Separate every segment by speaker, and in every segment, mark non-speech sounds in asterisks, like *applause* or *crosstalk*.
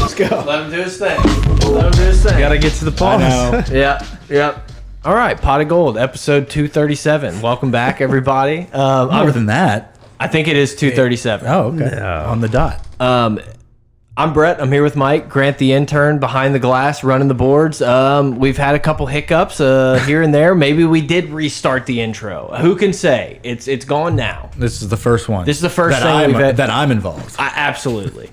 Speaker 1: Let's go.
Speaker 2: Let him do his thing. Let him do his thing.
Speaker 1: Gotta get to the
Speaker 3: *laughs*
Speaker 1: pause.
Speaker 3: know.
Speaker 2: Yeah. Yep. All right, Pot of Gold, episode 237. Welcome back, everybody. Um,
Speaker 3: More
Speaker 2: I'm-
Speaker 3: than that.
Speaker 2: I think it is 237.
Speaker 3: Oh, okay. On the dot.
Speaker 2: Um, I'm Brett. I'm here with Mike Grant, the intern behind the glass, running the boards. Um, we've had a couple hiccups uh, here and there. Maybe we did restart the intro. Who can say? It's it's gone now.
Speaker 3: This is the first one.
Speaker 2: This is the first
Speaker 3: that
Speaker 2: thing
Speaker 3: I'm,
Speaker 2: we've had-
Speaker 3: that I'm involved.
Speaker 2: I, absolutely.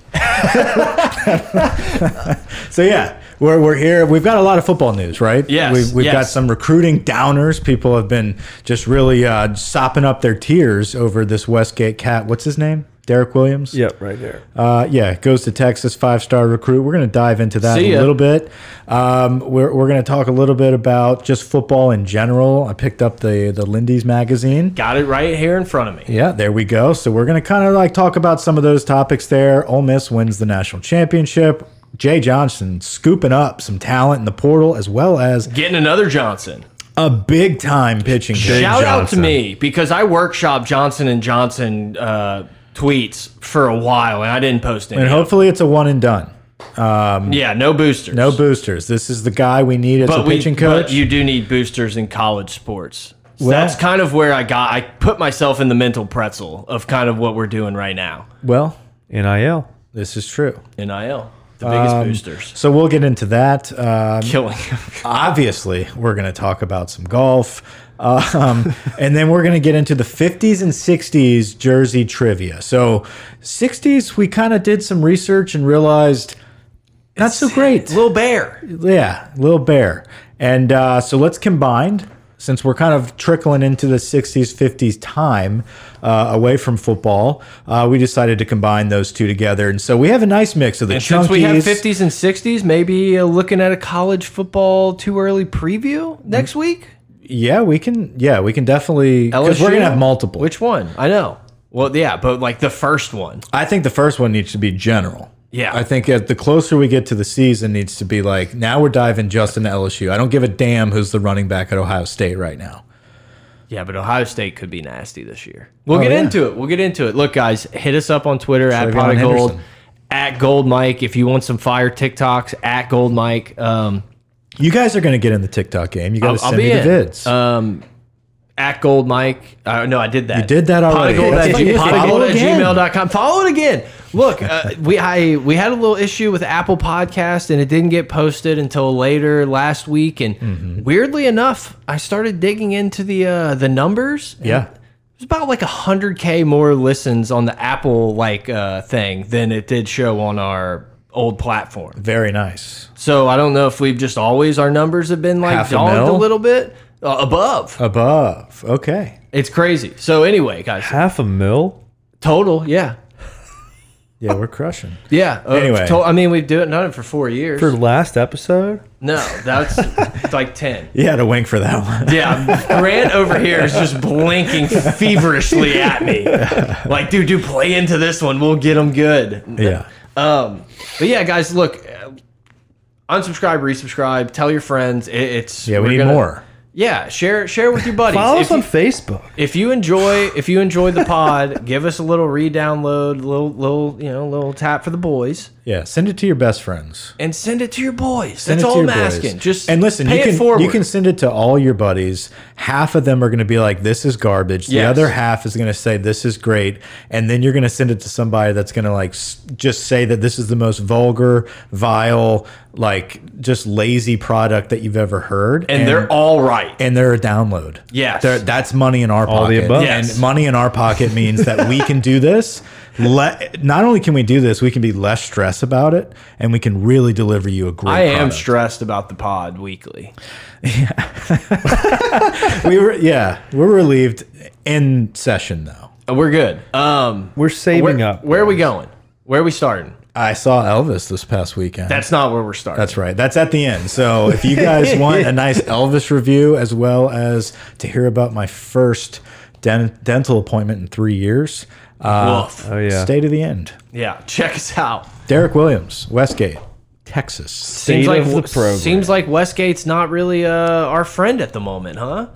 Speaker 3: So yeah, we're, we're here. We've got a lot of football news, right?
Speaker 2: Yes,
Speaker 3: We've, we've got
Speaker 2: yes.
Speaker 3: some recruiting downers. People have been just really uh, sopping up their tears over this Westgate cat. What's his name? Derek Williams.
Speaker 1: Yep, right there.
Speaker 3: Uh, yeah, goes to Texas, five star recruit. We're going to dive into that
Speaker 2: See
Speaker 3: a
Speaker 2: ya.
Speaker 3: little bit. Um, we're we're going to talk a little bit about just football in general. I picked up the the Lindy's magazine.
Speaker 2: Got it right here in front of me.
Speaker 3: Yeah, there we go. So we're going to kind of like talk about some of those topics there. Ole Miss wins the national championship. Jay Johnson scooping up some talent in the portal, as well as
Speaker 2: Getting another Johnson.
Speaker 3: a big time pitching. coach.
Speaker 1: Jay
Speaker 2: Shout out to
Speaker 1: Johnson.
Speaker 2: me because I workshop Johnson and Johnson uh, tweets for a while and I didn't post any.
Speaker 3: And hopefully it's a one and done.
Speaker 2: yeah, no boosters.
Speaker 3: No boosters. This is the guy we need as a
Speaker 2: but we,
Speaker 3: pitching coach.
Speaker 2: but you do need boosters in college sports. So
Speaker 3: Well-
Speaker 2: that's kind of where I got. I put myself in the mental pretzel of kind of what we're doing right now.
Speaker 3: well,
Speaker 1: NIL.
Speaker 3: this is true.
Speaker 2: Nil, the biggest
Speaker 3: Um,
Speaker 2: boosters, *laughs*
Speaker 3: So we'll get into that. Um,
Speaker 2: killing.
Speaker 3: obviously we're going to talk about some golf um, *laughs* and then we're going to get into the 50s and 60s jersey trivia so 60s we kind of did some research and realized not so great
Speaker 2: Little bear.
Speaker 3: yeah little bear and uh, so let's combine since we're kind of trickling into the 60s 50s time uh, away from football uh, we decided to combine those two together and so we have a nice mix of the
Speaker 2: And since we have
Speaker 3: Chunkies.
Speaker 2: fifties and sixties, maybe uh, looking at a college football too early preview
Speaker 3: Hmm.
Speaker 2: next week.
Speaker 3: yeah we can yeah we can definitely because we're
Speaker 2: LSU?
Speaker 3: gonna have multiple
Speaker 2: Which one? I know. Well, yeah, but like the first one.
Speaker 3: I think the first one needs to be general.
Speaker 2: Yeah.
Speaker 3: I think as the closer we get to the season needs to be like now we're diving just into LSU. I don't give a damn who's the running back at Ohio State right now.
Speaker 2: Yeah, but Ohio State could be nasty this year. We'll get
Speaker 3: Oh, yeah.
Speaker 2: into it. We'll get into it. Look, guys, hit us up on Twitter at
Speaker 3: Travion
Speaker 2: Pot of Gold,
Speaker 3: Henderson.
Speaker 2: at Gold Mike. If you want some fire TikToks, at Gold Mike. Um,
Speaker 3: You guys are going to get in the TikTok game. You got
Speaker 2: I'll,
Speaker 3: to
Speaker 2: I'll
Speaker 3: send
Speaker 2: be
Speaker 3: me the
Speaker 2: in.
Speaker 3: vids.
Speaker 1: Uh,
Speaker 2: Um, at Gold Mike. Uh, no, I did that. You
Speaker 3: did that already.
Speaker 2: Pot of Gold
Speaker 3: That's
Speaker 2: at,
Speaker 3: fine.
Speaker 2: g-
Speaker 3: Pot of
Speaker 2: pot of
Speaker 3: Gold
Speaker 2: gold at
Speaker 3: again.
Speaker 2: gmail.com. Follow it again. Look, uh, we I we had a little issue with Apple Podcast and it didn't get posted until later last week. And
Speaker 3: Mm-hmm.
Speaker 2: weirdly enough, I started digging into the uh, the numbers.
Speaker 3: yeah.
Speaker 2: It's about like 100k more listens on the Apple like uh, thing than it did show on our old platform.
Speaker 3: Very nice.
Speaker 2: So I don't know if we've just always our numbers have been like
Speaker 3: Half a
Speaker 2: dogged a,
Speaker 3: mil?
Speaker 2: little bit uh, above.
Speaker 3: Above. Okay.
Speaker 2: It's crazy. So anyway, guys,
Speaker 1: Half a mil?
Speaker 2: total, yeah,
Speaker 3: Yeah, we're crushing.
Speaker 2: yeah. Uh,
Speaker 3: Anyway.
Speaker 2: to- I mean we've done done it for four years.
Speaker 1: For last episode?
Speaker 2: no, that's it's like
Speaker 3: *laughs*
Speaker 2: ten.
Speaker 3: You had a wink for that one. *laughs*
Speaker 2: Yeah, Grant over here is just blinking feverishly at
Speaker 3: *laughs*
Speaker 2: me, like, dude, dude, play into this one. We'll get them good.
Speaker 3: yeah.
Speaker 2: Um, but yeah, guys, look, uh, unsubscribe, resubscribe, tell your friends. It, it's
Speaker 3: Yeah, we
Speaker 2: we're
Speaker 3: need
Speaker 2: gonna-
Speaker 3: more.
Speaker 2: Yeah, share share with your buddies.
Speaker 1: Follow us
Speaker 2: if,
Speaker 1: on
Speaker 2: you,
Speaker 1: Facebook.
Speaker 2: if you enjoy if you enjoy the pod, give us a little re-download, little little you know little tap for the boys,
Speaker 3: Yeah, send it to your best friends.
Speaker 2: and send it to your boys.
Speaker 3: Send
Speaker 2: That's
Speaker 3: it to
Speaker 2: all I'm
Speaker 3: your boys.
Speaker 2: asking. Just
Speaker 3: and listen,
Speaker 2: pay
Speaker 3: you can
Speaker 2: it forward.
Speaker 3: you can send it to all your buddies. Half of them are going to be like, "This is garbage." The
Speaker 2: Yes.
Speaker 3: other half is going to say, "This is great," and then you're going to send it to somebody that's going to like s- just say that this is the most vulgar, vile, like just lazy product that you've ever heard,
Speaker 2: and, they're all right.
Speaker 3: and they're a download.
Speaker 2: Yes.
Speaker 3: They're, that's money in our
Speaker 1: All the
Speaker 3: pocket.
Speaker 1: above.
Speaker 2: Yes.
Speaker 3: And money in our pocket means that we can do this. Let, not only can we do this, we can be less stressed about it, and we can really deliver you a great.
Speaker 2: I am
Speaker 3: product.
Speaker 2: stressed about the pod weekly.
Speaker 3: we were yeah we're relieved in session though
Speaker 2: Uh, We're good. Um,
Speaker 1: We're saving
Speaker 2: where,
Speaker 1: up.
Speaker 2: Where are we going? Where are we starting?
Speaker 3: I saw Elvis this past weekend.
Speaker 2: That's not where we're starting.
Speaker 3: That's right. That's at the end. So if you guys want a nice Elvis review, as well as to hear about my first den dental appointment in three years, uh,
Speaker 2: Woof.
Speaker 1: Oh yeah.
Speaker 3: stay to the end.
Speaker 2: Yeah, check us out.
Speaker 3: Derek Williams, Westgate, Texas.
Speaker 1: State
Speaker 2: like
Speaker 1: of the program.
Speaker 2: seems like Westgate's not really uh, our friend at the moment, huh?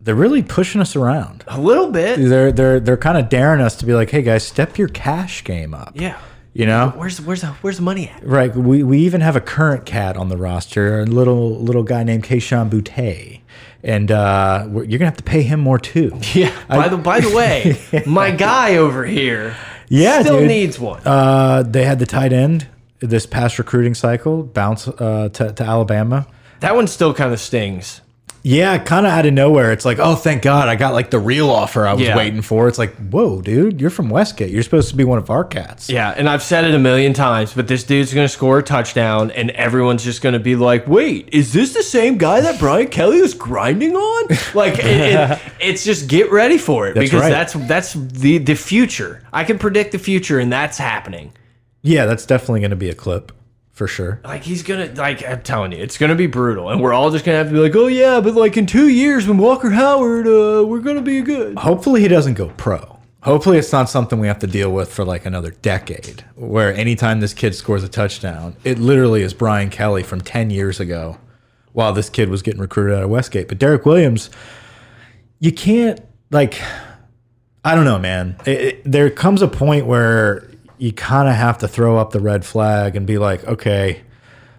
Speaker 3: They're really pushing us around.
Speaker 2: A little bit.
Speaker 3: They're they're they're kind of daring us to be like, hey guys, step your cash game up.
Speaker 2: Yeah.
Speaker 3: You know,
Speaker 2: Where's where's the, where's the money at?
Speaker 3: Right. We, we even have a current cat on the roster, a little little guy named Keishan Boutte. And uh, we're, you're going to have to pay him more too. *laughs*
Speaker 2: Yeah. By the by the way, my guy over here
Speaker 3: Yeah,
Speaker 2: still
Speaker 3: dude.
Speaker 2: needs one.
Speaker 3: Uh, they had the tight end this past recruiting cycle bounce uh, to, to Alabama.
Speaker 2: that one still kind of stings.
Speaker 3: Yeah, kind of out of nowhere. It's like, oh, thank God, I got like the real offer I was
Speaker 2: Yeah.
Speaker 3: waiting for. It's like, whoa, dude, you're from Westgate. You're supposed to be one of our cats.
Speaker 2: Yeah, and I've said it a million times, but this dude's going to score a touchdown, and everyone's just going to be like, "Wait, is this the same guy that Brian Kelly was grinding on?" Like, it, it, it's just get ready for it because
Speaker 3: right.
Speaker 2: that's that's the the future. I can predict the future, and that's happening.
Speaker 3: Yeah, that's definitely going to be a clip for sure.
Speaker 2: Like he's gonna like I'm telling you, it's gonna be brutal, and we're all just gonna have to be like, "Oh yeah," but like in two years when Walker Howard, uh, we're gonna be good.
Speaker 3: Hopefully, he doesn't go pro. Hopefully, it's not something we have to deal with for like another decade, where anytime this kid scores a touchdown, it literally is Brian Kelly from 10 years ago while this kid was getting recruited out of Westgate. But Derek Williams, you can't, like, I don't know, man. It- it- there comes a point where you kind of have to throw up the red flag and be like, okay.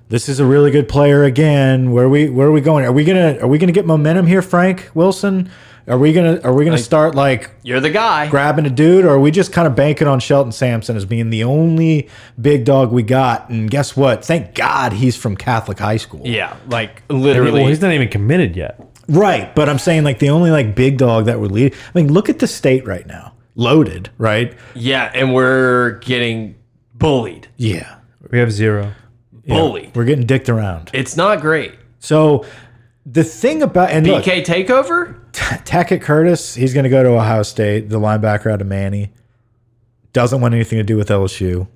Speaker 3: This is a really good player again. Where we where are we going? Are we gonna are we gonna get momentum here, Frank Wilson? Are we gonna are we gonna start like
Speaker 2: You're the guy.
Speaker 3: grabbing a dude, or are we just kind of banking on Shelton Sampson as being the only big dog we got? And guess what? Thank God he's from Catholic high school.
Speaker 2: yeah, like
Speaker 1: Well,
Speaker 2: literally.
Speaker 1: he's not even committed yet.
Speaker 3: Right. But I'm saying like the only like big dog that would lead. I mean, look at the state right now. Loaded, right?
Speaker 2: Yeah, and we're getting bullied,
Speaker 3: Yeah.
Speaker 1: We have zero.
Speaker 2: bullied.
Speaker 3: We're getting dicked around.
Speaker 2: It's not great.
Speaker 3: So the thing about and look,
Speaker 2: BK takeover?
Speaker 3: Tackett Curtis, he's going to go to Ohio State, the linebacker out of Manny. Doesn't want anything to do with LSU.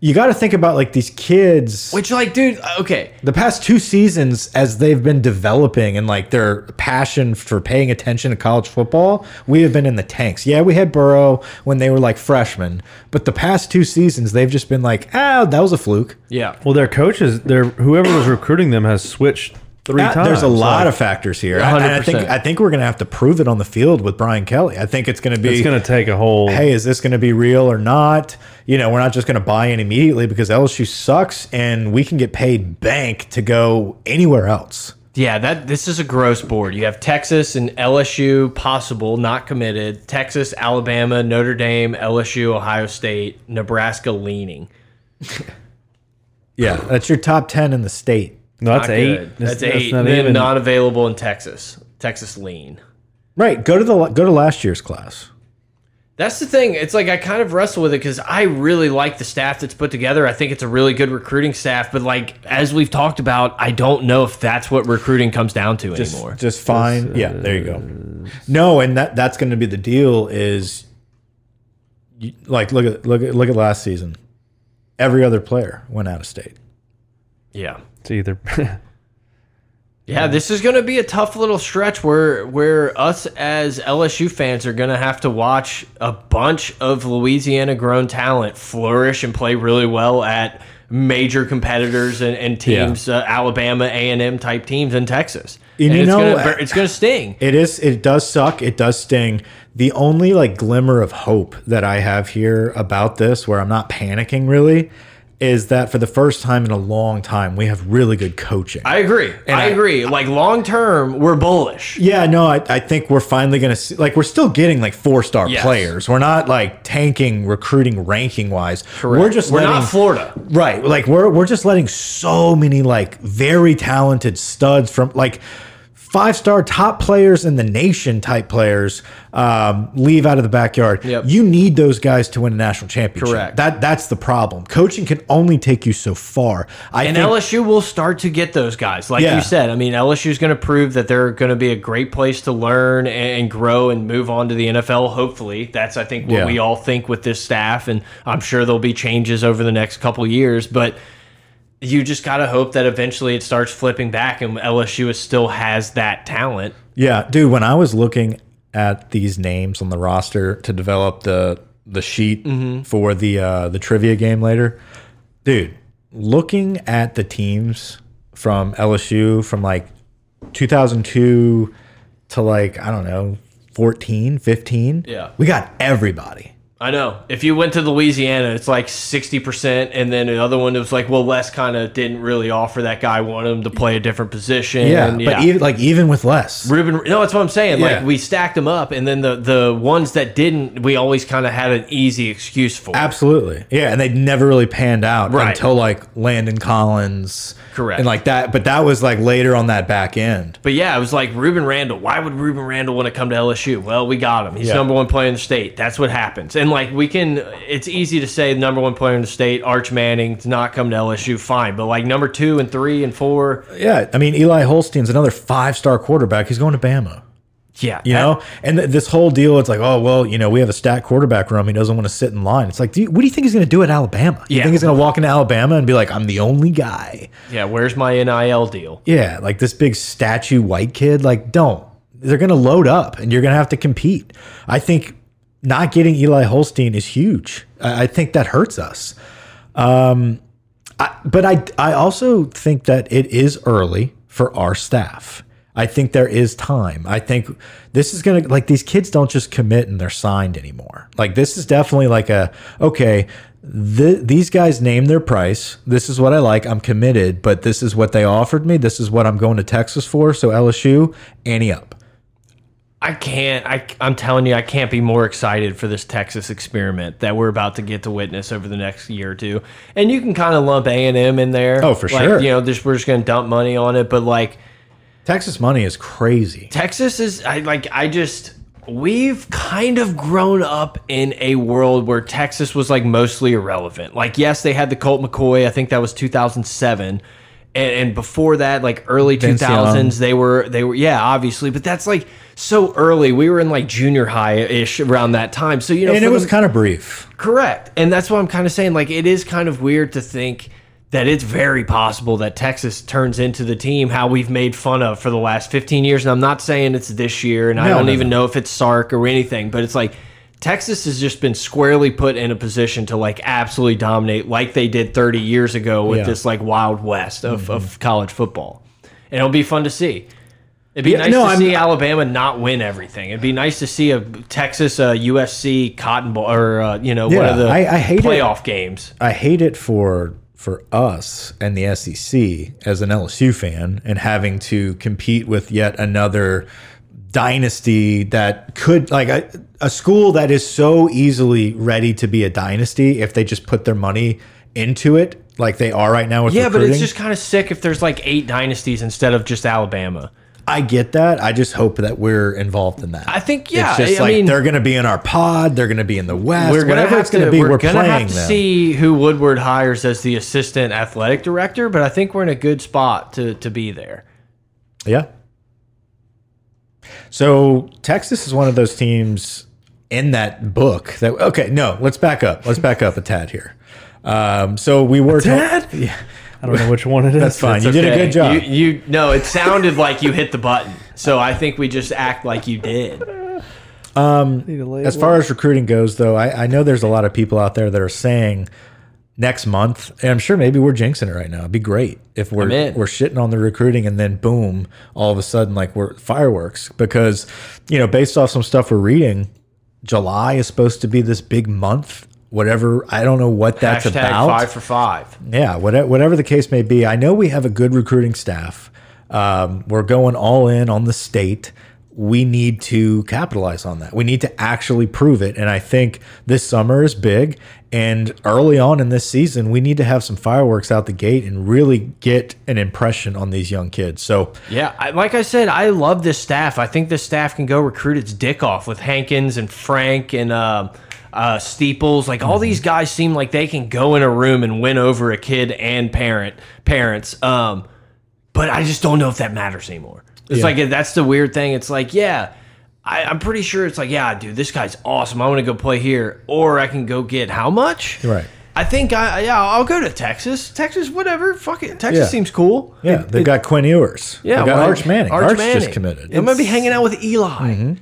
Speaker 3: You got to think about like these kids.
Speaker 2: Which, like, dude, uh, okay.
Speaker 3: the past two seasons as they've been developing and like their passion for paying attention to college football we have been in the tanks yeah we had burrow when they were like freshmen but the past two seasons they've just been like ah that was a fluke
Speaker 2: Yeah.
Speaker 1: Well, their coaches, their whoever was recruiting them has switched three
Speaker 3: That-
Speaker 1: times.
Speaker 3: there's a lot
Speaker 1: Like,
Speaker 3: of factors here I, and I think
Speaker 2: 100%.
Speaker 3: i think we're gonna have to prove it on the field with brian kelly i think it's gonna be
Speaker 1: It's going to take a whole.
Speaker 3: hey, is this going to be real or not? You know, we're not just going to buy in immediately because LSU sucks and we can get paid bank to go anywhere else.
Speaker 2: Yeah, that this is a gross board. You have Texas and LSU possible, not committed. Texas, Alabama, Notre Dame, LSU, Ohio State, Nebraska leaning.
Speaker 3: Yeah. That's your top 10 in the state.
Speaker 1: no, that's
Speaker 2: Not
Speaker 1: eight.
Speaker 2: good. That's, eight.
Speaker 1: not
Speaker 2: and then
Speaker 1: even-
Speaker 2: not available in Texas. Texas lean.
Speaker 3: Right. Go to the go to last year's class.
Speaker 2: That's the thing. It's like I kind of wrestle with it because I really like the staff that's put together. I think it's a really good recruiting staff, but like as we've talked about, I don't know if that's what recruiting comes down to anymore.
Speaker 3: Just fine. yeah, there you go. No, and that that's going to be the deal is you, like look at look at look at last season. Every other player went out of state.
Speaker 2: yeah.
Speaker 1: It's either. *laughs*
Speaker 2: Yeah, this is going to be a tough little stretch where where us as LSU fans are going to have to watch a bunch of Louisiana grown talent flourish and play really well at major competitors and, and teams, uh, Alabama, A and M type teams in Texas.
Speaker 3: And you
Speaker 2: it's
Speaker 3: know-
Speaker 2: gonna, it's going to sting.
Speaker 3: It is. It does suck. It does sting. The only like glimmer of hope that I have here about this, where I'm not panicking really, is that for the first time in a long time, we have really good coaching.
Speaker 2: I agree. I,
Speaker 3: I-
Speaker 2: agree. like long term, we're bullish.
Speaker 3: yeah, no, I, I think we're finally gonna see. Like, we're still getting like four star
Speaker 2: Yes.
Speaker 3: players. We're not like tanking recruiting ranking wise. We're just
Speaker 2: we're
Speaker 3: letting,
Speaker 2: not Florida.
Speaker 3: Right. Like we're we're just letting so many like very talented studs from like five star top players in the nation type players um, leave out of the backyard.
Speaker 2: Yep.
Speaker 3: You need those guys to win a national championship.
Speaker 2: Correct.
Speaker 3: That that's the problem. Coaching can only take you so far. I
Speaker 2: And
Speaker 3: think-
Speaker 2: LSU will start to get those guys, like
Speaker 3: Yeah.
Speaker 2: you said. I mean, LSU is going to prove that they're going to be a great place to learn and and grow and move on to the NFL. Hopefully, that's I think what
Speaker 3: Yeah.
Speaker 2: we all think with this staff, and I'm sure there'll be changes over the next couple years. But you just got to hope that eventually it starts flipping back, and LSU is still has that talent.
Speaker 3: Yeah, dude, when I was looking at these names on the roster to develop the the sheet
Speaker 2: Mm-hmm.
Speaker 3: for the uh the trivia game later, dude, looking at the teams from LSU from like 2002 to like I don't know, 14, 15.
Speaker 2: Yeah.
Speaker 3: We got everybody.
Speaker 2: I know. If you went to Louisiana, it's like 60%. And then the other one was like, well, Les kind of didn't really offer that guy, wanted him to play a different position.
Speaker 3: Yeah,
Speaker 2: and
Speaker 3: but even like even with less.
Speaker 2: Ruben, no, that's what I'm saying.
Speaker 3: Yeah.
Speaker 2: Like we stacked them up, and then the the ones that didn't, we always kind of had an easy excuse for.
Speaker 3: Absolutely. Yeah, and they never really panned out
Speaker 2: Right.
Speaker 3: until like Landon Collins.
Speaker 2: Correct.
Speaker 3: And like that, but that was like later on that back end.
Speaker 2: But yeah, it was like Ruben Randall. Why would Ruben Randall want to come to LSU? Well, we got him. He's
Speaker 3: Yeah.
Speaker 2: number one player in the state. That's what happens. And like we can, it's easy to say number one player in the state, Arch Manning, to not come to LSU. Fine, but like number two and three and four,
Speaker 3: Yeah, I mean Eli Holstein's another five-star quarterback. He's going to Bama.
Speaker 2: yeah,
Speaker 3: You know, and th this whole deal, it's like, oh well, you know, we have a stacked quarterback room. He doesn't want to sit in line. It's like, do you, what do you think he's going to do at Alabama? You
Speaker 2: Yeah.
Speaker 3: think he's going to walk into Alabama and be like, I'm the only guy?
Speaker 2: yeah. Where's my nil deal?
Speaker 3: Yeah, like this big statue white kid. Like, don't. They're going to load up, and you're going to have to compete. I think not getting Eli Holstein is huge. I, I think that hurts us. but I I also think that it is early for our staff. I think there is time. I think this is gonna like these kids don't just commit and they're signed anymore. Like this is definitely like a okay. th these guys name their price. This is what I like. I'm committed, but this is what they offered me. This is what I'm going to Texas for. So LSU, ante up.
Speaker 2: I can't. I, I'm telling you, I can't be more excited for this Texas experiment that we're about to get to witness over the next year or two. And you can kind of lump A and M in there.
Speaker 3: Oh, for
Speaker 2: Like,
Speaker 3: sure.
Speaker 2: You know, just we're just going to dump money on it, but like
Speaker 3: Texas money is crazy.
Speaker 2: Texas is. I like. I just. We've kind of grown up in a world where Texas was like mostly irrelevant. Like, yes, they had the Colt McCoy. I think that was 2007. And, and before that, like early
Speaker 3: Vince
Speaker 2: 2000s, they were they were yeah, obviously, but that's like so early. We were in like junior high ish around that time. So you know,
Speaker 3: And it
Speaker 2: for
Speaker 3: was
Speaker 2: the-
Speaker 3: kind of brief.
Speaker 2: Correct. And that's what I'm kind of saying. Like, it is kind of weird to think that it's very possible that Texas turns into the team how we've made fun of for the last 15 years. And I'm not saying it's this year, and I
Speaker 3: No,
Speaker 2: don't
Speaker 3: no,
Speaker 2: even know if it's Sark or anything, but it's like Texas has just been squarely put in a position to like absolutely dominate like they did 30 years ago with
Speaker 3: Yeah. Mm-hmm.
Speaker 2: this like wild west of, of college football. And it'll be fun to see. It'd be
Speaker 3: Yeah,
Speaker 2: nice
Speaker 3: no,
Speaker 2: to
Speaker 3: I'm-
Speaker 2: see Alabama not win everything. It'd be nice to see a Texas, uh, USC, Cotton Bowl, or uh, you know, one
Speaker 3: Yeah,
Speaker 2: of the
Speaker 3: I- I hate it.
Speaker 2: playoff games.
Speaker 3: I hate it for for us and the SEC as an LSU fan and having to compete with yet another dynasty that could like a, a school that is so easily ready to be a dynasty if they just put their money into it like they are right now with
Speaker 2: Yeah, but
Speaker 3: recruiting.
Speaker 2: it's just kind of sick if there's like eight dynasties instead of just Alabama.
Speaker 3: I get that. I just hope that we're involved in that.
Speaker 2: I think yeah.
Speaker 3: it's just
Speaker 2: I
Speaker 3: like
Speaker 2: mean,
Speaker 3: they're going to be in our pod. They're going to be in the West.
Speaker 2: we're gonna
Speaker 3: whatever
Speaker 2: have
Speaker 3: it's going
Speaker 2: to
Speaker 3: to be.
Speaker 2: we're,
Speaker 3: We're,
Speaker 2: gonna
Speaker 3: playing
Speaker 2: have to
Speaker 3: them.
Speaker 2: see who Woodward hires as the assistant athletic director. But I think we're in a good spot to to be there.
Speaker 3: Yeah. So Texas is one of those teams in that book that okay, no, let's back up. Let's back up a tad here. Um, so we were tad. Yeah,
Speaker 1: I don't know which one it is.
Speaker 3: that's fine. you did a
Speaker 2: Okay,
Speaker 3: good job.
Speaker 2: You, you no, it sounded like you hit the button. So I think we just act like you did.
Speaker 3: as far as recruiting goes, though, I, I know there's a lot of people out there that are saying next month, and I'm sure maybe we're jinxing it right now. It'd be great if we're
Speaker 2: I'm in.
Speaker 3: we're shitting on the recruiting, and then boom, all of a sudden, like we're fireworks because you know, based off some stuff we're reading, July is supposed to be this big month. Whatever, I don't know what that's
Speaker 2: Hashtag
Speaker 3: about.
Speaker 2: five for five.
Speaker 3: Yeah, whatever, whatever the case may be, I know we have a good recruiting staff. Um, we're going all in on the state. we need to capitalize on that. We need to actually prove it. And I think this summer is big. And early on in this season, we need to have some fireworks out the gate and really get an impression on these young kids. So,
Speaker 2: Yeah, I, like I said, I love this staff. I think this staff can go recruit its dick off with Hankins and Frank and um uh, Steeples. Like
Speaker 3: Mm-hmm.
Speaker 2: all these guys seem like they can go in a room and win over a kid and parent parents. Um, but I just don't know if that matters anymore. It's like that's the weird thing. It's like yeah. I, I'm pretty sure it's like, yeah, dude, this guy's awesome. I want to go play here, or I can go get how much?
Speaker 3: Right.
Speaker 2: I think I, yeah, I'll go to Texas. Texas, whatever. Fuck it. Texas
Speaker 3: Yeah.
Speaker 2: seems cool.
Speaker 3: yeah, they've got Quinn Ewers.
Speaker 2: Yeah,
Speaker 3: they've got
Speaker 2: well,
Speaker 3: Arch Manning. Arch, just
Speaker 2: Manning.
Speaker 3: committed. Mm-hmm.
Speaker 2: I'm gonna be hanging out with Eli.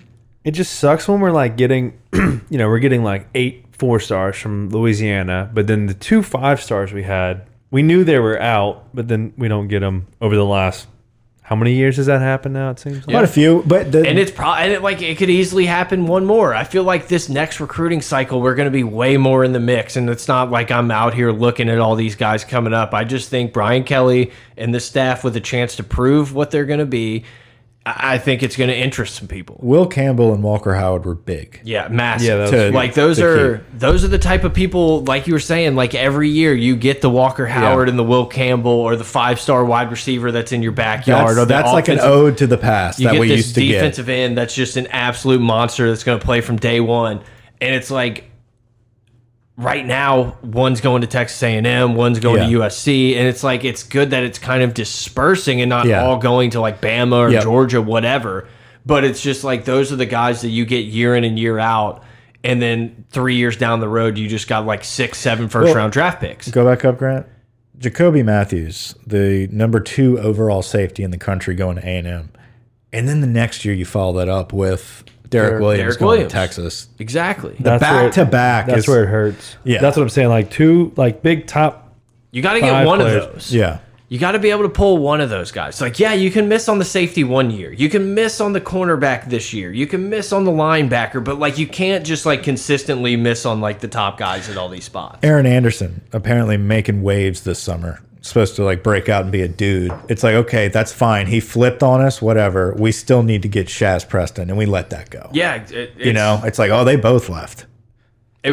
Speaker 1: It just sucks when we're like getting, *clears throat* you know, we're getting like eight four stars from Louisiana, but then the two five stars we had, we knew they were out, but then we don't get them over the last. How many years has that happened now? It seems.
Speaker 3: Quite a few, but the,
Speaker 2: And it's probably and it, like it could easily happen one more. I feel like this next recruiting cycle we're gonna be way more in the mix, and it's not like I'm out here looking at all these guys coming up. I just think Brian Kelly and the staff with a chance to prove what they're gonna be. I I think it's gonna interest some people.
Speaker 3: Will Campbell and Walker Howard were big.
Speaker 2: Yeah, massive.
Speaker 1: Yeah, that was- To-
Speaker 2: like those
Speaker 3: to
Speaker 2: are those are the type of people like you were saying. Like every year you get the Walker Howard and the Will Campbell or the five star wide receiver that's in your backyard.
Speaker 3: That's,
Speaker 2: or the
Speaker 3: that's like an
Speaker 2: offensive
Speaker 3: ode to the past
Speaker 2: you
Speaker 3: that
Speaker 2: get
Speaker 3: we
Speaker 2: this
Speaker 3: used to get.
Speaker 2: defensive end that's just an absolute monster that's going to play from day one, and it's like right now one's going to Texas A and M, one's going
Speaker 3: Yeah.
Speaker 2: to USC, and it's like it's good that it's kind of dispersing and not
Speaker 3: Yeah.
Speaker 2: all going to like Bama or
Speaker 3: Yep.
Speaker 2: Georgia, whatever. But it's just like those are the guys that you get year in and year out. And then three years down the road, you just got like six, seven first round draft picks.
Speaker 3: Go back up, Grant. Jacoby Matthews, the number two overall safety in the country, going to A and M, and then the next year you follow that up with Derek,
Speaker 2: Derek-
Speaker 3: Williams
Speaker 2: Derek
Speaker 3: going
Speaker 2: Williams.
Speaker 3: to Texas.
Speaker 2: Exactly.
Speaker 1: That's where
Speaker 3: back
Speaker 1: it-
Speaker 3: to back.
Speaker 1: That's
Speaker 3: is-
Speaker 1: where it hurts.
Speaker 3: Yeah.
Speaker 1: that's what I'm saying. Like two, like big top.
Speaker 2: You got to get
Speaker 1: Five
Speaker 2: one
Speaker 1: players.
Speaker 2: of those.
Speaker 3: Yeah.
Speaker 2: You got to be able to pull one of those guys. Like, yeah, you can miss on the safety one year. You can miss on the cornerback this year. You can miss on the linebacker, but like you can't just like consistently miss on like the top guys at all these spots.
Speaker 3: Aaron Anderson apparently making waves this summer. Supposed to like break out and be a dude. It's like okay, that's fine. He flipped on us, whatever. We still need to get Shaz Preston, and we let that go.
Speaker 2: Yeah, it, it's,
Speaker 3: You know, it's like oh, they both left.
Speaker 2: it-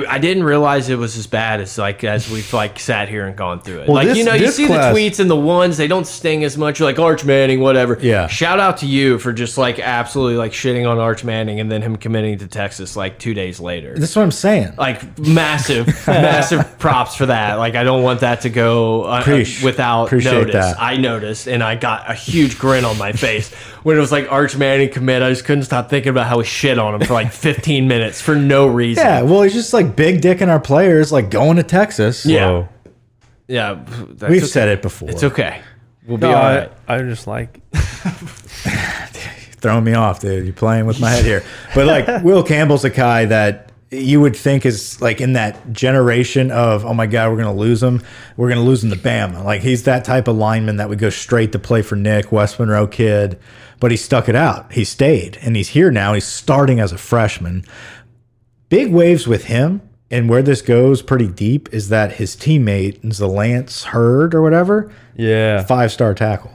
Speaker 2: I didn't realize it was as bad as like as we've like sat here and gone through it. like
Speaker 1: this-
Speaker 2: you know, you
Speaker 1: this
Speaker 2: see
Speaker 1: class-
Speaker 2: the tweets and the ones they don't sting as much. You're like Arch Manning, whatever.
Speaker 3: Yeah.
Speaker 2: Shout out to you for just like absolutely like shitting on Arch Manning and then him committing to Texas like two days later.
Speaker 3: That's what I'm saying.
Speaker 2: like massive,
Speaker 3: *laughs*
Speaker 2: massive props for that. Like I don't want that to go uh,
Speaker 3: Preach.
Speaker 2: without
Speaker 3: Appreciate
Speaker 2: notice.
Speaker 3: that.
Speaker 2: I noticed, and I got a huge grin on my face when it was like Arch Manning commit. I just couldn't stop thinking about how we shit on him for
Speaker 3: *laughs*
Speaker 2: like 15 minutes for no reason.
Speaker 3: Yeah, well, he's just like big dick in our players, like going to Texas.
Speaker 2: yeah,
Speaker 1: Whoa.
Speaker 2: yeah. That's
Speaker 3: we've
Speaker 2: okay.
Speaker 3: said it before.
Speaker 2: It's okay. We'll be
Speaker 1: No,
Speaker 2: all
Speaker 1: I,
Speaker 2: right.
Speaker 1: I'm just like
Speaker 3: throwing me off, dude. You're playing with my head here.
Speaker 2: *laughs*
Speaker 3: But like Will Campbell's a guy that you would think is like in that generation of oh my god, we're gonna lose him. We're gonna lose him to Bama. Like he's that type of lineman that would go straight to play for Nick West Monroe kid. But he stuck it out. He stayed, and he's here now. He's starting as a freshman. Big waves with him. And where this goes pretty deep is that his teammate is the Lance Hurd or whatever,
Speaker 1: yeah.
Speaker 3: five star tackle.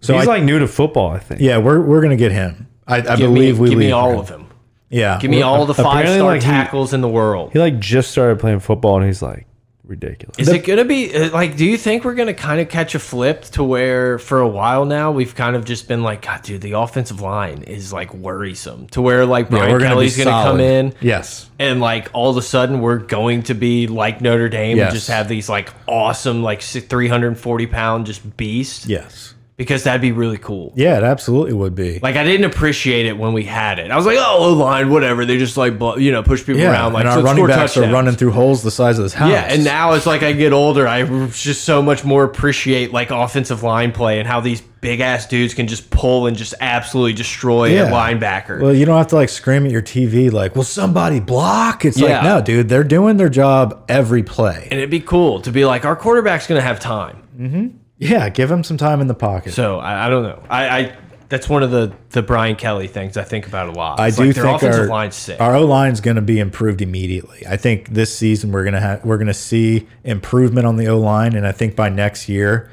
Speaker 3: So
Speaker 1: He's
Speaker 3: I-
Speaker 1: like new to football, I think.
Speaker 3: yeah, we're we're gonna get him. I, I
Speaker 2: Give
Speaker 3: believe
Speaker 2: me,
Speaker 3: we
Speaker 2: give
Speaker 3: leave
Speaker 2: me all
Speaker 3: him.
Speaker 2: of them.
Speaker 3: Yeah,
Speaker 2: Give me all the
Speaker 1: Apparently,
Speaker 2: five star
Speaker 1: like, he-
Speaker 2: tackles in the world.
Speaker 1: He like just started playing football, and he's like ridiculous.
Speaker 2: Is it gonna be uh, like? Do you think we're gonna kind of catch a flip to where for a while now we've kind of just been like, God, dude, the offensive line is like worrisome to where like
Speaker 3: Yeah,
Speaker 2: Brian
Speaker 3: be
Speaker 2: Kelly's gonna, come
Speaker 3: solid.
Speaker 2: in
Speaker 3: Yes,
Speaker 2: and like all of a sudden we're going to be like Notre Dame
Speaker 3: Yes.
Speaker 2: and just have these like awesome like three hundred and forty pound just beast
Speaker 3: yes,
Speaker 2: because that'd be really cool.
Speaker 3: yeah. It absolutely would be.
Speaker 2: Like I didn't appreciate it when we had it. I was like, oh, O line, whatever. They just like blo- you know push people
Speaker 3: yeah,
Speaker 2: around like
Speaker 3: and
Speaker 2: so
Speaker 3: our
Speaker 2: it's
Speaker 3: running
Speaker 2: four
Speaker 3: backs are
Speaker 2: touchdowns.
Speaker 3: running through holes the size of this house.
Speaker 2: Yeah, and now it's like I get older, I just so much more appreciate like offensive line play and how these big ass dudes can just pull and just absolutely destroy
Speaker 3: Yeah.
Speaker 2: a linebacker.
Speaker 3: well, you don't have to like scream at your TV like, "Will somebody block?" It's like,
Speaker 2: Yeah.
Speaker 3: no, dude, they're doing their job every play.
Speaker 2: and it'd be cool to be like, our quarterback's gonna have time.
Speaker 3: Yeah, give him some time in the pocket.
Speaker 2: So I, I don't know. I, I that's one of the the Brian Kelly things I think about a lot.
Speaker 3: I
Speaker 2: It's
Speaker 3: do
Speaker 2: like, their
Speaker 3: think
Speaker 2: offensive
Speaker 3: our
Speaker 2: line's sick.
Speaker 3: our O line's going to be improved immediately. I think this season we're gonna have we're gonna see improvement on the O line, and I think by next year,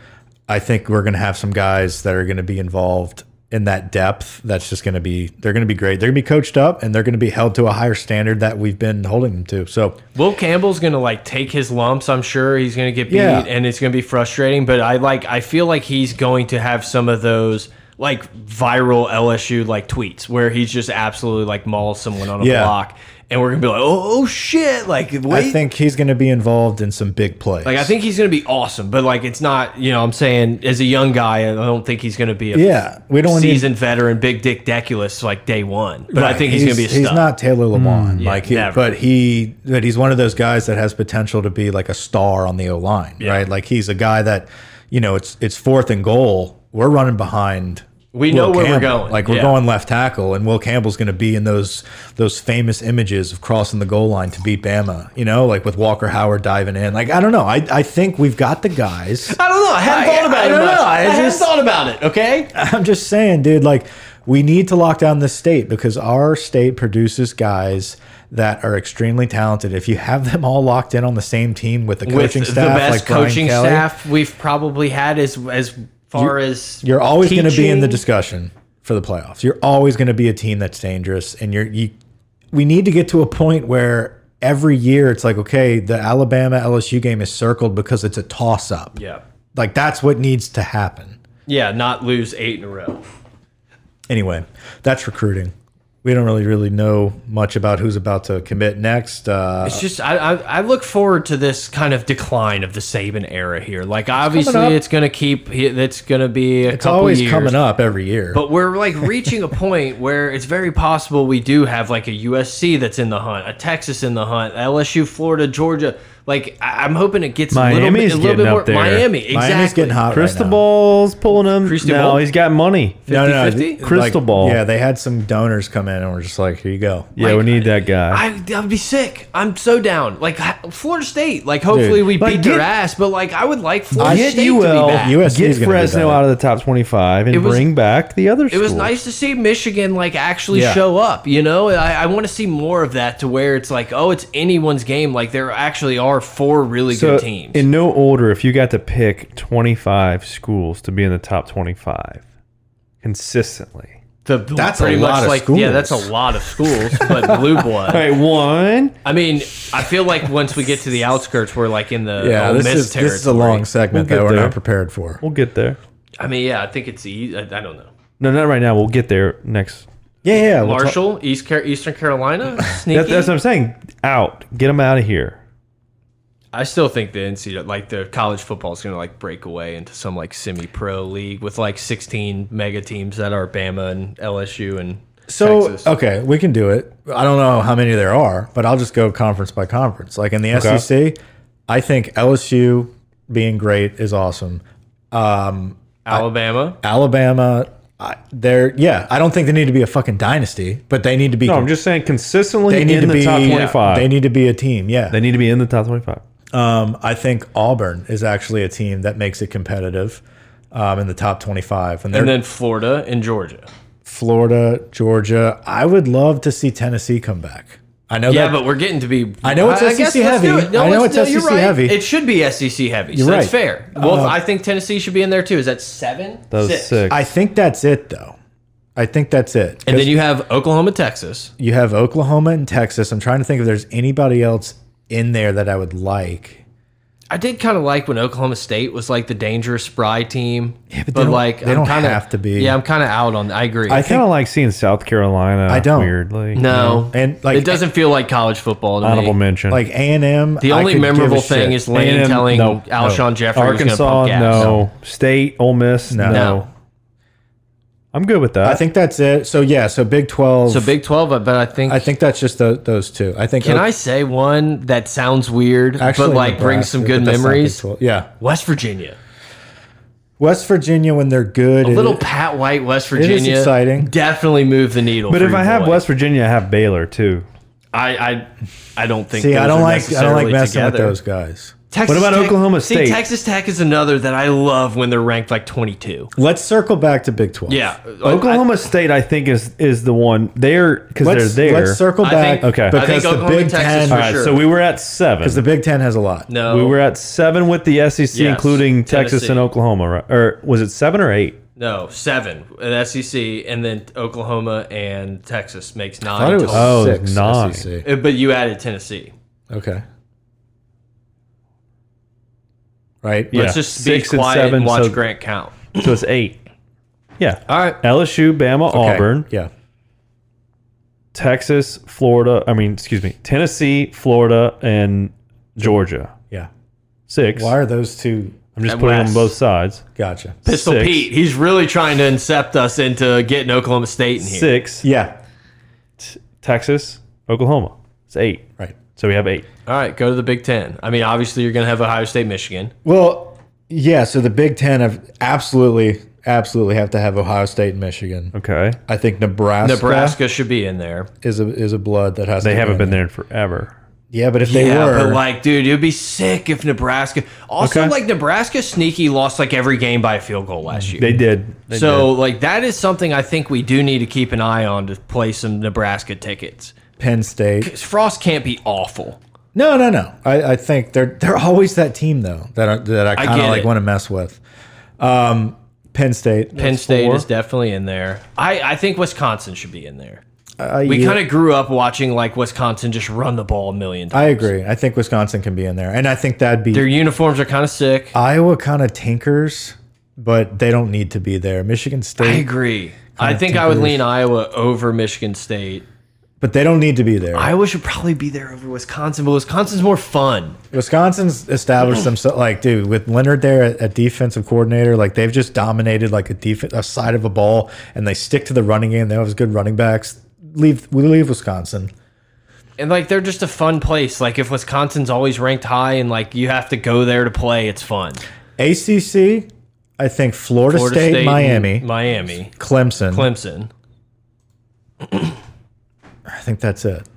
Speaker 3: I think we're gonna have some guys that are going to be involved in that depth that's just going to be they're going to be great. They're going to be coached up and they're going to be held to a higher standard that we've been holding them to. So
Speaker 2: Will Campbell's gonna like take his lumps. I'm sure he's gonna get beat,
Speaker 3: Yeah.
Speaker 2: and it's gonna be frustrating. But I like, I feel like he's going to have some of those like viral LSU like tweets where he's just absolutely like mauls someone on a
Speaker 3: Yeah.
Speaker 2: block, and we're gonna be like, oh, oh shit, like wait.
Speaker 3: I think he's going to be involved in some big plays.
Speaker 2: like I think he's gonna be awesome, but like it's not, you know. I'm saying as a young guy, I don't think he's gonna be a
Speaker 3: yeah, we don't need
Speaker 2: seasoned veteran, big dick Deculus like day one. But I
Speaker 3: Right.
Speaker 2: think he's, gonna be a stud.
Speaker 3: He's not Taylor Lamont, like, he,
Speaker 2: never.
Speaker 3: but he, but he's one of those guys that has potential to be like a star on the O line, right? Like he's a guy that, you know, it's it's fourth and goal. We're running behind.
Speaker 2: We know where we're going.
Speaker 3: Like we're
Speaker 2: Yeah.
Speaker 3: going left tackle, and Will Campbell's going to be in those those famous images of crossing the goal line to beat Bama. You know, like with Walker Howard diving in. Like I don't know. I I think we've got the guys.
Speaker 2: I don't know. I hadn't
Speaker 3: I-
Speaker 2: thought about
Speaker 3: I
Speaker 2: it.
Speaker 3: don't
Speaker 2: much.
Speaker 3: know. I
Speaker 2: I, hadn't
Speaker 3: just-
Speaker 2: thought about it. Okay.
Speaker 3: *laughs* I'm just saying, dude, like we need to lock down this state because our state produces guys that are extremely talented. If you have them all locked in on the same team with the
Speaker 2: with
Speaker 3: coaching
Speaker 2: the
Speaker 3: staff,
Speaker 2: best
Speaker 3: like Brian
Speaker 2: coaching
Speaker 3: Kelly,
Speaker 2: staff we've probably had as as far as
Speaker 3: you're always going to be in the
Speaker 2: teaching.
Speaker 3: discussion for the playoffs. You're always going to be a team that's dangerous, and you're you. We need to get to a point where every year it's like, okay, the Alabama LSU game is circled because it's a toss up.
Speaker 2: yeah
Speaker 3: Like that's what needs to happen.
Speaker 2: yeah not lose eight in a row.
Speaker 3: anyway, that's recruiting. We don't really really know much about who's about to commit next. Uh,
Speaker 2: It's just I, I I look forward to this kind of decline of the Saban era here. Like obviously
Speaker 3: up.
Speaker 2: it's gonna keep it's gonna be a
Speaker 3: it's
Speaker 2: couple
Speaker 3: always
Speaker 2: years.
Speaker 3: coming up every year.
Speaker 2: But we're like reaching a point *laughs* where it's very possible we do have like a USC that's in the hunt, a Texas in the hunt, LSU, Florida, Georgia. Like I- I'm hoping it gets a little bit,
Speaker 1: Miami's
Speaker 2: a little bit
Speaker 1: getting
Speaker 2: more
Speaker 1: up there.
Speaker 2: Miami. Exactly.
Speaker 3: Miami's getting hot. right now.
Speaker 1: Cristobal's pulling him.
Speaker 2: Cristobal?
Speaker 1: No, he's got money.
Speaker 3: No, no,
Speaker 2: 50-50?
Speaker 3: like,
Speaker 1: Crystal ball.
Speaker 3: Yeah, they had some donors come in and we're just like, here you go.
Speaker 1: Yeah, we need that guy.
Speaker 2: I, I'd be sick. I'm so down. Like ha- Florida State. Like hopefully
Speaker 3: Dude,
Speaker 2: we
Speaker 1: but
Speaker 2: beat
Speaker 1: get-
Speaker 2: their ass, but like I would like Florida
Speaker 1: get
Speaker 2: State
Speaker 1: UL,
Speaker 2: to be back.
Speaker 3: You- USC
Speaker 1: get
Speaker 3: is gonna be
Speaker 1: Fresno
Speaker 3: better.
Speaker 1: out of the top twenty-five, and
Speaker 2: was-
Speaker 1: bring back the other.
Speaker 2: it was nice to see Michigan like actually
Speaker 3: Yeah.
Speaker 2: show up. You know, I, I want to see more of that to where it's like, oh, it's anyone's game. Like there actually are four really
Speaker 1: So
Speaker 2: good teams.
Speaker 1: in no order, if you got to pick twenty-five schools to be in the top twenty-five consistently.
Speaker 2: The- the-
Speaker 3: That's a lot of
Speaker 2: like yeah, that's a
Speaker 3: schools.
Speaker 2: lot of schools, *laughs* but blue blood.
Speaker 1: All right, one.
Speaker 2: I mean, I feel like once we get to the outskirts, we're like in the
Speaker 3: Yeah,
Speaker 2: Ole
Speaker 3: this
Speaker 2: Miss
Speaker 3: is,
Speaker 2: territory.
Speaker 3: this is a long segment
Speaker 1: We'll get
Speaker 3: that we're
Speaker 1: there.
Speaker 3: not prepared for.
Speaker 1: We'll get there.
Speaker 2: I mean, yeah, I think it's e- I, I don't know.
Speaker 1: No, not right now. We'll get there next.
Speaker 3: Yeah, yeah. we'll talk-
Speaker 2: Marshall, East Car Eastern
Speaker 3: *laughs*
Speaker 2: Carolina, sneaky.
Speaker 1: That, that's what I'm saying. Out. Get them out of here.
Speaker 2: I still think the NCAA, like the college football, is going to like break away into some like semi-pro league with like 16 mega teams that are Bama and LSU and
Speaker 3: So
Speaker 2: Texas.
Speaker 3: okay, we can do it. I don't know how many there are, but I'll just go conference by conference. Like in the SEC, I think LSU being great is awesome. Um,
Speaker 2: Alabama.
Speaker 3: Alabama, I, they're yeah. I don't think they need to be a fucking dynasty, but they need to be.
Speaker 1: No, I'm just saying consistently
Speaker 3: they need
Speaker 1: in
Speaker 3: to
Speaker 1: the
Speaker 3: be uh,
Speaker 1: top 25.
Speaker 3: They
Speaker 1: they, need,
Speaker 3: need to be a team. Yeah.
Speaker 1: to be in the top 25.
Speaker 3: um, I think Auburn is actually a team that makes it competitive um, in the top 25. And they're
Speaker 2: And then Florida and Georgia.
Speaker 3: Florida, Georgia. I would love to see Tennessee come back. I know
Speaker 2: Yeah,
Speaker 3: that.
Speaker 2: but we're getting to be.
Speaker 3: I know it's SEC
Speaker 2: guess let's do
Speaker 3: heavy.
Speaker 2: it.
Speaker 3: I know
Speaker 2: let's-
Speaker 3: it's
Speaker 2: you're
Speaker 3: SEC
Speaker 2: right.
Speaker 3: heavy.
Speaker 2: It should be SEC heavy. so
Speaker 3: You're
Speaker 2: that's
Speaker 3: right. Uh,
Speaker 2: fair. Well, I think Tennessee should be in there too. Is that seven?
Speaker 1: That was
Speaker 2: Six.
Speaker 1: six.
Speaker 3: I think that's it, though. I think that's it.
Speaker 2: And then you have Oklahoma, Texas.
Speaker 3: you have Oklahoma and Texas. I'm trying to think if there's anybody else in there that I would like.
Speaker 2: I did kind of like when Oklahoma State was like the dangerous spry team. Yeah,
Speaker 3: but they don't- they don't have to be.
Speaker 2: Yeah, I'm kind of out on. I agree.
Speaker 1: I kind of like seeing South Carolina. I
Speaker 3: don't.
Speaker 1: Weirdly.
Speaker 2: no,
Speaker 3: And, like-
Speaker 2: it doesn't feel like college football to
Speaker 1: Honorable
Speaker 2: me.
Speaker 1: mention.
Speaker 3: Like A and M.
Speaker 2: The only memorable thing is Lane
Speaker 1: A&M,
Speaker 2: telling
Speaker 1: no.
Speaker 2: Alshon Jeffrey he was gonna
Speaker 1: Arkansas,
Speaker 2: pump gas.
Speaker 1: no. State, Ole Miss, no.
Speaker 2: No.
Speaker 1: I'm good with that.
Speaker 3: I think that's it. So yeah, so Big Twelve.
Speaker 2: So Big Twelve, but I think.
Speaker 3: I think that's just tho- those two. I think.
Speaker 2: can I say one that sounds weird, but like brings some
Speaker 3: Nebraska,
Speaker 2: good
Speaker 3: but that's not Big
Speaker 2: memories?
Speaker 3: 12. Yeah,
Speaker 2: West Virginia.
Speaker 3: West Virginia when they're good.
Speaker 2: A little
Speaker 3: it-
Speaker 2: Pat White, West
Speaker 3: is
Speaker 2: Virginia.
Speaker 3: exciting.
Speaker 2: Definitely move the needle.
Speaker 1: but
Speaker 2: for
Speaker 1: if
Speaker 2: your
Speaker 1: I have
Speaker 2: boy.
Speaker 1: West Virginia, I have Baylor too.
Speaker 2: I, I, I don't think.
Speaker 3: See,
Speaker 2: those
Speaker 3: I don't
Speaker 2: are
Speaker 3: like. I don't like
Speaker 2: necessarily
Speaker 3: messing with
Speaker 2: together.
Speaker 3: those guys.
Speaker 2: Texas
Speaker 1: about
Speaker 2: Tech-
Speaker 1: Oklahoma State?
Speaker 2: See, Texas Tech is another that I love when they're ranked like 22.
Speaker 3: Let's circle back to Big Twelve.
Speaker 2: Yeah,
Speaker 1: Oklahoma State, I think, is is the one there because they're
Speaker 3: let's
Speaker 1: there.
Speaker 3: let's circle
Speaker 2: I
Speaker 3: back.
Speaker 2: think-
Speaker 1: Okay. I think
Speaker 3: because the
Speaker 2: Oklahoma
Speaker 3: Big
Speaker 2: and Texas
Speaker 3: Ten.
Speaker 2: for
Speaker 1: All right,
Speaker 2: sure.
Speaker 1: so we were at seven.
Speaker 3: Because the Big Ten has a lot.
Speaker 2: no,
Speaker 1: We were at seven with the
Speaker 2: Yes.
Speaker 1: SEC, including Texas
Speaker 2: Tennessee.
Speaker 1: and Oklahoma, right? Or was it seven or eight?
Speaker 2: No, seven at SEC, and then Oklahoma and Texas makes nine.
Speaker 3: I thought it was
Speaker 2: total.
Speaker 1: Oh,
Speaker 3: six.
Speaker 1: nine.
Speaker 3: SEC.
Speaker 2: Uh, But you added Tennessee.
Speaker 3: Okay. Right.
Speaker 1: Yeah.
Speaker 2: Let's just be
Speaker 1: Six and
Speaker 2: quiet and,
Speaker 1: seven,
Speaker 2: watch
Speaker 1: so-
Speaker 2: Grant count.
Speaker 1: So it's eight. Yeah.
Speaker 2: All right.
Speaker 1: LSU, Bama,
Speaker 3: Okay.
Speaker 1: Auburn,
Speaker 3: Yeah.
Speaker 1: Texas, Florida. I mean, excuse me, Tennessee, Florida, and Georgia.
Speaker 3: Yeah.
Speaker 1: Six.
Speaker 3: Why are those two?
Speaker 1: I'm just
Speaker 2: And
Speaker 1: putting them
Speaker 2: West.
Speaker 1: on both sides.
Speaker 3: Gotcha.
Speaker 2: Pistol
Speaker 1: Six.
Speaker 2: Pete, he's really trying to incept us into getting Oklahoma State in here.
Speaker 1: Six.
Speaker 3: Yeah.
Speaker 1: Texas, Oklahoma. It's eight.
Speaker 3: Right.
Speaker 1: So we have eight.
Speaker 2: All right, go to the Big Ten. I mean, obviously, you're going to have Ohio State, Michigan.
Speaker 3: Well, yeah. So the Big Ten have absolutely, absolutely have to have Ohio State and Michigan.
Speaker 1: Okay.
Speaker 3: I think Nebraska,
Speaker 2: Nebraska should be in there.
Speaker 3: is a is a blood that has.
Speaker 1: They
Speaker 3: to
Speaker 1: haven't
Speaker 3: be in
Speaker 1: been there in forever.
Speaker 3: Yeah, but if they
Speaker 2: yeah,
Speaker 3: were,
Speaker 2: but like, dude, it would be sick if Nebraska. Also,
Speaker 1: Okay.
Speaker 2: like, Nebraska sneaky lost like every game by a field goal last year.
Speaker 1: They did. They
Speaker 2: so, like, that is something I think we do need to keep an eye on to play some Nebraska tickets.
Speaker 3: Penn State.
Speaker 2: Frost can't be awful.
Speaker 3: No, no, no. I, I think they're they're always that team though that I, that I kind
Speaker 2: get
Speaker 3: of like
Speaker 2: it.
Speaker 3: want to mess with. Um, Penn State.
Speaker 2: Penn State
Speaker 1: four.
Speaker 2: is definitely in there. I, I think Wisconsin should be in there.
Speaker 3: I,
Speaker 2: We
Speaker 3: yeah,
Speaker 2: kind of grew up watching like Wisconsin just run the ball a million times.
Speaker 3: I agree. I think Wisconsin can be in there, and I think that'd be
Speaker 2: Their uniforms are kind of sick.
Speaker 3: Iowa kind of tinkers, but they don't need to be there. Michigan
Speaker 2: I
Speaker 3: State,
Speaker 2: agree. I think I would lean Iowa over Michigan State.
Speaker 3: but they don't need to be there.
Speaker 2: Iowa should probably be there over Wisconsin, but Wisconsin's more fun.
Speaker 3: Wisconsin's established themselves like, dude, with Leonard there at, at defensive coordinator, like they've just dominated like a defense a side of a ball, and they stick to the running game. They have good running backs. Leave we leave Wisconsin.
Speaker 2: And like they're just a fun place. Like if Wisconsin's always ranked high and like you have to go there to play, it's fun.
Speaker 3: ACC, I think Florida, State,
Speaker 2: and
Speaker 3: Miami,
Speaker 2: mm, Miami,
Speaker 3: Clemson.
Speaker 2: Clemson.
Speaker 3: I think that's it.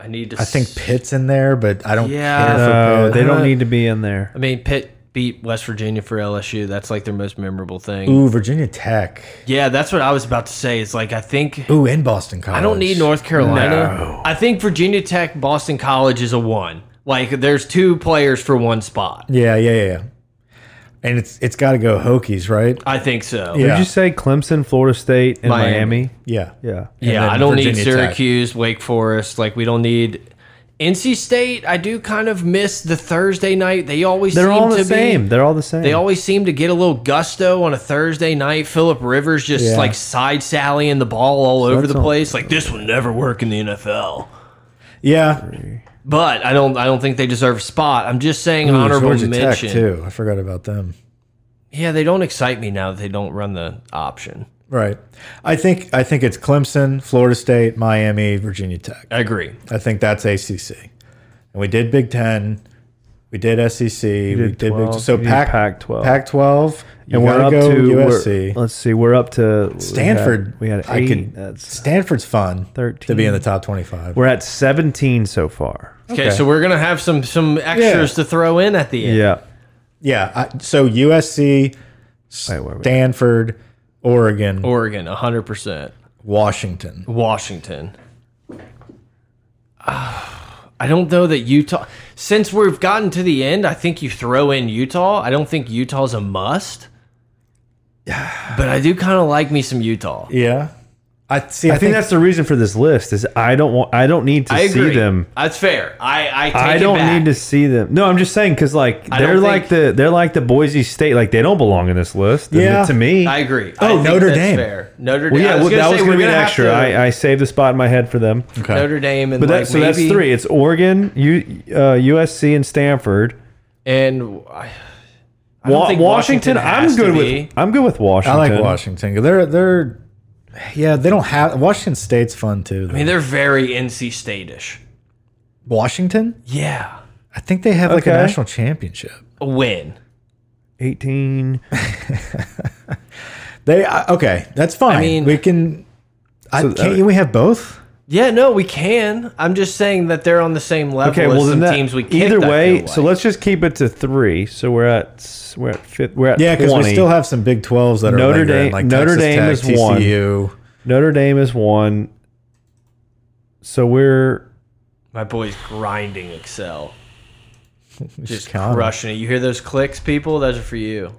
Speaker 2: I need to
Speaker 3: I think Pitt's in there, but I don't
Speaker 2: Yeah.
Speaker 3: care.
Speaker 1: did.
Speaker 3: for
Speaker 1: No,
Speaker 3: Pitt.
Speaker 1: they
Speaker 2: Uh,
Speaker 1: don't need to be in there.
Speaker 2: I mean Pitt beat West Virginia for LSU. That's like their most memorable thing.
Speaker 3: Ooh, Virginia Tech.
Speaker 2: Yeah, that's what I was about to say. Is like I think
Speaker 3: Ooh, in Boston College.
Speaker 2: I don't need North Carolina. I think Virginia Tech, Boston College is a one. Like there's two players for one spot.
Speaker 3: Yeah, yeah, yeah, yeah. And it's it's got to go Hokies, right?
Speaker 2: I think so.
Speaker 3: Yeah.
Speaker 1: Did you say Clemson, Florida State, and
Speaker 2: Miami.
Speaker 1: Miami?
Speaker 3: Yeah.
Speaker 1: Yeah.
Speaker 2: Yeah,
Speaker 3: then
Speaker 2: I don't need
Speaker 3: Virginia Tech.
Speaker 2: Syracuse, Wake Forest. Like we don't need NC State. I do kind of miss the Thursday night. They always
Speaker 1: They're
Speaker 2: seem
Speaker 1: all
Speaker 2: to
Speaker 1: the
Speaker 2: be-
Speaker 1: same. They're all the same.
Speaker 2: They always seem to get a little gusto on a Thursday night. Philip Rivers just
Speaker 3: Yeah.
Speaker 2: like side sallying the ball all over
Speaker 1: that's
Speaker 2: the
Speaker 1: all-
Speaker 2: place. Like this will never work in the NFL.
Speaker 3: Yeah.
Speaker 2: But I don't. I don't think they deserve a spot. I'm just saying
Speaker 3: Ooh,
Speaker 2: honorable
Speaker 3: Georgia
Speaker 2: mention.
Speaker 3: Tech too. I forgot about them.
Speaker 2: Yeah, they don't excite me now that they don't run the option.
Speaker 3: Right. I think I think it's Clemson, Florida State, Miami, Virginia Tech.
Speaker 2: I agree.
Speaker 3: I think that's ACC. And we did Big 10. We did SEC. we did
Speaker 1: 12,
Speaker 3: Big so
Speaker 1: we did
Speaker 3: Pac
Speaker 1: Pac-12.
Speaker 3: Pac 12.
Speaker 1: and we're up
Speaker 3: go
Speaker 1: to we're-
Speaker 3: USC.
Speaker 1: Let's see, we're up to we had-
Speaker 3: Stanford.
Speaker 1: We had,
Speaker 3: I
Speaker 1: eight.
Speaker 3: could-
Speaker 1: That's
Speaker 3: Stanford's fun
Speaker 1: 13.
Speaker 3: to be in the top 25.
Speaker 1: we're at seventeen so far.
Speaker 2: Okay,
Speaker 3: Okay.
Speaker 2: so we're gonna have some some extras to throw in at the end.
Speaker 1: Yeah.
Speaker 3: Yeah. I, so USC,
Speaker 1: Wait, where are we?
Speaker 3: Stanford, Oregon,
Speaker 2: Oregon, hundred percent.
Speaker 3: Washington.
Speaker 2: Washington. Ah, I don't know that Utah. Since we've gotten to the end, I think you throw in Utah. I don't think Utah's a must. But I do kind of like me some Utah.
Speaker 3: Yeah. I see.
Speaker 1: I think that's the reason for this list is I don't want I don't need to
Speaker 2: I agree.
Speaker 1: see them.
Speaker 2: That's fair. I I, take
Speaker 1: I
Speaker 2: it
Speaker 1: don't
Speaker 2: back.
Speaker 1: need to see them. No, I'm just saying because like
Speaker 2: don't
Speaker 1: they're like
Speaker 2: think-
Speaker 1: the they're like the Boise State like they don't belong in this list. And
Speaker 3: Yeah.
Speaker 1: to me,
Speaker 2: I agree. I
Speaker 3: Oh,
Speaker 2: think
Speaker 3: Notre
Speaker 2: that's
Speaker 3: Dame.
Speaker 2: Fair. Notre Dame.
Speaker 1: well,
Speaker 2: I
Speaker 1: yeah, well,
Speaker 2: gonna
Speaker 1: that
Speaker 2: say
Speaker 1: was
Speaker 2: we're
Speaker 1: gonna be an
Speaker 2: have
Speaker 1: extra.
Speaker 2: to-
Speaker 1: I, I saved the spot in my head for them.
Speaker 3: Okay.
Speaker 2: Notre Dame and
Speaker 1: But that,
Speaker 2: like
Speaker 1: so that's
Speaker 2: maybe-
Speaker 1: three. It's Oregon, U, uh, USC, and Stanford.
Speaker 2: And I, I don't
Speaker 1: Wa-
Speaker 2: think
Speaker 1: Washington,
Speaker 2: has
Speaker 1: I'm
Speaker 2: to
Speaker 1: good
Speaker 2: be.
Speaker 1: with. I'm good with
Speaker 3: I
Speaker 1: Washington.
Speaker 3: like Washington. They're they're yeah, they don't have Washington State's fun too.
Speaker 2: I
Speaker 3: though.
Speaker 2: mean, they're very NC State-ish.
Speaker 3: Washington?
Speaker 2: Yeah,
Speaker 3: I think they have like a
Speaker 1: Okay.
Speaker 3: national championship.
Speaker 2: a win.
Speaker 1: 18.
Speaker 3: They I- okay, that's fine.
Speaker 2: mean-
Speaker 3: we can I
Speaker 1: So, uh,
Speaker 3: can't we have both?
Speaker 2: Yeah, no, we can. I'm just saying that they're on the same level
Speaker 1: Okay,
Speaker 2: as
Speaker 1: well
Speaker 2: some
Speaker 1: then that,
Speaker 2: teams we kicked,
Speaker 1: either
Speaker 2: I
Speaker 1: way.
Speaker 2: feel
Speaker 1: So
Speaker 2: like.
Speaker 1: let's just keep it to three. So we're at s- we're at fifth. We're at
Speaker 3: Yeah, because
Speaker 1: 20.
Speaker 3: we still have some Big 12s that are
Speaker 1: Notre
Speaker 3: lingering,
Speaker 1: Dame-
Speaker 3: like
Speaker 1: Notre
Speaker 3: Texas
Speaker 1: Dame
Speaker 3: Tech,
Speaker 1: is one.
Speaker 3: TCU.
Speaker 1: Notre Dame is one. So we're
Speaker 2: my boy's grinding Excel, just
Speaker 3: count 'em.
Speaker 2: crushing it. You hear those clicks, people? Those are for you.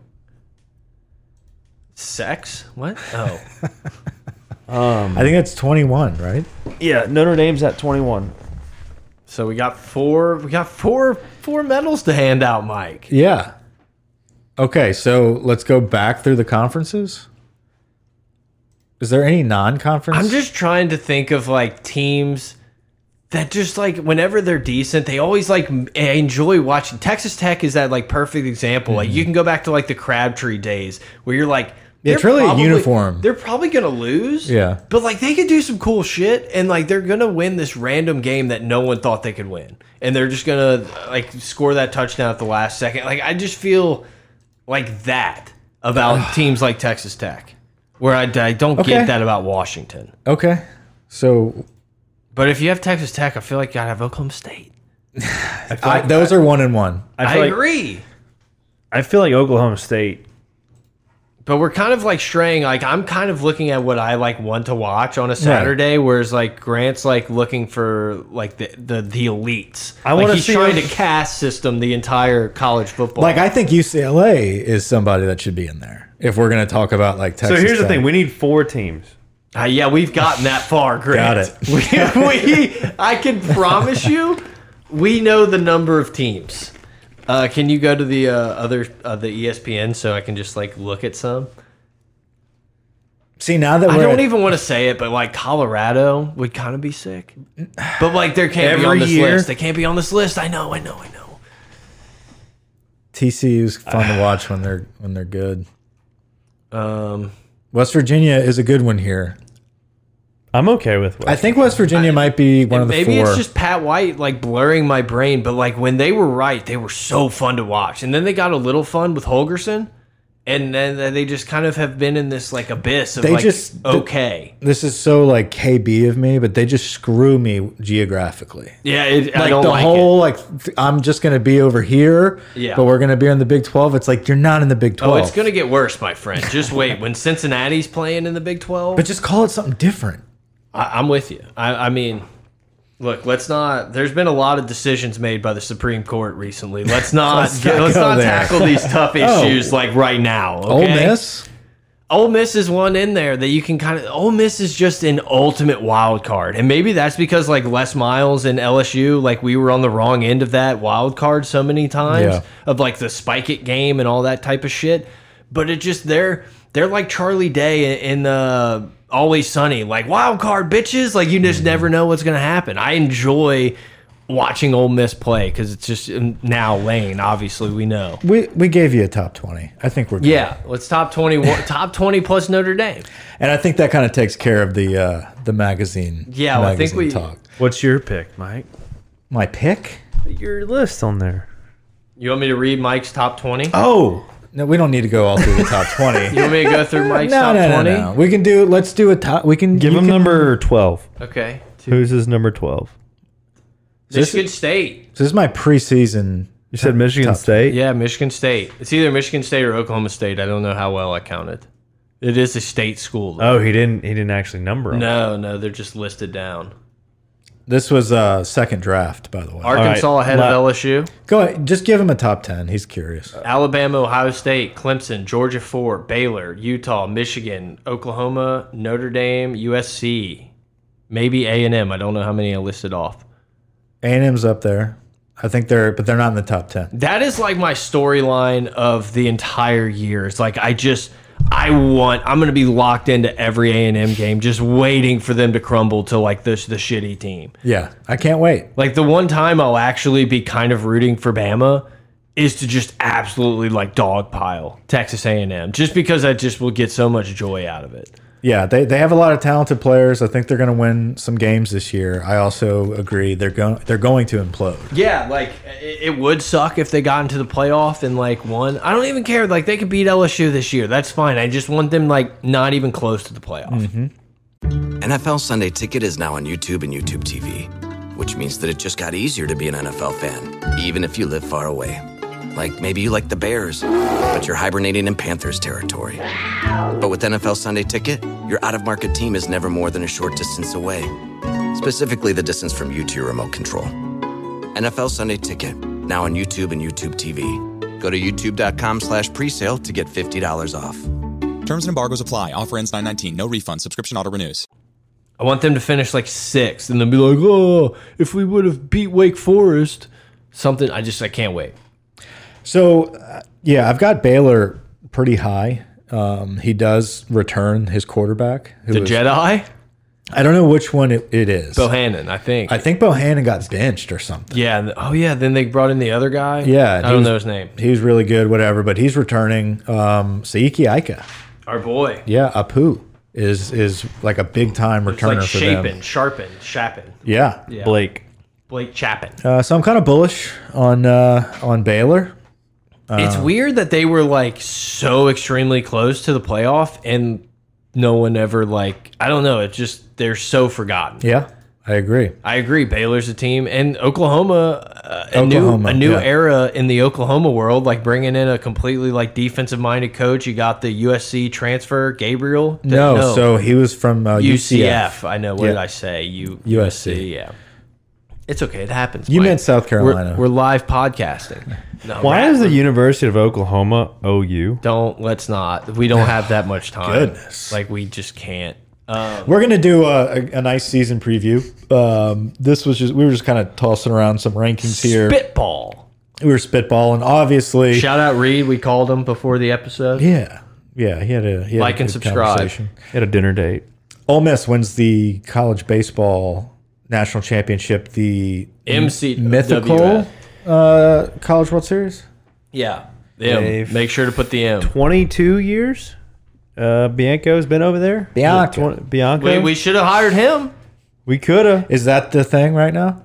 Speaker 2: Sex? What?
Speaker 1: *laughs*
Speaker 2: Oh.
Speaker 3: I think that's 21, right?
Speaker 1: Yeah, Notre Dame's at 21.
Speaker 2: so we got four we got four four medals to hand out, Mike.
Speaker 3: Yeah. Okay, so let's go back through the conferences. Is there any non-conference?
Speaker 2: I'm just trying to think of like teams that just like whenever they're decent, they always like m- I enjoy watching. Texas Tech is that like perfect example. Like you can go back to like the Crabtree days where you're like
Speaker 3: Mm-hmm. It's
Speaker 2: they're
Speaker 3: really a
Speaker 2: probably-
Speaker 3: uniform.
Speaker 2: They're probably gonna lose.
Speaker 3: Yeah.
Speaker 2: But like they could do some cool shit and like they're gonna win this random game that no one thought they could win. And they're just gonna like score that touchdown at the last second. Like I just feel like that
Speaker 3: *sighs*
Speaker 2: about teams like Texas Tech. Where I, I don't
Speaker 3: Okay.
Speaker 2: get that about Washington.
Speaker 3: okay. So
Speaker 2: But if you have Texas Tech, I feel like you gotta have Oklahoma State.
Speaker 3: I, those are one and one.
Speaker 1: I,
Speaker 2: I,
Speaker 1: feel like,
Speaker 2: agree.
Speaker 1: I feel like Oklahoma State.
Speaker 2: But we're kind of like straying. Like I'm kind of looking at what I like want to watch on a Saturday, whereas like Grant's like looking for like the the, the elites.
Speaker 1: I
Speaker 2: like,
Speaker 1: wanna
Speaker 2: he's
Speaker 1: see
Speaker 2: trying
Speaker 1: if-
Speaker 2: to cast system the entire college football.
Speaker 3: Like I think UCLA is somebody that should be in there. If we're going to talk about like
Speaker 1: So
Speaker 3: Texas.
Speaker 1: here's the
Speaker 3: Tech.
Speaker 1: thing we need four teams.
Speaker 2: Uh, yeah, we've gotten that far, Grant.
Speaker 3: Got
Speaker 2: it. *laughs* We, we I can promise you, we know the number of teams. Uh, can you go to the uh, other uh, the ESPN so I can just like look at some?
Speaker 3: See now that
Speaker 2: I
Speaker 3: we're
Speaker 2: don't
Speaker 3: at-
Speaker 2: even want to say it, but like Colorado would kind of be sick. But like they can't be on
Speaker 1: Every
Speaker 2: this
Speaker 1: year.
Speaker 2: list. They can't be on this list. I know, I know, I know.
Speaker 3: TCU's fun to watch when they're when they're good.
Speaker 2: Um,
Speaker 3: West Virginia is a good one here.
Speaker 1: I'm okay with what.
Speaker 3: I think West Virginia might be one of the
Speaker 2: maybe
Speaker 3: four.
Speaker 2: it's just Pat White like blurring my brain, but like when they were right, they were so fun to watch. And then they got a little fun with Holgerson, and then they just kind of have been in this like abyss of
Speaker 3: They
Speaker 2: like
Speaker 3: just-
Speaker 2: okay.
Speaker 3: this is so like KB of me, but they just screw me geographically.
Speaker 2: Yeah, it, I
Speaker 3: like
Speaker 2: don't
Speaker 3: the
Speaker 2: like
Speaker 3: whole like th- I'm just gonna be over here,
Speaker 2: Yeah.
Speaker 3: but we're gonna be in the Big Twelve. It's like you're not in the Big
Speaker 2: it. Oh,
Speaker 3: Twelve.
Speaker 2: it's gonna get worse, my friend. Just wait. when Cincinnati's playing in the Big Twelve,
Speaker 3: but just call it something different.
Speaker 2: I, I'm with you. I, I mean, look, let's not. There's been a lot of decisions made by the Supreme Court recently. *laughs* Let's not. let's
Speaker 3: not
Speaker 2: not, Oh.
Speaker 3: go there.
Speaker 2: tackle these *laughs* tough issues like right now. Okay?
Speaker 3: Ole Miss,
Speaker 2: Ole Miss is one in there that you can kind of. Ole Miss is just an ultimate wild card, and maybe that's because like Les Miles and LSU, like we were on the wrong end of that wild card so many times
Speaker 3: Yeah.
Speaker 2: of like the spike it game and all that type of shit. But it just they're they're like Charlie Day in, in the Always Sunny, like wild card bitches. Like you just never know what's gonna happen. I enjoy watching Ole Miss play because it's just um, now Lane. Obviously, we know.
Speaker 3: we we gave you a top twenty. I think we're good.
Speaker 2: Yeah, let's top twenty one, top twenty plus Notre Dame.
Speaker 3: and I think that kind of takes care of the uh, the magazine.
Speaker 2: Yeah, well, I think
Speaker 3: magazine
Speaker 2: we-
Speaker 3: talk.
Speaker 1: What's your pick, Mike?
Speaker 3: My pick.
Speaker 1: Your list on there.
Speaker 2: You want me to read Mike's top 20? You
Speaker 3: Oh no, we don't need to go all through the
Speaker 2: *laughs*
Speaker 3: top twenty.
Speaker 2: want me to go
Speaker 3: *laughs*
Speaker 2: through Mike's
Speaker 3: No,
Speaker 2: top
Speaker 3: no, no,
Speaker 2: 20?
Speaker 3: no. We can do. Let's do a top. We can
Speaker 1: Give
Speaker 3: you
Speaker 1: him
Speaker 3: can-
Speaker 1: number 12.
Speaker 2: Okay. To
Speaker 1: Who's his number 12?
Speaker 3: This
Speaker 2: Michigan State.
Speaker 3: This is my preseason.
Speaker 1: You said Michigan
Speaker 3: top-
Speaker 1: State?
Speaker 2: Yeah, Michigan State. It's either Michigan State or Oklahoma State. I don't know how well I counted. It is a state school. though.
Speaker 1: Oh, he didn't he didn't actually number them.
Speaker 2: No, no, they're just listed down.
Speaker 3: This was uh, second draft, by the way.
Speaker 2: Arkansas ahead
Speaker 1: la-
Speaker 2: of LSU.
Speaker 3: Go ahead. Just give him a top ten. He's curious.
Speaker 2: Alabama, Ohio State, Clemson, Georgia 4, Baylor, Utah, Michigan, Oklahoma, Notre Dame, USC, maybe A&M. I don't know how many I listed off.
Speaker 3: A&M's up there. I think they're, but they're not in the top ten.
Speaker 2: That is like my storyline of the entire year. It's like I just I want I'm gonna be locked into every A and M game, just waiting for them to crumble to like this the shitty team.
Speaker 3: Yeah, I can't wait.
Speaker 2: Like the one time I'll actually be kind of rooting for Bama is to just absolutely like dogpile Texas A and M, just because I just will get so much joy out of it.
Speaker 3: Yeah, they, they have a lot of talented players. I think they're going to win some games this year. I also agree they're going they're going to implode.
Speaker 2: Yeah, like it, it would suck if they got into the playoff and like won. I don't even care. Like they could beat LSU this year. That's fine. I just want them like not even close to the playoff.
Speaker 4: NFL Sunday Ticket is now on YouTube and YouTube TV, which means that it just got easier to be an NFL fan, even if you live far away. Like maybe you like the Bears, but you're hibernating in Panthers territory. But with NFL Sunday Ticket, your out of market team is never more than a short distance away, specifically the distance from you to your remote control. NFL Sunday Ticket, now on YouTube and YouTube TV. Go to youtube.com slash presale to get $50 off.
Speaker 5: Terms and embargoes apply. Offer ends 919. No refund. Subscription auto renews.
Speaker 2: I want them to finish like sixth and then be like, oh, if we would have beat Wake Forest, something. I just, I can't wait.
Speaker 3: So, uh, yeah, I've got Baylor pretty high. Um, he does return his quarterback. Who
Speaker 2: The
Speaker 3: was-
Speaker 2: Jedi?
Speaker 3: I don't know which one it, it is.
Speaker 2: Bohannon, I think.
Speaker 3: I think Bohannon got benched or something.
Speaker 2: yeah. and- Oh, yeah. Then they brought in the other guy.
Speaker 3: Yeah,
Speaker 2: I
Speaker 3: he
Speaker 2: don't
Speaker 3: was-
Speaker 2: know his name.
Speaker 3: He was really good, whatever, but he's returning. Um, Saiki Aika.
Speaker 2: Our boy.
Speaker 3: Yeah, Apu is is like a big time
Speaker 2: It's
Speaker 3: returner
Speaker 2: like
Speaker 3: for
Speaker 2: Shapin,
Speaker 3: them.
Speaker 2: Sharpin, Shappin,
Speaker 3: Yeah.
Speaker 1: Blake.
Speaker 2: Blake Chapin.
Speaker 3: Uh, so I'm kind of bullish on uh, on Baylor. Uh,
Speaker 2: it's weird that they were like so extremely close to the playoff and no one ever like I don't know, it's just they're so forgotten.
Speaker 3: Yeah, I agree.
Speaker 2: I agree. Baylor's a team, and Oklahoma, uh, a new
Speaker 3: Oklahoma,
Speaker 2: a new
Speaker 3: yeah.
Speaker 2: era in the Oklahoma world, like bringing in a completely like defensive minded coach. You got the USC transfer Gabriel.
Speaker 3: No, so he was from uh, UCF.
Speaker 2: UCF. I know. What did
Speaker 3: Yeah.
Speaker 2: I say? U
Speaker 3: USC.
Speaker 2: Yeah, it's okay. It happens.
Speaker 3: You
Speaker 2: Mike.
Speaker 3: meant South
Speaker 2: We're-
Speaker 3: Carolina.
Speaker 2: We're, live
Speaker 3: *laughs*
Speaker 2: podcasting. No,
Speaker 1: Why
Speaker 2: we're-
Speaker 1: is the University of Oklahoma OU?
Speaker 2: Don't let's not. We don't have that much time.
Speaker 3: Goodness.
Speaker 2: like we just can't.
Speaker 3: We're gonna do a, a, a nice season preview. Um, this was just we were just kind of tossing around some rankings here.
Speaker 2: Spitball.
Speaker 3: We were spitballing, obviously.
Speaker 2: Shout out Reed. We called him before the episode.
Speaker 3: yeah, yeah. He had a he had
Speaker 2: Like
Speaker 3: a
Speaker 2: and
Speaker 3: good
Speaker 2: subscribe.
Speaker 3: conversation.
Speaker 1: At a dinner date.
Speaker 3: Ole Miss wins the college baseball national championship. The
Speaker 2: MC
Speaker 3: mythical uh, college World Series.
Speaker 2: Yeah. The M.
Speaker 1: They've-
Speaker 2: Make sure to put the M.
Speaker 1: 22 years? Uh, Bianco's been over there?
Speaker 3: Bianco.
Speaker 1: Twen- Bianco?
Speaker 2: We, we should have hired him.
Speaker 1: we could have.
Speaker 3: Is that the thing right now?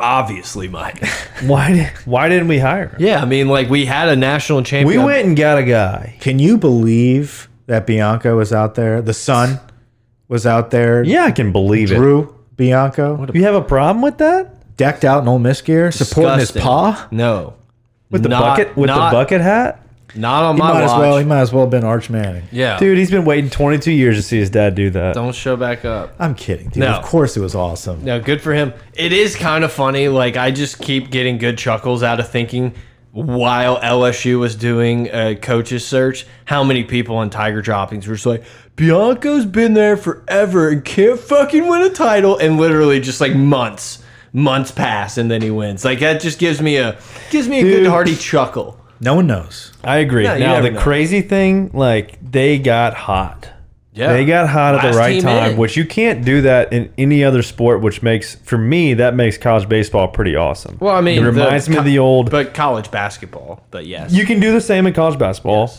Speaker 2: Obviously, Mike.
Speaker 1: Why, di- why didn't we hire him?
Speaker 2: *laughs* yeah, I mean, like we had a national
Speaker 1: We
Speaker 2: champion.
Speaker 1: went and got a guy.
Speaker 3: Can you believe that Bianco was out there? The son was out there.
Speaker 1: Yeah, I can believe it.
Speaker 3: Drew Bianco
Speaker 1: You have a problem with that?
Speaker 3: decked out in Ole Miss gear, supporting his
Speaker 2: Disgusting.
Speaker 3: paw.
Speaker 2: No.
Speaker 1: With the
Speaker 2: Not-
Speaker 1: bucket? With
Speaker 2: not-
Speaker 1: the bucket hat?
Speaker 2: Not on
Speaker 3: He
Speaker 2: my
Speaker 3: might
Speaker 2: watch.
Speaker 3: as well. He might as well have been Arch Manning.
Speaker 2: yeah.
Speaker 1: Dude, he's been waiting 22 years to see his dad do that.
Speaker 2: Don't show back up.
Speaker 3: I'm kidding, dude.
Speaker 2: No.
Speaker 3: Of course it was awesome.
Speaker 2: No, good for him. It is kind of funny. Like, I just keep getting good chuckles out of thinking while LSU was doing a coaches search, how many people on Tiger Droppings were just like, Bianco's been there forever and can't fucking win a title. And literally just like months, months pass and then he wins. Like, that just gives me a, gives me a good hearty chuckle.
Speaker 3: No one knows.
Speaker 1: I agree.
Speaker 2: No, you
Speaker 1: now,
Speaker 2: never
Speaker 1: the
Speaker 2: know.
Speaker 1: crazy thing, like, they got hot.
Speaker 2: Yeah.
Speaker 1: They got hot at
Speaker 2: Last
Speaker 1: the right
Speaker 2: team
Speaker 1: time,
Speaker 2: in.
Speaker 1: which you can't do that in any other sport. Which makes, for me, that makes college baseball pretty awesome.
Speaker 2: Well, I mean,
Speaker 1: it reminds me of the old.
Speaker 2: but college basketball. But yes,
Speaker 1: you can do the same in college basketball.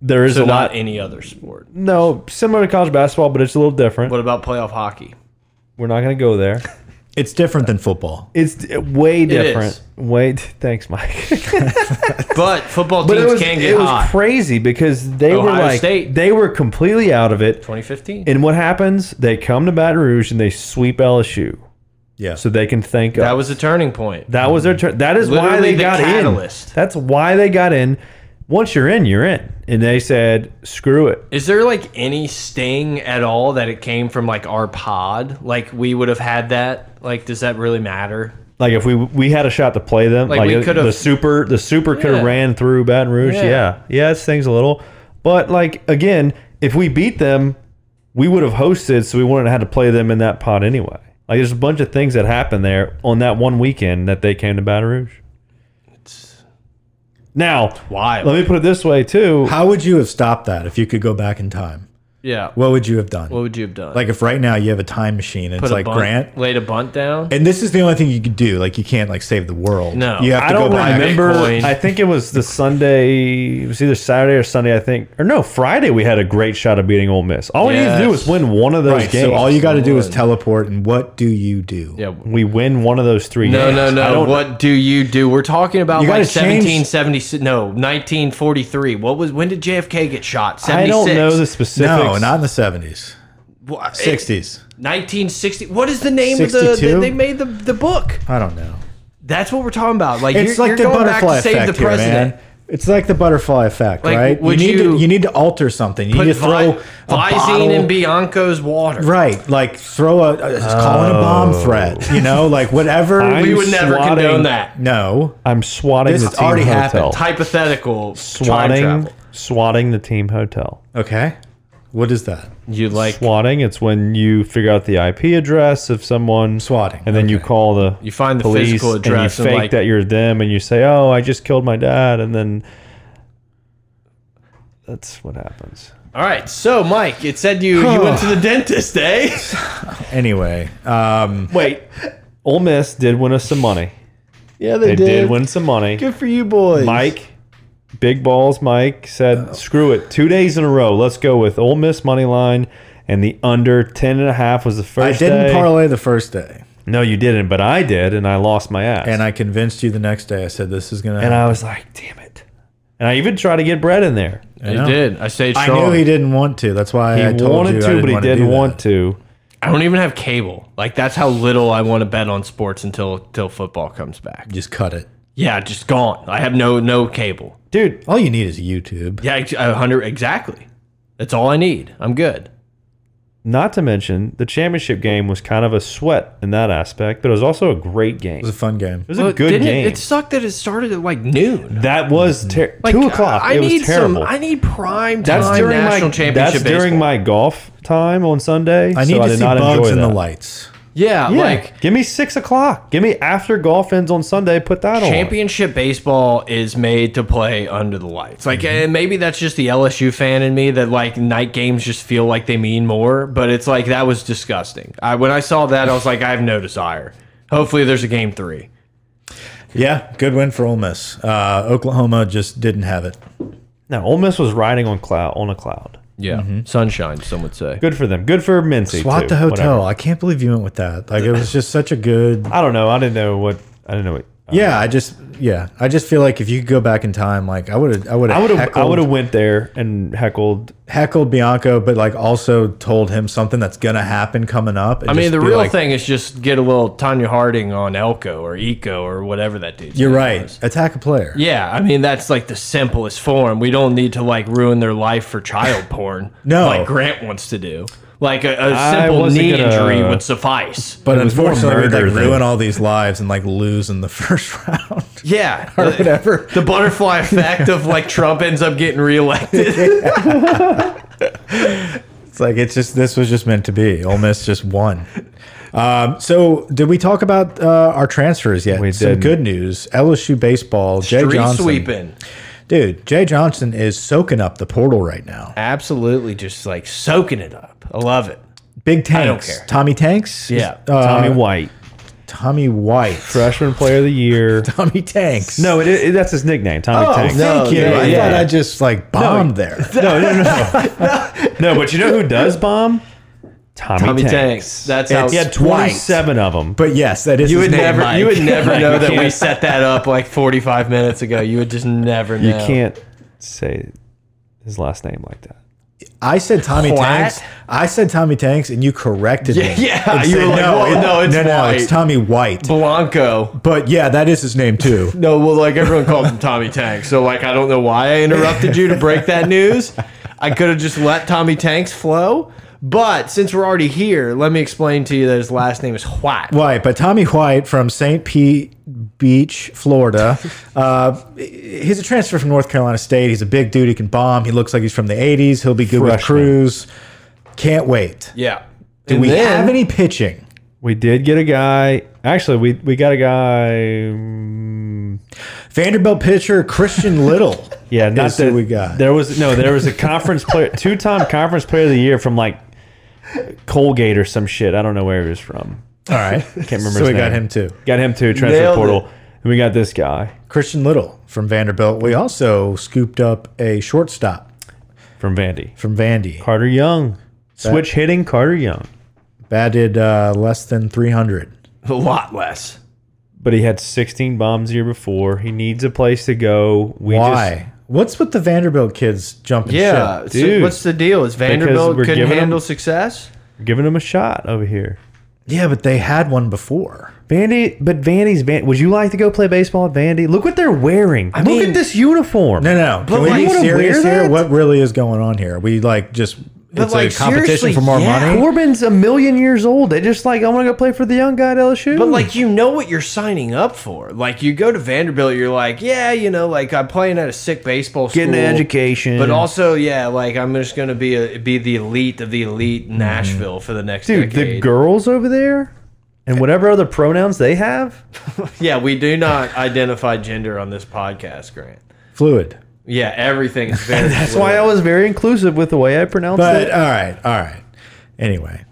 Speaker 1: There is
Speaker 2: so
Speaker 1: a lot.
Speaker 2: not any other sport.
Speaker 1: no, similar to college basketball, but it's a little different.
Speaker 2: What about playoff hockey?
Speaker 1: We're not going to go there.
Speaker 3: It's different than football.
Speaker 1: It's d- way different.
Speaker 2: is.
Speaker 1: Way. d-
Speaker 2: *laughs*
Speaker 1: Thanks, Mike.
Speaker 2: But football
Speaker 1: but
Speaker 2: teams
Speaker 1: it was,
Speaker 2: can get
Speaker 1: it was
Speaker 2: hot.
Speaker 1: crazy because they were
Speaker 2: Ohio
Speaker 1: like
Speaker 2: State.
Speaker 1: they were completely out of it.
Speaker 2: 2015.
Speaker 1: And what happens? They come to Baton Rouge and they sweep LSU,
Speaker 3: Yeah.
Speaker 1: so they can thank
Speaker 2: that
Speaker 1: us.
Speaker 2: was a turning point.
Speaker 1: That was their turn. That is why
Speaker 2: Literally
Speaker 1: they
Speaker 2: the
Speaker 1: got in.
Speaker 2: catalyst.
Speaker 1: That's why they got in. Once you're in, you're in. And they said, "Screw it."
Speaker 2: Is there like any sting at all that it came from like our pod? Like we would have had that. Like does that really matter?
Speaker 1: Like if we we had a shot to play them,
Speaker 2: Like,
Speaker 1: like,
Speaker 2: we
Speaker 1: it-
Speaker 2: could've-
Speaker 1: the super the super could
Speaker 2: Yeah.
Speaker 1: have ran through Baton Rouge.
Speaker 2: Yeah.
Speaker 1: Yeah. yeah, it stings a little, but like again, if we beat them, we would have hosted, so we wouldn't have had to play them in that pot anyway. Like there's a bunch of things that happened there on that one weekend that they came to Baton Rouge. Now,
Speaker 2: Wild.
Speaker 1: let me put it this way too.
Speaker 3: How would you have stopped that if you could go back in time?
Speaker 2: Yeah.
Speaker 3: What would you have done?
Speaker 2: What would you have done?
Speaker 3: like if right now you have a time machine and
Speaker 2: Put
Speaker 3: it's
Speaker 2: a
Speaker 3: like
Speaker 2: bunt-
Speaker 3: Grant
Speaker 2: laid a bunt down.
Speaker 3: And this is the only thing you can do. Like you can't like save the world.
Speaker 2: No.
Speaker 3: you have to
Speaker 1: I
Speaker 3: go
Speaker 1: don't
Speaker 3: back.
Speaker 1: remember.
Speaker 2: Bitcoin.
Speaker 1: I think it was the Sunday. It was either Saturday or Sunday. I think, or no, Friday. We had a great shot of beating Ole Miss. All we need to do
Speaker 2: Yes.
Speaker 1: is win one of those
Speaker 3: Right,
Speaker 1: games.
Speaker 3: so all you got to do is teleport, and what do you do?
Speaker 2: yeah.
Speaker 1: we win one of those three.
Speaker 2: No,
Speaker 1: games.
Speaker 2: no,
Speaker 1: I
Speaker 2: no.
Speaker 1: don't-
Speaker 2: What do you do? We're talking about
Speaker 3: You
Speaker 2: like
Speaker 3: gotta change-
Speaker 2: 1776. No, 1943. What was when did JFK get shot? 76.
Speaker 1: I don't know the specifics.
Speaker 3: No, not in the seventies,
Speaker 2: Wha- it-
Speaker 3: sixties.
Speaker 2: 1960. What is the name of the?
Speaker 3: 62?
Speaker 2: They, they made the the book.
Speaker 3: I don't know.
Speaker 2: That's what we're talking about. Like
Speaker 3: It's
Speaker 2: you're,
Speaker 3: like
Speaker 2: you're
Speaker 3: the
Speaker 2: going back
Speaker 3: butterfly
Speaker 2: to save
Speaker 3: effect
Speaker 2: the president.
Speaker 3: here, man. It's like the butterfly effect,
Speaker 2: Like,
Speaker 3: right?
Speaker 2: would
Speaker 3: you need
Speaker 2: you
Speaker 3: to you need to alter something. You
Speaker 2: Put
Speaker 3: need to throw
Speaker 2: Vi-
Speaker 3: a bottle,
Speaker 2: Visine and Bianco's water.
Speaker 3: right, like throw a, a call in a bomb
Speaker 1: Oh.
Speaker 3: threat. You know, like
Speaker 1: *laughs*
Speaker 3: whatever.
Speaker 1: Fine.
Speaker 2: We
Speaker 1: I'm
Speaker 2: would never
Speaker 1: swatting-
Speaker 2: condone that.
Speaker 3: no,
Speaker 1: I'm swatting
Speaker 3: This
Speaker 1: the team
Speaker 3: already
Speaker 1: hotel.
Speaker 3: happened.
Speaker 2: Hypothetical time
Speaker 1: Swatting
Speaker 2: travel.
Speaker 1: swatting the team hotel.
Speaker 3: Okay. What is that?
Speaker 2: You like
Speaker 1: swatting, it's when you figure out the IP address of someone.
Speaker 3: Swatting,
Speaker 1: And then you call the
Speaker 2: You find the
Speaker 1: police
Speaker 2: physical address
Speaker 1: and
Speaker 2: and,
Speaker 1: you fake
Speaker 2: like-
Speaker 1: that you're them and you say, "Oh, I just killed my dad," and then that's what happens.
Speaker 2: All right, so Mike, it said you you went
Speaker 3: *sighs*
Speaker 2: to the dentist, eh? *laughs*
Speaker 3: Anyway, um,
Speaker 1: Wait, Ole Miss did win us some money.
Speaker 2: Yeah,
Speaker 1: They did, win some money.
Speaker 2: Good for you, boys.
Speaker 1: Mike, big balls. Mike said, "Screw it, two days in a row. Let's go with Ole Miss money line." And the under 10 and a half was the
Speaker 3: I
Speaker 1: first
Speaker 3: didn't
Speaker 1: day.
Speaker 3: parlay the first day,
Speaker 1: no, you didn't, but I did, and I lost my ass.
Speaker 3: and I convinced you the next day. I said this is gonna.
Speaker 1: And I was like, damn it. And I even tried to get bread in there.
Speaker 2: I did. I stayed
Speaker 3: I
Speaker 2: strong. I,
Speaker 3: knew he didn't want to. That's why
Speaker 1: He
Speaker 3: I told
Speaker 1: wanted
Speaker 3: you
Speaker 1: to,
Speaker 3: I didn't
Speaker 1: but he
Speaker 3: want to
Speaker 1: didn't
Speaker 3: do that.
Speaker 1: want to.
Speaker 2: don't even have cable. Like that's how little I want to bet on sports until till football comes back.
Speaker 3: Just cut it.
Speaker 2: Yeah, just gone. I have no no cable.
Speaker 1: Dude,
Speaker 3: All you need is YouTube.
Speaker 2: Yeah, ex- a hundred exactly. That's all I need. I'm good.
Speaker 1: not to mention the championship game was kind of a sweat in that aspect, but it was also a great game. It
Speaker 3: It was a fun game.
Speaker 1: was a good
Speaker 2: didn't
Speaker 1: game.
Speaker 2: It, it sucked that it started at like noon.
Speaker 1: that was ter-
Speaker 2: Like,
Speaker 1: two o'clock.
Speaker 2: I, I
Speaker 1: it
Speaker 2: need
Speaker 1: was terrible.
Speaker 2: Some, I need prime time
Speaker 1: that's during
Speaker 2: national
Speaker 1: my
Speaker 2: championship.
Speaker 1: that's during
Speaker 2: baseball.
Speaker 1: my golf time on Sunday.
Speaker 3: I need
Speaker 1: so
Speaker 3: to
Speaker 1: I did
Speaker 3: see
Speaker 1: not
Speaker 3: bugs
Speaker 1: enjoy
Speaker 3: in the
Speaker 1: that.
Speaker 3: lights.
Speaker 2: yeah,
Speaker 1: Yeah,
Speaker 2: like
Speaker 1: give me six o'clock. Give me after golf ends on Sunday. Put that on.
Speaker 2: championship baseball is made to play under the lights. Like,
Speaker 1: Mm-hmm.
Speaker 2: and maybe that's just the LSU fan in me that like night games just feel like they mean more. But it's like that was disgusting. I when I saw that, I was like, I have no desire. Hopefully, there's a game three.
Speaker 3: Yeah, good win for Ole Miss. Uh, Oklahoma just didn't have it.
Speaker 1: Now Ole Miss was riding on cloud on a cloud.
Speaker 2: Yeah,
Speaker 1: Mm-hmm.
Speaker 2: sunshine. Some would say.
Speaker 1: Good for them. Good for Mincy.
Speaker 3: Swat the
Speaker 1: too. Whatever.
Speaker 3: hotel. I can't believe you went with that. Like it was just such a good.
Speaker 1: I don't know. I didn't know what. I didn't know what.
Speaker 3: Yeah, I just yeah, I just feel like if you could go back in time, like I would have, I would
Speaker 1: I
Speaker 3: have,
Speaker 1: would have. I would
Speaker 3: heckled,
Speaker 1: have went there and heckled.
Speaker 3: heckled Bianco, but like also told him something that's gonna happen coming up. and
Speaker 2: I mean,
Speaker 3: just
Speaker 2: the
Speaker 3: be
Speaker 2: real
Speaker 3: like,
Speaker 2: thing is just get a little Tanya Harding on Elko or Eco or whatever that dude.
Speaker 3: You're right. Attack a player.
Speaker 2: Yeah, I mean that's like the simplest form. We don't need to like ruin their life for child porn.
Speaker 3: No.
Speaker 2: like Grant wants to do. Like a, a
Speaker 1: I
Speaker 2: simple
Speaker 1: wasn't
Speaker 2: knee
Speaker 1: gonna-
Speaker 2: injury would suffice.
Speaker 3: But uh,
Speaker 1: It was more
Speaker 3: unfortunately, they
Speaker 1: murder
Speaker 3: like
Speaker 1: than-
Speaker 3: ruin all these lives and like lose in the *laughs* first round.
Speaker 2: Yeah,
Speaker 3: Or
Speaker 2: the-
Speaker 3: whatever.
Speaker 2: The butterfly effect of like Trump ends up getting reelected.
Speaker 3: It's like it's just this was just meant to be. Ole Miss just won. Um, so did we talk about uh, our transfers yet?
Speaker 1: We
Speaker 3: Some
Speaker 1: didn't.
Speaker 3: good news. LSU baseball. Jay
Speaker 2: Street
Speaker 3: Johnson.
Speaker 2: sweeping,
Speaker 3: Dude, Jay Johnson is soaking up the portal right now.
Speaker 2: absolutely, just like soaking it up. I love it.
Speaker 3: Big
Speaker 2: don't
Speaker 3: Tanks.
Speaker 2: care.
Speaker 3: Tommy Tanks.
Speaker 2: Yeah.
Speaker 3: Uh,
Speaker 1: Tommy
Speaker 3: Tommy
Speaker 1: White,
Speaker 3: White.
Speaker 1: freshman player of the year.
Speaker 3: Tommy Tanks.
Speaker 1: No, it, it, that's his nickname. Tommy
Speaker 3: Oh,
Speaker 1: Tank.
Speaker 3: thank
Speaker 1: No.
Speaker 3: you.
Speaker 1: yeah,
Speaker 3: I
Speaker 1: yeah.
Speaker 3: thought I just like
Speaker 2: *laughs*
Speaker 3: bombed there.
Speaker 1: no, no, no, But you know who does bomb? Tommy,
Speaker 2: Tommy
Speaker 1: Tanks.
Speaker 2: Tanks. That's how
Speaker 3: It's-
Speaker 1: He had twenty-seven of them.
Speaker 3: But yes, that is
Speaker 2: You
Speaker 3: his
Speaker 2: would
Speaker 3: name,
Speaker 2: never,
Speaker 3: Mike.
Speaker 2: you would never
Speaker 1: Like,
Speaker 2: know
Speaker 1: you
Speaker 2: that we
Speaker 1: can't-
Speaker 2: set that up like 45 minutes ago. You would just never know.
Speaker 1: you can't say his last name like that.
Speaker 3: I said Tommy
Speaker 2: What?
Speaker 3: Tanks. I said Tommy Tanks, and you corrected
Speaker 2: Yeah,
Speaker 3: me.
Speaker 2: yeah.
Speaker 3: and
Speaker 2: You
Speaker 3: said,
Speaker 2: were like, "Well,
Speaker 3: it-
Speaker 2: no, it's
Speaker 3: no, no,
Speaker 2: White."
Speaker 3: it's Tommy White.
Speaker 2: Blanco.
Speaker 3: But yeah, that is his name *laughs* too.
Speaker 2: No, well, like everyone called him Tommy Tanks. So, like, I don't know why I interrupted you to break that news. I could have just let Tommy Tanks flow. But since we're already here, let me explain to you that his last name is White.
Speaker 3: White, but Tommy White from St. Pete Beach, Florida. Uh, he's a transfer from North Carolina State. He's a big dude. He can bomb. He looks like he's from the '80s. He'll be good with
Speaker 1: Freshman.
Speaker 3: Cruz. Can't wait.
Speaker 2: Yeah.
Speaker 3: Do we have any pitching?
Speaker 1: We did get a guy. Actually, we we got a guy. um,
Speaker 3: Vanderbilt pitcher Christian Little.
Speaker 1: Yeah, not
Speaker 3: is
Speaker 1: that
Speaker 3: who we got.
Speaker 1: There was no, there was a conference *laughs* player, two-time conference player of the year from like Colgate or some shit. I don't know where he was from.
Speaker 3: All right,
Speaker 1: Can't remember.
Speaker 3: So
Speaker 1: his
Speaker 3: we got
Speaker 1: name.
Speaker 3: him too.
Speaker 1: Got him too. Transfer
Speaker 2: Nailed
Speaker 1: portal. And we got this guy
Speaker 3: Christian Little from Vanderbilt. We also scooped up a shortstop
Speaker 1: from Vandy,
Speaker 3: from Vandy.
Speaker 1: Carter Young, switch hitting Carter Young,
Speaker 3: batted uh, less than 300.
Speaker 2: A lot less.
Speaker 1: but he had 16 bombs the year before. He needs a place to go. We
Speaker 3: Why? What's with the Vanderbilt kids jumping
Speaker 2: Yeah.
Speaker 3: ship?
Speaker 2: so
Speaker 1: dude.
Speaker 2: what's the deal? Is Vanderbilt
Speaker 1: we're
Speaker 2: couldn't
Speaker 1: giving him-
Speaker 2: handle success?
Speaker 1: just giving him a shot over here.
Speaker 3: Yeah, but they had one before.
Speaker 1: Vandy, but Vandy's Van. Would you like to go play baseball at Vandy? Look what they're wearing. Look
Speaker 2: mean-
Speaker 1: at this uniform.
Speaker 3: No, no. Can
Speaker 2: But
Speaker 3: we
Speaker 2: like-
Speaker 3: be
Speaker 2: You wanna
Speaker 3: serious
Speaker 1: wear
Speaker 3: here?
Speaker 1: that?
Speaker 3: What really is going on here? We like just it's
Speaker 2: like,
Speaker 3: a competition
Speaker 2: seriously,
Speaker 3: for more
Speaker 2: yeah.
Speaker 3: money.
Speaker 1: Corbin's a million years old. They just like I want to go play for the young guy at LSU.
Speaker 2: But like you know what you're signing up for. Like you go to Vanderbilt, you're like, yeah, you know, like I'm playing at a sick baseball school,
Speaker 1: Getting an education.
Speaker 2: but also yeah, like I'm just gonna be a, be the elite of the elite in Nashville for the next
Speaker 1: Hmm. dude, the
Speaker 2: decade.
Speaker 1: girls over there and whatever other pronouns they have.
Speaker 2: yeah, we do not *laughs* identify gender on this podcast, Grant.
Speaker 3: Fluid.
Speaker 2: Yeah, everything
Speaker 1: *laughs*
Speaker 2: is very.
Speaker 1: That's why I was very inclusive with the way I pronounced
Speaker 3: But
Speaker 1: it.
Speaker 3: all right, all right. Anyway,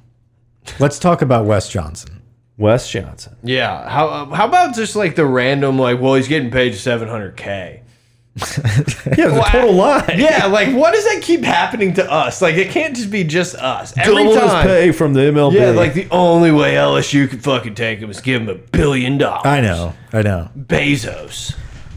Speaker 3: let's talk about Wes Johnson.
Speaker 1: Wes Johnson.
Speaker 2: Yeah. How uh, how about just like the random like, well, he's getting paid
Speaker 1: *laughs*
Speaker 2: 700k.
Speaker 1: Yeah, it was a total lie.
Speaker 2: Yeah, like why does that keep happening to us? Like it can't just be just us. Every
Speaker 1: Double his
Speaker 2: time.
Speaker 1: pay from the MLB.
Speaker 2: Yeah, like the only way LSU could fucking take him is give him a billion dollars.
Speaker 3: I know, I know.
Speaker 2: Bezos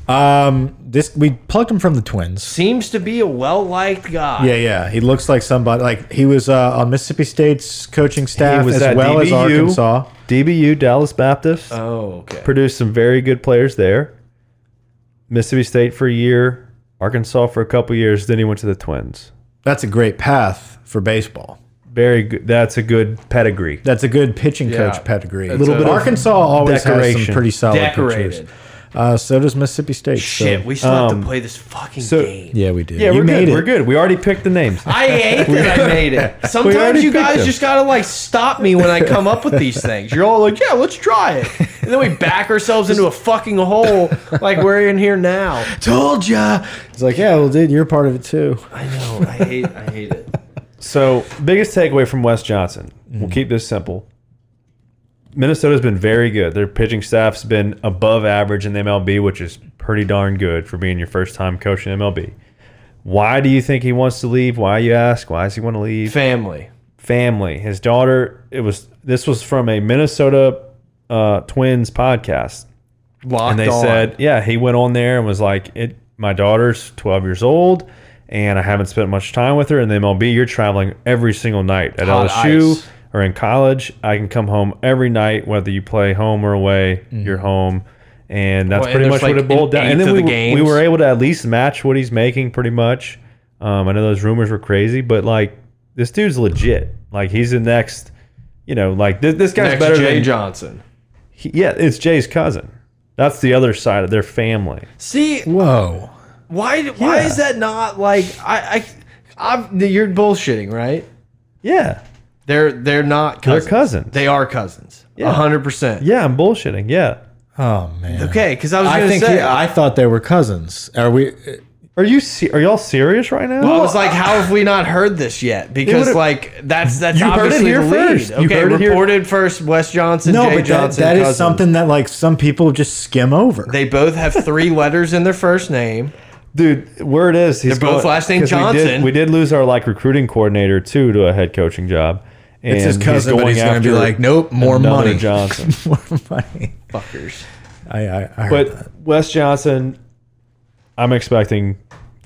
Speaker 3: Um, this we plugged him from the Twins.
Speaker 2: seems to be a well liked guy.
Speaker 3: Yeah, yeah. He looks like somebody. Like he was uh, on Mississippi State's coaching staff
Speaker 1: was
Speaker 3: as
Speaker 1: at
Speaker 3: well as
Speaker 1: DBU.
Speaker 3: Arkansas.
Speaker 1: DBU Dallas Baptist
Speaker 2: Oh, okay.
Speaker 1: produced some very good players there. Mississippi State for a year, Arkansas for a couple years. Then he went to the Twins.
Speaker 3: That's a great path for baseball.
Speaker 1: Very good. That's a good pedigree.
Speaker 3: That's a good pitching
Speaker 2: Yeah.
Speaker 3: coach pedigree.
Speaker 2: Little
Speaker 1: bit of
Speaker 3: Arkansas always has
Speaker 1: decoration.
Speaker 3: some pretty solid
Speaker 2: Decorated.
Speaker 3: pitchers. Uh, so does Mississippi State. so-
Speaker 2: Shit, we still have to play this fucking
Speaker 1: Um, so-
Speaker 2: game.
Speaker 3: yeah, we did.
Speaker 1: Yeah,
Speaker 3: you
Speaker 1: we're
Speaker 3: made
Speaker 1: good.
Speaker 3: it.
Speaker 1: We're good. We already picked the names.
Speaker 2: I hate that I made
Speaker 1: *laughs*
Speaker 2: it.
Speaker 1: already
Speaker 2: Sometimes you
Speaker 1: picked
Speaker 2: guys
Speaker 1: them.
Speaker 2: just gotta like stop me when I come up with these things. You're all like, "Yeah, let's try it," and then we back ourselves into a fucking hole like we're in here now.
Speaker 3: Told ya. It's like, yeah, well, dude, you're part of it too.
Speaker 2: I know. Oh, I hate. I hate it.
Speaker 1: So, biggest takeaway from Wes Johnson. We'll keep this simple. Minnesota's been very good. Their pitching staff's been above average in the MLB, which is pretty darn good for being your first time coaching MLB. Why do you think he wants to leave? Why you ask? Why does he want to leave?
Speaker 2: Family.
Speaker 1: family. His daughter. It was this was from a Minnesota uh, Twins podcast,
Speaker 2: Locked
Speaker 1: and they
Speaker 2: on.
Speaker 1: said, yeah, he went on there and was like, it. My daughter's 12 years old, and I haven't spent much time with her. And the MLB, you're traveling every single night at
Speaker 2: Hot
Speaker 1: LSU
Speaker 2: ice.
Speaker 1: or in college. I can come home every night, whether you play home or away. You're home. And
Speaker 2: Mm-hmm. Well,
Speaker 1: that's
Speaker 2: and
Speaker 1: pretty
Speaker 2: there's
Speaker 1: much what
Speaker 2: like
Speaker 1: it boiled
Speaker 2: an
Speaker 1: down. And
Speaker 2: eighth
Speaker 1: then
Speaker 2: of
Speaker 1: we,
Speaker 2: the
Speaker 1: were- we
Speaker 2: games.
Speaker 1: were able to at least match what he's making, pretty much. Um, I know those rumors were crazy, but like this dude's legit. Like he's the next, you know, like this, this guy's
Speaker 2: Next
Speaker 1: better
Speaker 2: Jay
Speaker 1: than
Speaker 2: Johnson.
Speaker 1: he- yeah. It's Jay's cousin. That's the other side of their family.
Speaker 2: See,
Speaker 3: Whoa.
Speaker 2: why? Why is that not like I? I, I'm, you're bullshitting, right?
Speaker 1: Yeah,
Speaker 2: They're they're not cousins.
Speaker 1: cousins.
Speaker 2: They are cousins. A
Speaker 1: Yeah.
Speaker 2: hundred percent.
Speaker 1: yeah. I'm bullshitting. Yeah.
Speaker 3: Oh man.
Speaker 2: Okay, because I was
Speaker 3: I
Speaker 2: gonna
Speaker 3: think
Speaker 2: say
Speaker 3: he- I thought they were cousins. Are we?
Speaker 1: Are you se- are y'all serious right now?
Speaker 2: I was like, how have we not heard this yet? Because
Speaker 1: would've-
Speaker 2: like that's that's
Speaker 1: You heard it
Speaker 2: obviously
Speaker 1: here
Speaker 2: the lead.
Speaker 1: first. You
Speaker 2: Okay,
Speaker 1: heard it here-
Speaker 2: reported first. Wes Johnson,
Speaker 3: No,
Speaker 2: Jay
Speaker 3: but that,
Speaker 2: Johnson.
Speaker 3: that is
Speaker 2: cousins.
Speaker 3: something that like some people just skim over.
Speaker 2: They both have three letters in their first name.
Speaker 1: dude, word is he's
Speaker 2: They're both last name
Speaker 1: 'cause we did-
Speaker 2: Johnson.
Speaker 1: We did, lose our like recruiting coordinator too to a head coaching job. And
Speaker 3: it's his cousin, but he's going to be
Speaker 1: after
Speaker 3: like, nope, more
Speaker 1: another
Speaker 3: money.
Speaker 1: Johnson.
Speaker 3: *laughs* more money.
Speaker 2: Fuckers.
Speaker 3: I, I, I heard that.
Speaker 1: But Wes Johnson, I'm expecting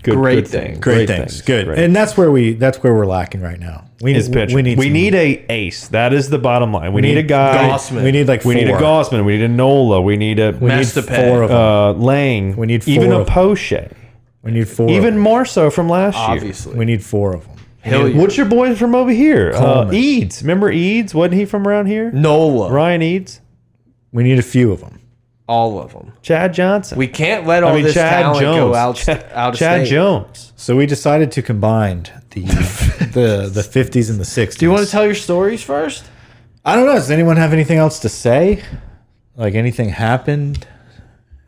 Speaker 1: good,
Speaker 2: Great
Speaker 1: good things.
Speaker 2: things.
Speaker 3: great, things. Good,
Speaker 1: Great.
Speaker 3: and that's where we that's where we're lacking right now. We
Speaker 1: His pitch.
Speaker 3: We need
Speaker 1: we
Speaker 3: some-
Speaker 1: need a ace. That is the bottom line. We, need, a guy.
Speaker 2: Gossman.
Speaker 3: We need like
Speaker 1: We need a
Speaker 3: four.
Speaker 1: Gossman. We need a Nola. We need a
Speaker 3: We need
Speaker 2: Mastapet.
Speaker 3: four of them.
Speaker 1: uh, Lang.
Speaker 3: We need
Speaker 1: even
Speaker 3: four
Speaker 1: a
Speaker 3: of them.
Speaker 1: Poche.
Speaker 3: we need four.
Speaker 1: Even
Speaker 3: of
Speaker 1: more so from last year.
Speaker 3: them.
Speaker 2: Obviously.
Speaker 3: we need four of them.
Speaker 2: Hilliard.
Speaker 1: What's your boy from over here? Uh,
Speaker 3: Coleman.
Speaker 1: Eads. Remember Eads? Wasn't he from around here?
Speaker 2: Nola.
Speaker 1: Ryan Eads.
Speaker 3: We need a few of them.
Speaker 2: All of them.
Speaker 1: Chad Johnson.
Speaker 2: We can't let all
Speaker 1: I mean,
Speaker 2: this
Speaker 1: Chad
Speaker 2: talent
Speaker 1: Jones.
Speaker 2: go out,
Speaker 1: Chad,
Speaker 2: out of
Speaker 1: Chad
Speaker 2: state.
Speaker 3: *laughs*
Speaker 1: Jones.
Speaker 3: So we decided to combine
Speaker 1: *laughs*
Speaker 3: the the the fifties and the sixties.
Speaker 2: Do you want to tell your stories first?
Speaker 3: I don't know. Does anyone have anything else to say? Like anything happened?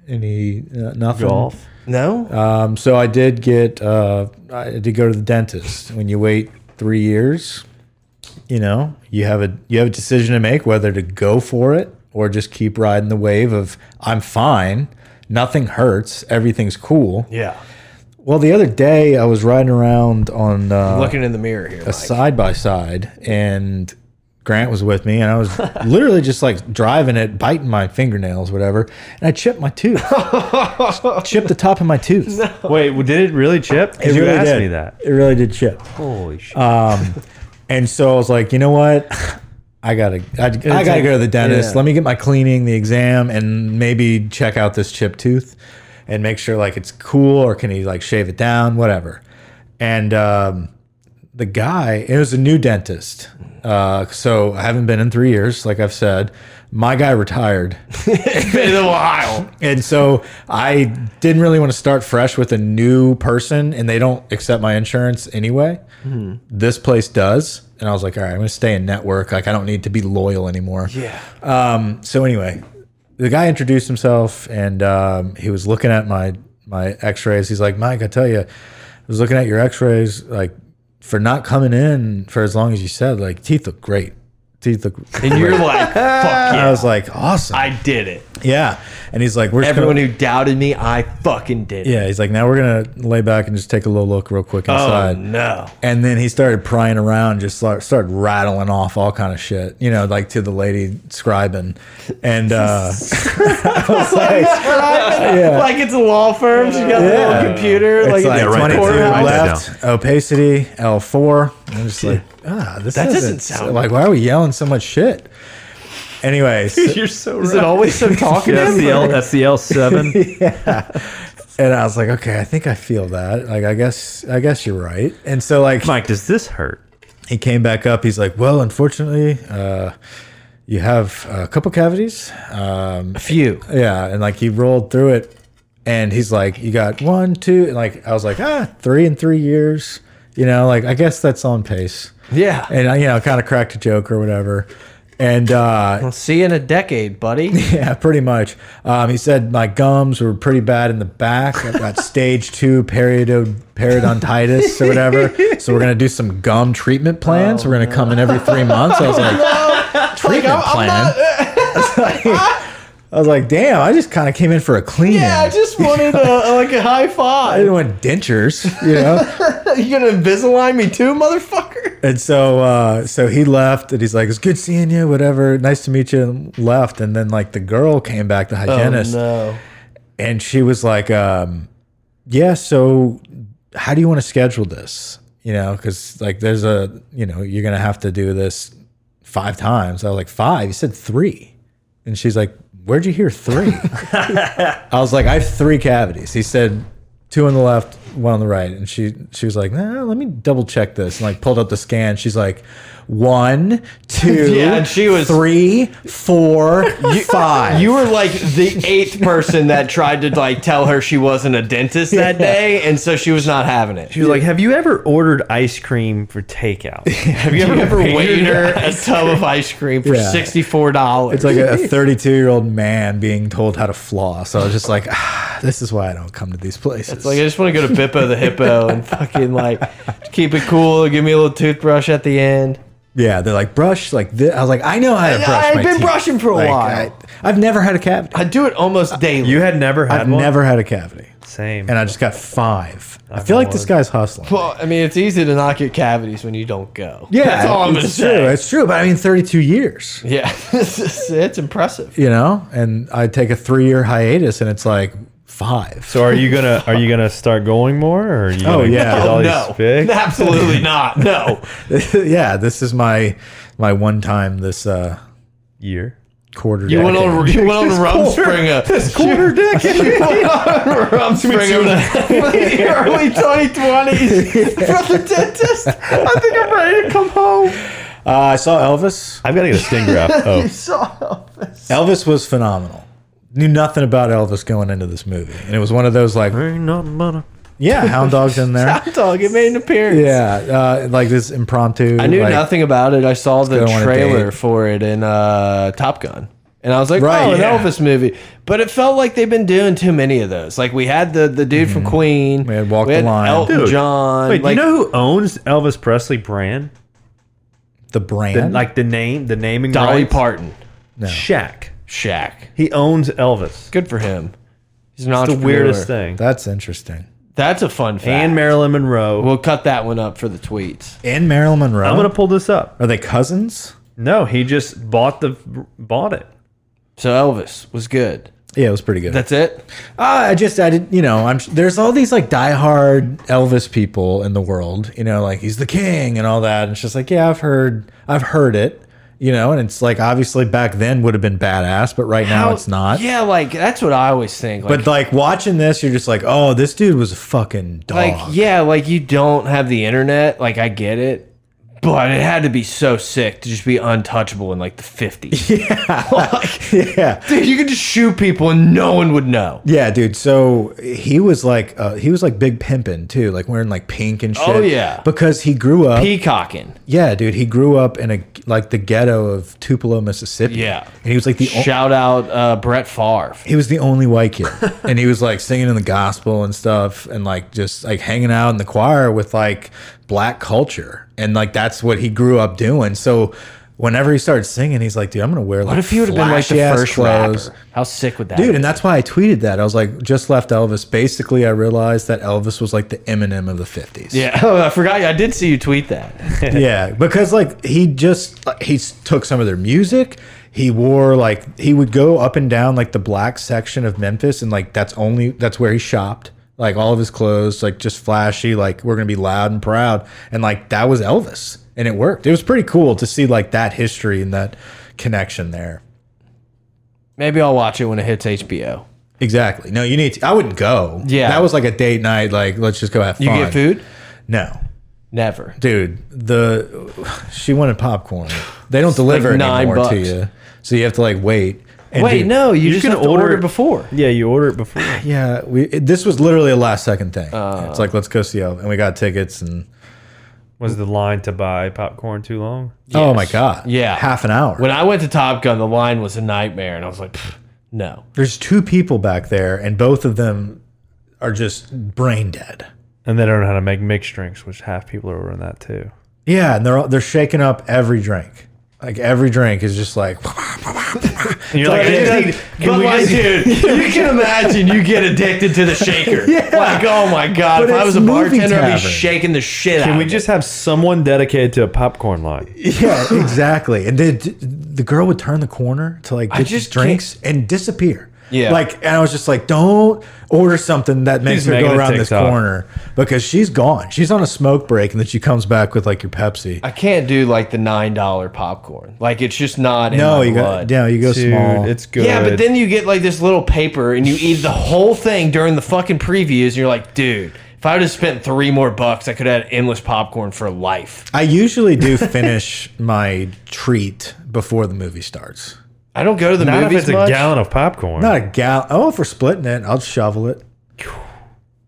Speaker 3: Any uh, nothing?
Speaker 1: Golf.
Speaker 2: No.
Speaker 3: Um, so I did get. Uh, I did go to the dentist. When you wait three years, you know you have a you have a decision to make whether to go for it or just keep riding the wave of I'm fine, nothing hurts, everything's cool.
Speaker 2: yeah.
Speaker 3: Well, the other day I was riding around on uh,
Speaker 2: Looking in the mirror here.
Speaker 3: a
Speaker 2: Mike.
Speaker 3: side by side, and Grant was with me, and I was literally just like driving it, biting my fingernails, whatever, and I chipped my tooth, chipped the top of my tooth.
Speaker 1: Wait, did it really chip? 'Cause
Speaker 3: It
Speaker 1: you
Speaker 3: really
Speaker 1: asked
Speaker 3: did.
Speaker 1: me that. Uh,
Speaker 3: It really did chip.
Speaker 1: Holy shit.
Speaker 3: And so I was like, you know what? *laughs* I gotta, I, I gotta
Speaker 2: take-
Speaker 3: go to the dentist.
Speaker 2: yeah.
Speaker 3: Let me get my cleaning, the exam, and maybe check out this chip tooth, and make sure like it's cool or can he like shave it down, whatever. And um, the guy, it was a new dentist. Uh, so I haven't been in three years, like I've said. My guy retired.
Speaker 2: been a while.
Speaker 3: And so I didn't really want to start fresh with a new person, and they don't accept my insurance anyway.
Speaker 2: Mm-hmm.
Speaker 3: This place does. And I was like, all right, I'm going to stay in network. Like, I don't need to be loyal anymore. Yeah. Um, so, anyway, the guy introduced himself and um, he was looking at my, my x rays. He's like, Mike, I tell you, I was looking at your x rays, like, for not coming in for as long as you said, like, teeth look great. Teeth look.
Speaker 2: And you're like,
Speaker 3: *laughs*
Speaker 2: fuck
Speaker 3: I
Speaker 2: yeah,
Speaker 3: was like, awesome.
Speaker 2: I did it.
Speaker 3: yeah. And he's like, we're just gonna-
Speaker 2: Everyone who doubted me, I fucking did it.
Speaker 3: yeah, he's like, now we're gonna lay back and just take a little look real quick
Speaker 2: Oh
Speaker 3: inside.
Speaker 2: no.
Speaker 3: And then he started prying around, just start, started rattling off all kind of shit, you know, like to the lady scribing. And
Speaker 2: *laughs*
Speaker 3: uh, *laughs* I was like,
Speaker 2: Like it's a law firm. She got a
Speaker 3: Yeah.
Speaker 2: little computer. like,
Speaker 3: it's like
Speaker 2: it's
Speaker 6: write that
Speaker 2: a
Speaker 3: 22
Speaker 6: down, write that
Speaker 3: left, opacity, L4. I'm just like, ah, this
Speaker 2: That
Speaker 3: isn't-
Speaker 2: doesn't sound-
Speaker 3: like, why are we yelling so much shit?
Speaker 2: *laughs*
Speaker 3: Anyways,
Speaker 1: You're so
Speaker 2: Is it always so talkative?
Speaker 6: That's
Speaker 1: E
Speaker 6: the L. That's the L seven.
Speaker 3: and I was like, okay, I think I feel that. Like, I guess, I guess you're right. And so, like,
Speaker 6: Mike, does this hurt?
Speaker 3: he came back up. He's like, "Well, unfortunately, uh, you have a couple cavities." Um,
Speaker 2: a few.
Speaker 3: yeah, and like he rolled through it, and he's like, "You got one, two, and like I was like, ah, three in three years." You know, like I guess that's on pace.
Speaker 2: Yeah.
Speaker 3: And I, you know, kind of cracked a joke or whatever. And uh,
Speaker 2: I'll see you in a decade, buddy.
Speaker 3: *laughs* yeah, pretty much. Um, he said my gums were pretty bad in the back.
Speaker 2: *laughs*
Speaker 3: I got stage two periodo periodontitis or whatever. So we're gonna do some gum treatment
Speaker 2: Oh,
Speaker 3: plans. we're gonna come in every three
Speaker 2: *laughs*
Speaker 3: months. I was like, treatment plan. I was like, damn, I just kind of came in for a clean.
Speaker 2: Yeah, I just wanted a, like a high
Speaker 3: I
Speaker 2: five.
Speaker 3: didn't want dentures,
Speaker 2: *laughs*
Speaker 3: you know.
Speaker 2: You gonna Invisalign me too, motherfucker?
Speaker 3: And so, uh, so he left, and he's like, "It's good seeing you, whatever. Nice to meet you." And left, and then like the girl came back,
Speaker 2: Oh,
Speaker 3: the hygienist,
Speaker 2: no.
Speaker 3: and she was like, um, "Yeah, so how do you want to schedule this? You know, because like there's a, you know, you're gonna have to do this five times." I was like, five? You said three, and she's like, "Where'd you hear
Speaker 2: *laughs*
Speaker 3: three? I was like, "I have three cavities." He said, two on the left, one on the right, and she she was like, nah, "Let me double check this," and like pulled up the scan. She's like, one, two,
Speaker 2: *laughs* Yeah, and she was-
Speaker 3: three, four,
Speaker 2: *laughs*
Speaker 3: five.
Speaker 2: You were like the eighth person that tried to like tell her she wasn't a dentist
Speaker 3: *laughs*
Speaker 2: that day, and so she was not having it.
Speaker 1: She was like, "Have you ever ordered ice cream for *laughs* takeout?"
Speaker 2: Have you ever weighed her a tub of ice cream for
Speaker 3: Yeah.
Speaker 2: sixty four dollars?
Speaker 3: It's
Speaker 2: *laughs*
Speaker 3: like a 32 year old man being told how to floss. I was just like, ah, this is why I don't come to these places.
Speaker 2: Like I just want to go to Bippo the
Speaker 3: *laughs*
Speaker 2: Hippo and fucking like keep it cool. Give me a little toothbrush at the end.
Speaker 3: yeah, they're like, brush like this. I was like, I know how to brush.
Speaker 2: I've
Speaker 3: my
Speaker 2: been
Speaker 3: teeth."
Speaker 2: brushing for a
Speaker 3: Like,
Speaker 2: while.
Speaker 3: I, have never had a cavity.
Speaker 2: I do it almost daily.
Speaker 1: You had never had
Speaker 3: I've
Speaker 1: one.
Speaker 3: never had a cavity.
Speaker 1: Same.
Speaker 3: And I just got five. I feel like this
Speaker 1: one.
Speaker 3: guy's hustling.
Speaker 2: well, I mean, it's easy to not get cavities when you don't go. that's all I'm gonna
Speaker 3: it's true.
Speaker 2: say.
Speaker 3: It's true. But I mean, 32 years,
Speaker 2: Yeah, *laughs* it's impressive.
Speaker 3: you know? And I take a three year hiatus and it's like five. *laughs*
Speaker 1: so are you gonna are you gonna start going more? Or are you
Speaker 3: Oh,
Speaker 1: gonna
Speaker 3: yeah.
Speaker 1: get all
Speaker 2: no,
Speaker 1: these fixed?
Speaker 2: absolutely not.
Speaker 3: *laughs*
Speaker 2: No,
Speaker 3: yeah, this is my my one time this uh,
Speaker 1: year.
Speaker 3: quarter.
Speaker 2: you went
Speaker 3: decade.
Speaker 2: *laughs* on you went on rum spring a quarter dick. You went on rum spring of *laughs* the early 2020s from the dentist. I think I'm ready to come home.
Speaker 3: Uh, I saw Elvis.
Speaker 1: I've got to get a sting graft. *laughs* Oh,
Speaker 2: So
Speaker 3: Elvis was phenomenal. Knew nothing about Elvis going into this movie, and it was one of those like,
Speaker 2: Uh,
Speaker 3: yeah, hound dogs
Speaker 2: *laughs*
Speaker 3: in there.
Speaker 2: dog, it made an appearance.
Speaker 3: Yeah, uh, like this impromptu.
Speaker 2: I knew
Speaker 3: like,
Speaker 2: nothing about it. I saw the
Speaker 3: go on a
Speaker 2: trailer
Speaker 3: date.
Speaker 2: for it in uh, Top Gun. And I was like,
Speaker 3: Right,
Speaker 2: oh, an
Speaker 3: yeah.
Speaker 2: Elvis movie. But it felt like they've been doing too many of those. Like, we had the, the dude from Queen.
Speaker 3: Mm-hmm. We had Walk the Line.
Speaker 2: Elton
Speaker 1: Dude,
Speaker 2: John.
Speaker 1: wait.
Speaker 2: like,
Speaker 1: do you know who owns Elvis Presley brand?
Speaker 3: the
Speaker 1: The,
Speaker 3: brand.
Speaker 1: like the name, the naming.
Speaker 2: Dolly
Speaker 1: rights?
Speaker 2: Parton.
Speaker 1: Shaq.
Speaker 2: Shaq.
Speaker 1: He owns Elvis.
Speaker 2: Good for him. He's an
Speaker 1: It's the
Speaker 2: entrepreneur.
Speaker 1: weirdest thing.
Speaker 3: That's interesting.
Speaker 2: That's a fun fact.
Speaker 1: And Marilyn Monroe.
Speaker 2: We'll cut that one up for the tweets.
Speaker 3: And Marilyn Monroe.
Speaker 1: I'm gonna pull this up.
Speaker 3: Are they cousins?
Speaker 1: No, he just bought the bought it.
Speaker 2: So Elvis was good.
Speaker 3: Yeah, it was pretty good.
Speaker 2: That's it.
Speaker 3: Ah, I just, I did, you know, I'm there's all these like diehard Elvis people in the world, you know, like he's the king and all that. And it's just like, yeah, I've heard, I've heard it, you know, and it's like obviously back then would have been badass, but right now it's not.
Speaker 2: Yeah, like that's what I always think. Like,
Speaker 3: But like watching this, you're just like, oh, this dude was a fucking dog.
Speaker 2: like
Speaker 3: *laughs*
Speaker 2: yeah, like you don't have the internet. Like I get it. But it had to be so sick to just be untouchable in like the *laughs* 50s.
Speaker 3: yeah.
Speaker 2: Dude, you could just shoot people and no one would know.
Speaker 3: Yeah, dude. So he was like, uh, he was like big pimping too, like wearing like pink and shit.
Speaker 2: Oh, yeah.
Speaker 3: because he grew up.
Speaker 2: Peacocking.
Speaker 3: yeah, dude, he grew up in a like the ghetto of Tupelo, Mississippi.
Speaker 2: Yeah.
Speaker 3: and he was like the o-
Speaker 2: Shout out uh, Brett Favre.
Speaker 3: he was the only white kid, and he was like singing in the gospel and stuff, and like just like hanging out in the choir with like black culture, and like that's what he grew up doing. So. Whenever he started singing, he's like, "Dude, I'm gonna wear like
Speaker 2: What if he would have been like the
Speaker 3: flashy-ass
Speaker 2: first
Speaker 3: clothes.
Speaker 2: rapper? How sick would that
Speaker 3: Dude,
Speaker 2: be?
Speaker 3: and that's why I tweeted that. I was like, just left Elvis. Basically, I realized that Elvis was like the Eminem of the 50s.
Speaker 2: Yeah, *laughs* oh, I forgot. I did see you tweet that. *laughs*
Speaker 3: Yeah. Because, like, he just, like, he s- took some of their music. He wore, like, he would go up and down, like, the black section of Memphis, and, like, that's only, that's where he shopped. Like, all of his clothes, like, just flashy, like, we're going to be loud and proud. And, like, that was Elvis. And it worked. It was pretty cool to see, like, that history and that connection there.
Speaker 2: Maybe I'll watch it when it hits HBO.
Speaker 3: Exactly. No, you need to. I wouldn't go.
Speaker 2: Yeah.
Speaker 3: That was like a date night. Like, let's just go have fun.
Speaker 2: You get food?
Speaker 3: No,
Speaker 2: Never.
Speaker 3: dude. The she wanted popcorn. They don't deliver
Speaker 2: like nine
Speaker 3: anymore to
Speaker 2: bucks.
Speaker 3: you, so you have to like wait. And
Speaker 2: Wait,
Speaker 3: dude,
Speaker 2: no, you, just
Speaker 1: can
Speaker 2: have to
Speaker 1: order
Speaker 2: order,
Speaker 1: it-
Speaker 2: it before.
Speaker 1: Yeah, you order it before.
Speaker 3: Yeah, we. It, this was literally a last second thing.
Speaker 2: Oh.
Speaker 3: it's like let's go see Elvis, and we got tickets, and
Speaker 1: *sighs* Was the line to buy popcorn too long?
Speaker 3: oh my god,
Speaker 2: Yeah.
Speaker 3: half an hour.
Speaker 2: When I went to Top Gun, the line was a nightmare, and I was like, "Pfft, no.
Speaker 3: There's two people back there, and both of them are just brain dead.
Speaker 1: And they don't know how to make mixed drinks, which half people are ordering that too.
Speaker 3: Yeah, and they're all- they're shaking up every drink. Like every drink is just
Speaker 2: *laughs*
Speaker 3: like *laughs*
Speaker 1: And you're like,
Speaker 2: But
Speaker 1: "Hey,
Speaker 2: like, dude, *laughs* you can imagine you get addicted to the *laughs* shaker. Like, oh my god,
Speaker 3: But
Speaker 2: if I
Speaker 3: it's
Speaker 2: was a
Speaker 3: movie
Speaker 2: bartender, I'd be
Speaker 3: tavern.
Speaker 2: shaking the shit out.
Speaker 1: can we
Speaker 2: of
Speaker 1: just have someone dedicated to a popcorn line? *laughs*
Speaker 3: Yeah, exactly. And then the girl would turn the corner to like get
Speaker 2: just
Speaker 3: just drinks and disappear.
Speaker 2: Yeah.
Speaker 3: Like, and I was just like, don't order something that makes
Speaker 1: She's
Speaker 3: her
Speaker 1: making
Speaker 3: go
Speaker 1: a
Speaker 3: around this
Speaker 1: TikTok.
Speaker 3: corner because she's gone. She's on a smoke break, and then she comes back with like your Pepsi.
Speaker 2: I can't do like the nine dollar popcorn. Like, it's just not. In
Speaker 3: no,
Speaker 2: my
Speaker 3: you
Speaker 2: blood.
Speaker 3: go. No, you go
Speaker 1: Dude,
Speaker 3: small.
Speaker 1: it's good.
Speaker 2: Yeah, but then you get like this little paper and you eat the whole thing during the fucking previews, and you're like, dude, if I would have spent three more bucks, I could have had endless popcorn for life.
Speaker 3: I usually do finish *laughs* my treat before the movie starts.
Speaker 2: I don't go to the
Speaker 1: not if
Speaker 2: movies
Speaker 1: it's
Speaker 2: much.
Speaker 1: a gallon of popcorn.
Speaker 3: Not a gal. Oh, if we're splitting it, I'll shovel it.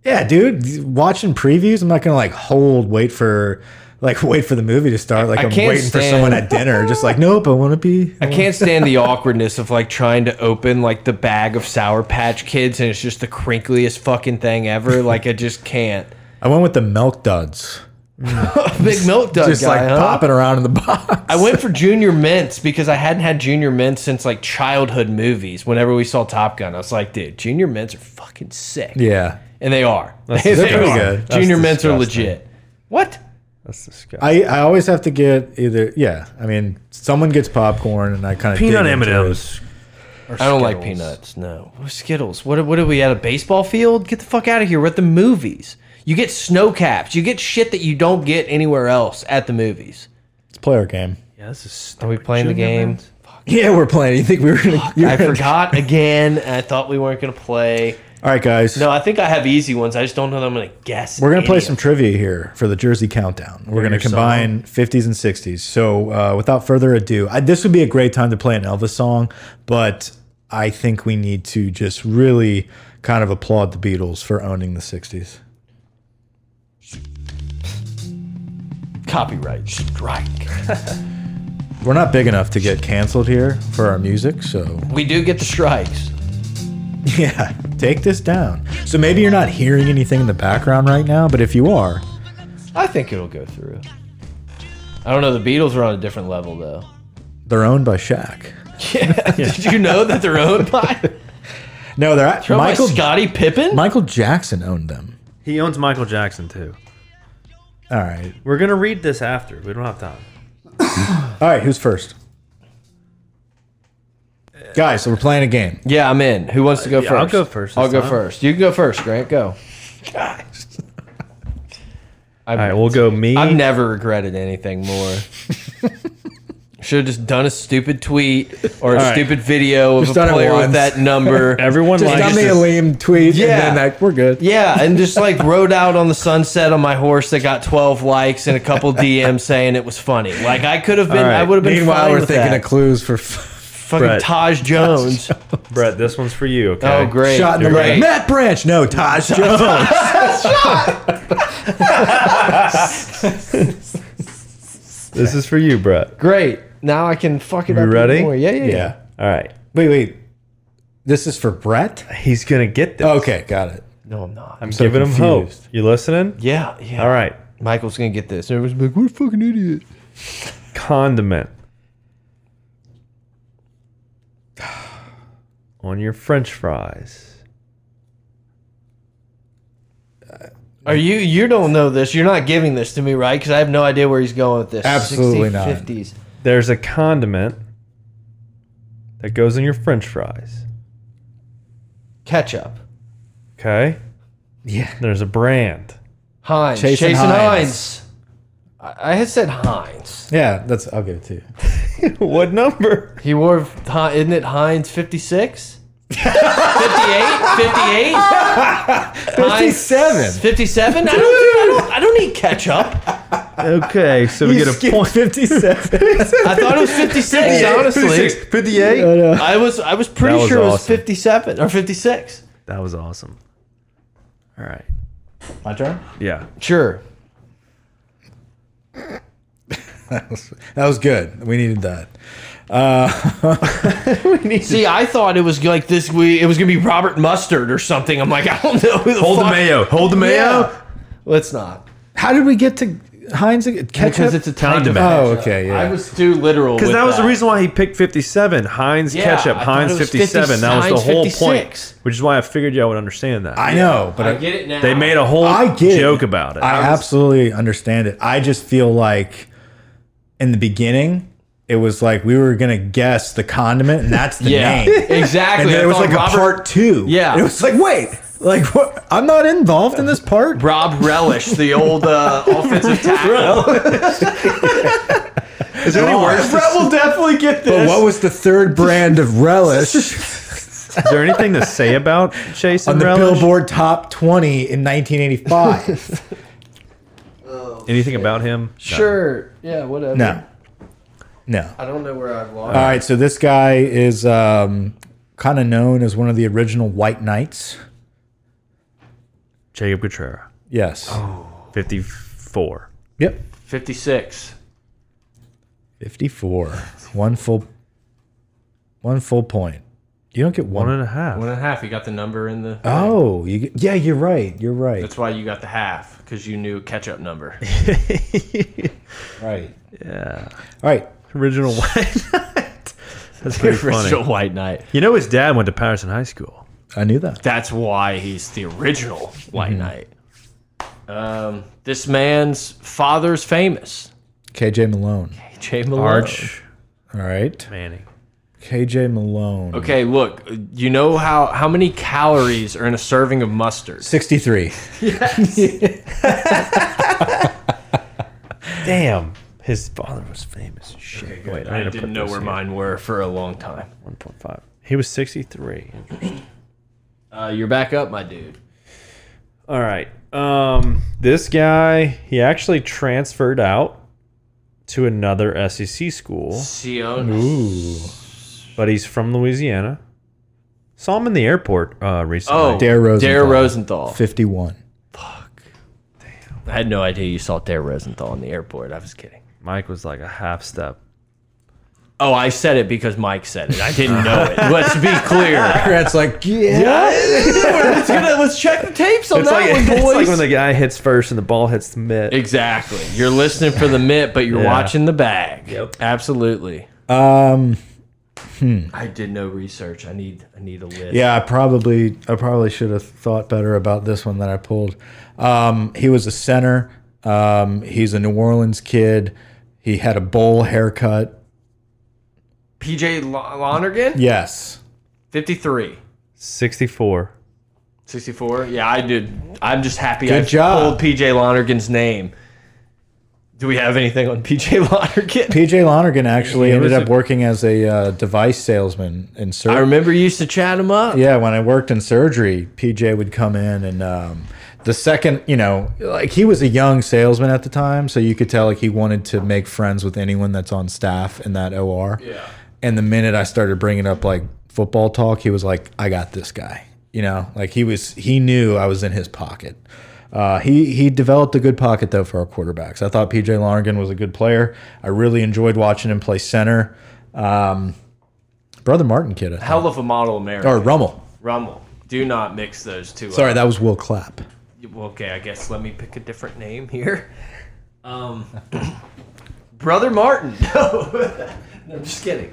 Speaker 3: Yeah, dude. Watching previews, I'm not gonna like hold, wait for, like wait for the movie to start. Like
Speaker 2: I
Speaker 3: I am
Speaker 2: can't
Speaker 3: waiting for
Speaker 2: stand- *laughs*
Speaker 3: someone at dinner, just like nope, I want to be.
Speaker 2: I can't stand the awkwardness of like trying to open like the bag of Sour Patch Kids and it's just the crinkliest fucking thing ever. Like I just
Speaker 1: *laughs*
Speaker 2: can't.
Speaker 3: I went with the milk duds,
Speaker 2: Big milk dud
Speaker 3: just
Speaker 2: guy,
Speaker 3: like
Speaker 2: huh?
Speaker 3: popping around in the *laughs* box.
Speaker 2: I went for Junior Mints because I hadn't had Junior Mints since like childhood movies. Whenever we saw Top Gun, I was like, dude, Junior Mints are fucking sick.
Speaker 3: yeah,
Speaker 2: And they are. *laughs* They
Speaker 3: disgusting.
Speaker 2: are.
Speaker 3: That's
Speaker 2: Junior mints are
Speaker 1: disgusting.
Speaker 2: legit. What?
Speaker 1: That's disgusting.
Speaker 3: I, I always have to get either. Yeah, I mean, someone gets popcorn, and I kind of
Speaker 1: Peanut M&Ms.
Speaker 2: I don't like peanuts. No. Skittles. What, are- what are we at a baseball field? Get the fuck out of here. We're at the movies. You get snow caps. You get shit that you don't get anywhere else at the movies.
Speaker 3: Let's play our game. *laughs*
Speaker 1: Yeah, this is
Speaker 2: Are we playing the game?
Speaker 3: Yeah, we're playing. You think we were? Gonna, you
Speaker 2: I
Speaker 3: were- *laughs*
Speaker 2: forgot again. and I thought we weren't going to play.
Speaker 3: All right, guys.
Speaker 2: No, I think I have easy ones. I just don't know that I'm going to guess.
Speaker 3: We're going
Speaker 2: any
Speaker 3: to play
Speaker 2: of
Speaker 3: some trivia here for the Jersey Countdown. We're going to combine 50s and 60s. So, uh, without further ado, I, this would be a great time to play an Elvis song, but I think we need to just really kind of applaud the Beatles for owning the 60s.
Speaker 2: Copyright strike.
Speaker 3: We're not big enough to get canceled here for our music, so *laughs*
Speaker 2: we do get the strikes.
Speaker 3: yeah, take this down. So maybe you're not hearing anything in the background right now, but if you are,
Speaker 2: I think it'll go through. I don't know. The Beatles are on a different level, though.
Speaker 3: they're owned by Shaq.
Speaker 2: Did you know that they're owned by,
Speaker 3: No, they're at,
Speaker 2: they're owned by
Speaker 3: Michael
Speaker 2: Scottie Pippen?
Speaker 3: Michael Jackson owned them.
Speaker 1: He owns Michael Jackson too.
Speaker 3: All right.
Speaker 1: We're gonna read this after. We don't have time.
Speaker 3: All right, who's first? Guys, so we're playing a game.
Speaker 2: yeah, I'm in. Who wants to go
Speaker 1: yeah, I'll
Speaker 2: first?
Speaker 1: go first
Speaker 2: I'll
Speaker 1: this
Speaker 2: go
Speaker 1: time.
Speaker 2: first. You can go first, Grant. Go. I've,
Speaker 1: All right, we'll go me. *laughs*
Speaker 2: I've never regretted anything more. Should have just done a stupid tweet or a
Speaker 1: right.
Speaker 2: stupid video of
Speaker 3: Just
Speaker 2: a
Speaker 3: done it
Speaker 2: player with
Speaker 3: once.
Speaker 2: that number.
Speaker 1: *laughs* Everyone
Speaker 3: Just
Speaker 1: likes
Speaker 3: got me a
Speaker 1: this-
Speaker 3: lame tweet.
Speaker 2: Yeah.
Speaker 3: And then like, we're good.
Speaker 2: Yeah, and just like rode out on the sunset on my horse that got 12 likes and a
Speaker 1: *laughs*
Speaker 2: couple DMs saying it was funny. Like I could have been,
Speaker 1: All right.
Speaker 2: I would have been.
Speaker 3: Meanwhile,
Speaker 2: fine
Speaker 3: we're
Speaker 2: with
Speaker 3: thinking
Speaker 2: that.
Speaker 3: of clues for f-
Speaker 2: fucking
Speaker 1: Brett.
Speaker 2: Taj Jones.
Speaker 1: Brett, this one's for you. Okay.
Speaker 2: Oh, great!
Speaker 3: shot in the
Speaker 2: You're
Speaker 3: leg.
Speaker 2: great.
Speaker 3: Matt Branch. No, Oh. Taj Jones.
Speaker 1: This is for you, Brett.
Speaker 2: Great. Now I can fuck it
Speaker 1: You
Speaker 2: up. even
Speaker 1: ready?
Speaker 2: More. Yeah, yeah, yeah.
Speaker 3: yeah.
Speaker 1: All right.
Speaker 3: Wait, wait. This is for Brett?
Speaker 1: He's going to get this.
Speaker 3: Okay, got it.
Speaker 2: No, I'm not.
Speaker 1: I'm giving him hope.
Speaker 3: Oh, confused.
Speaker 1: You listening?
Speaker 2: yeah, yeah.
Speaker 1: All right.
Speaker 2: Michael's gonna get this. Everyone's like, "What a fucking idiot."
Speaker 1: Condiment. *sighs* On your french fries.
Speaker 2: Are you? You don't know this. You're not giving this to me, right? Because I have no idea where he's going with this.
Speaker 3: Absolutely not.
Speaker 2: 50s.
Speaker 1: There's a condiment that goes in your french fries.
Speaker 2: Ketchup.
Speaker 1: Okay?
Speaker 3: Yeah.
Speaker 1: There's a brand. *laughs*
Speaker 2: Heinz.
Speaker 3: Jason
Speaker 2: Jason,
Speaker 3: Hines.
Speaker 2: Heinz. I, I had said Heinz.
Speaker 3: Yeah, that's I'll give it to you.
Speaker 1: what number?
Speaker 2: He wore, Hi- isn't it Heinz 56? 58? 58?
Speaker 3: 57.
Speaker 2: 57? I don't, I, don't, I don't need ketchup.
Speaker 1: Okay, so we get a point. *laughs*
Speaker 3: 57.
Speaker 2: I thought it was 56, honestly.
Speaker 1: 58.
Speaker 2: *laughs* I was I was pretty
Speaker 1: That was
Speaker 2: sure it was
Speaker 1: awesome.
Speaker 2: 57 or 56.
Speaker 1: That was awesome. All right.
Speaker 3: My turn?
Speaker 1: Yeah.
Speaker 2: Sure.
Speaker 3: That was good. We needed that.
Speaker 2: See, I thought it was like this we it was going to be Robert Mustard or something. I'm like, I don't know who the
Speaker 1: Hold the
Speaker 2: fuck-
Speaker 1: mayo. Hold the mayo.
Speaker 2: Yeah. Let's not.
Speaker 3: How did we get to Heinz again?
Speaker 2: Because
Speaker 3: Ketchup?
Speaker 2: it's a type of
Speaker 1: Condiment.
Speaker 3: oh,
Speaker 2: ketchup.
Speaker 3: okay, yeah.
Speaker 2: I was too literal.
Speaker 1: Because
Speaker 2: with
Speaker 1: that was the reason why he picked 57. Heinz
Speaker 2: Yeah,
Speaker 1: ketchup,
Speaker 2: I thought
Speaker 1: Heinz
Speaker 2: it was
Speaker 1: 57. that was the
Speaker 2: Heinz
Speaker 1: whole
Speaker 2: 56.
Speaker 1: point. Which is why I figured y'all would understand that.
Speaker 3: I know, but
Speaker 2: I
Speaker 3: I,
Speaker 2: get it now.
Speaker 1: they made a whole
Speaker 3: I get it.
Speaker 1: joke about it.
Speaker 3: I absolutely understand it. I just feel like in the beginning, it was like we were going to guess the condiment, and that's the
Speaker 2: Yeah,
Speaker 3: name.
Speaker 2: *laughs* exactly.
Speaker 3: And
Speaker 2: I
Speaker 3: there was
Speaker 2: thought
Speaker 3: like
Speaker 2: Robert-
Speaker 3: a part two.
Speaker 2: Yeah.
Speaker 3: It was like, wait, like, what? I'm not involved in this part.
Speaker 2: Rob Relish, the old
Speaker 1: *laughs*
Speaker 2: uh, offensive tackle.
Speaker 1: is there, any worse,
Speaker 2: Brett
Speaker 3: *laughs*
Speaker 2: will definitely get
Speaker 3: But
Speaker 2: this.
Speaker 3: what was the third brand of
Speaker 2: *laughs*
Speaker 3: relish
Speaker 1: is there anything to say about Chase
Speaker 3: on
Speaker 1: and
Speaker 3: the
Speaker 1: Relish?
Speaker 3: Billboard Top 20
Speaker 2: *laughs*
Speaker 3: in 1985?
Speaker 1: Anything about him?
Speaker 2: sure. Yeah, whatever.
Speaker 3: no. No.
Speaker 2: I don't know where I've lost.
Speaker 3: All right, so this guy is um, kind of known as one of the original White Knights.
Speaker 1: Jacob Cotrera,
Speaker 3: Yes.
Speaker 1: 54.
Speaker 3: Yep.
Speaker 2: 56.
Speaker 3: 54. One full one full point. You don't get one.
Speaker 1: One and a half.
Speaker 2: One and a half. You got the number in the.
Speaker 3: oh, you get, yeah, you're right. You're right.
Speaker 2: That's why you got the half, because you knew catch-up number.
Speaker 3: right. Yeah. All right.
Speaker 1: *laughs* Original White Knight. That's
Speaker 2: *laughs*
Speaker 1: pretty
Speaker 2: original
Speaker 1: funny.
Speaker 2: White Knight.
Speaker 1: You know his dad went to Patterson High School.
Speaker 3: I knew that.
Speaker 2: That's why he's the original White
Speaker 1: Mm-hmm.
Speaker 2: Knight. Um, this man's father's famous.
Speaker 3: KJ Malone.
Speaker 2: Jay Malone.
Speaker 1: Arch
Speaker 3: All right.
Speaker 1: Manning.
Speaker 3: KJ Malone.
Speaker 2: Okay, look, you know how how many calories are in a serving of mustard?
Speaker 3: 63.
Speaker 1: Damn. His father was famous as shit. Wait,
Speaker 2: I
Speaker 1: need to put
Speaker 2: didn't know
Speaker 1: this
Speaker 2: where
Speaker 1: here.
Speaker 2: mine were for a long time.
Speaker 1: 1.5. He was 63.
Speaker 2: Uh, you're back up, my dude.
Speaker 1: All right. Um, this guy, he actually transferred out to another SEC school,
Speaker 2: Sion.
Speaker 1: but he's from Louisiana. Saw him in the airport uh, recently.
Speaker 2: Oh,
Speaker 3: Dare Rosenthal.
Speaker 2: Dare
Speaker 3: Oh.
Speaker 2: Rosenthal.
Speaker 3: 51.
Speaker 2: I had no idea you saw Dare Rosenthal in the airport. I was kidding.
Speaker 1: Mike was like a half step.
Speaker 2: Oh, I said it because Mike said it. I didn't know
Speaker 1: *laughs*
Speaker 2: it. Let's be clear.
Speaker 3: Grant's like, yeah.
Speaker 2: let's, gonna- let's check the tapes on
Speaker 1: It's,
Speaker 2: that
Speaker 1: like,
Speaker 2: one,
Speaker 1: *laughs* it's
Speaker 2: boys.
Speaker 1: like when the guy hits first and the ball hits the mitt.
Speaker 2: exactly. You're listening for the mitt, but
Speaker 3: *laughs*
Speaker 2: you're
Speaker 1: Yeah.
Speaker 2: watching the bag. Yep. Absolutely.
Speaker 3: Um,
Speaker 2: I did no research. I need I need a list.
Speaker 3: yeah, I probably I probably should have thought better about this one that I pulled. Um, he was a center. Um, he's a New Orleans kid. He had a bowl haircut.
Speaker 2: PJ Lo- Lonergan,
Speaker 3: Yes.
Speaker 2: 53.
Speaker 1: 64.
Speaker 2: 64. Yeah, I did. I'm just happy
Speaker 3: Good
Speaker 2: I
Speaker 3: job.
Speaker 2: pulled PJ Lonergan's name. Do we have anything on *laughs* PJ Lonergan?
Speaker 3: PJ Lonergan actually
Speaker 1: Yeah, it
Speaker 3: ended
Speaker 1: was
Speaker 3: up
Speaker 1: a-
Speaker 3: working as a uh, device salesman in
Speaker 2: I
Speaker 3: surgery.
Speaker 2: remember you used to chat him up.
Speaker 3: Yeah, when I worked in surgery, PJ would come in and um, the second, you know, like he was a young salesman at the time, so you could tell like he wanted to make friends with anyone that's on staff in that OR. Yeah. And the minute I started bringing up like football talk, he was like, "I got this guy." You know, like he was he knew I was in his pocket. Uh, he he developed a good pocket though for our quarterbacks. I thought PJ Lonergan was a good player. I really enjoyed watching him play center. Um, Brother Martin kid, I
Speaker 2: Hell of a model American.
Speaker 3: or Rummel.
Speaker 2: Rummel. Do not mix those two
Speaker 3: Sorry,
Speaker 2: up.
Speaker 3: that was Will Clapp.
Speaker 2: Okay, I guess let me pick a different name here. Um, *coughs* Brother Martin. *laughs* No. no, I'm just kidding.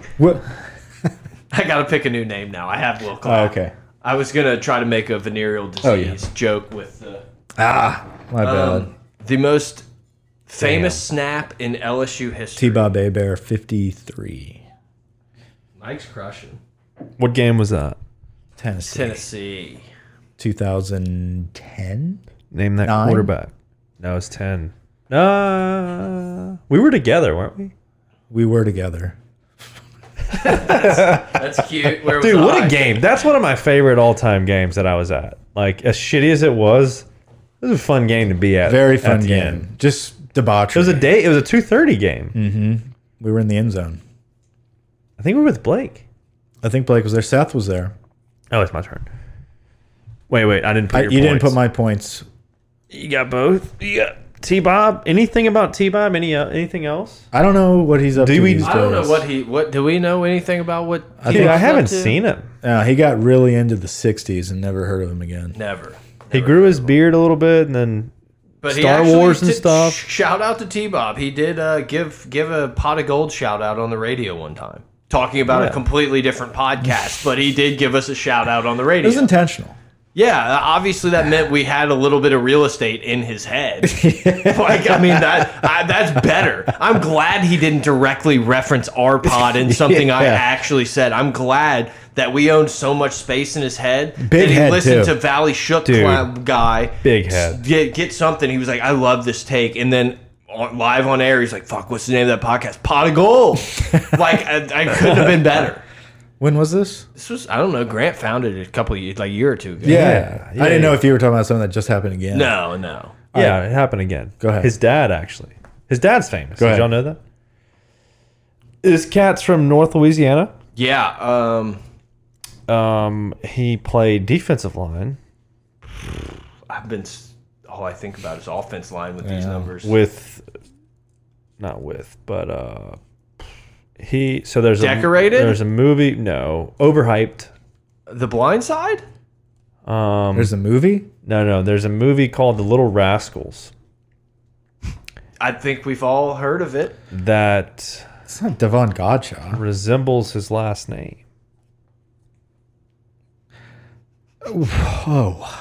Speaker 2: I got to pick a new name now. I have Will
Speaker 1: Oh,
Speaker 2: Clark.
Speaker 3: okay.
Speaker 2: I was going to try to make a venereal disease
Speaker 3: Oh, yeah.
Speaker 2: joke with the,
Speaker 3: Ah, my bad.
Speaker 2: um, the most famous snap in LSU
Speaker 3: T
Speaker 2: history.
Speaker 3: Bob A Bear 53.
Speaker 2: Mike's crushing.
Speaker 1: What game was that?
Speaker 3: Tennessee.
Speaker 2: Tennessee.
Speaker 3: 2010?
Speaker 1: Name that
Speaker 3: Nine?
Speaker 1: quarterback. No, it's ten. Uh, we were together, weren't we?
Speaker 3: We were together.
Speaker 2: That's cute. Where was
Speaker 1: Dude, what
Speaker 2: I?
Speaker 1: a game! That's one of my favorite all-time games that I was at. Like as shitty as it was, it was a fun game to be at.
Speaker 3: Very
Speaker 1: at
Speaker 3: fun
Speaker 1: the
Speaker 3: game.
Speaker 1: end.
Speaker 3: Just
Speaker 1: It
Speaker 3: debauchery.
Speaker 1: was a day. It was a two thirty game.
Speaker 3: Mm. we were in the end zone.
Speaker 1: I think we were with Blake.
Speaker 3: I think Blake was there. Seth was there.
Speaker 1: Oh, it's my turn. Wait, wait, I didn't put
Speaker 3: I,
Speaker 1: your
Speaker 3: you didn't put
Speaker 1: points.
Speaker 3: my points.
Speaker 1: You got both. You got T Bob. Anything about T Bob? Any uh, anything else?
Speaker 3: I don't know what he's up
Speaker 1: Do
Speaker 3: to.
Speaker 1: we-
Speaker 3: these
Speaker 2: I don't know
Speaker 3: days.
Speaker 2: what he. What do we know anything about? What
Speaker 1: Dude,
Speaker 3: think-
Speaker 1: I haven't
Speaker 2: Up to-
Speaker 1: seen him.
Speaker 3: Uh, he got really into the 60s and never heard of him again.
Speaker 2: never.
Speaker 1: He grew his beard a little bit, and then
Speaker 2: But
Speaker 1: Star Wars and
Speaker 2: did-
Speaker 1: stuff.
Speaker 2: sh- Shout out to T Bob. He did uh, give give a pot of gold shout out on the radio one time, talking about a
Speaker 1: Yeah.
Speaker 2: completely different podcast. but he did give us a shout out on the
Speaker 3: It
Speaker 2: radio.
Speaker 3: was intentional.
Speaker 2: yeah, uh, obviously that meant we had a little bit of real estate in his
Speaker 1: *laughs*
Speaker 2: head. like, I mean that I, that's better. I'm glad he didn't directly reference our pod
Speaker 1: *laughs*
Speaker 2: and something I
Speaker 3: Yeah.
Speaker 2: actually said. I'm glad that we owned so much space in his head
Speaker 3: Big
Speaker 2: that he
Speaker 3: head,
Speaker 2: listened
Speaker 3: too.
Speaker 2: to Valley Shook
Speaker 1: Dude.
Speaker 2: Club guy
Speaker 1: Big head.
Speaker 2: get get something. He was like, I love this take, and then on, live on air, he's like, "Fuck, what's the name of that podcast? Pot of Gold." like I, I couldn't have been better.
Speaker 3: When was this?
Speaker 2: This was I don't know. Grant founded it a couple of years, like a year or two ago.
Speaker 1: Yeah, yeah,
Speaker 3: I didn't know
Speaker 1: yeah.
Speaker 3: if you were talking about something that just happened again.
Speaker 2: No, no.
Speaker 1: yeah, it happened again.
Speaker 3: Go ahead.
Speaker 1: His dad actually. His dad's famous.
Speaker 3: Go
Speaker 1: Did
Speaker 3: ahead.
Speaker 1: y'all know that? This cat's from North Louisiana.
Speaker 2: Yeah. Um,
Speaker 1: Um, he played defensive line
Speaker 2: I've been. s- All I think about is offense line with these numbers.
Speaker 1: with, not with, but uh, he. So there's
Speaker 2: Decorated?
Speaker 1: A, there's a movie. No, overhyped.
Speaker 2: the Blind Side.
Speaker 1: Um,
Speaker 3: There's a movie?
Speaker 1: no, no. There's a movie called The Little Rascals
Speaker 2: I think we've all heard of it.
Speaker 1: that
Speaker 3: It's not Devon Godshaw.
Speaker 1: resembles his last name.
Speaker 3: Oh.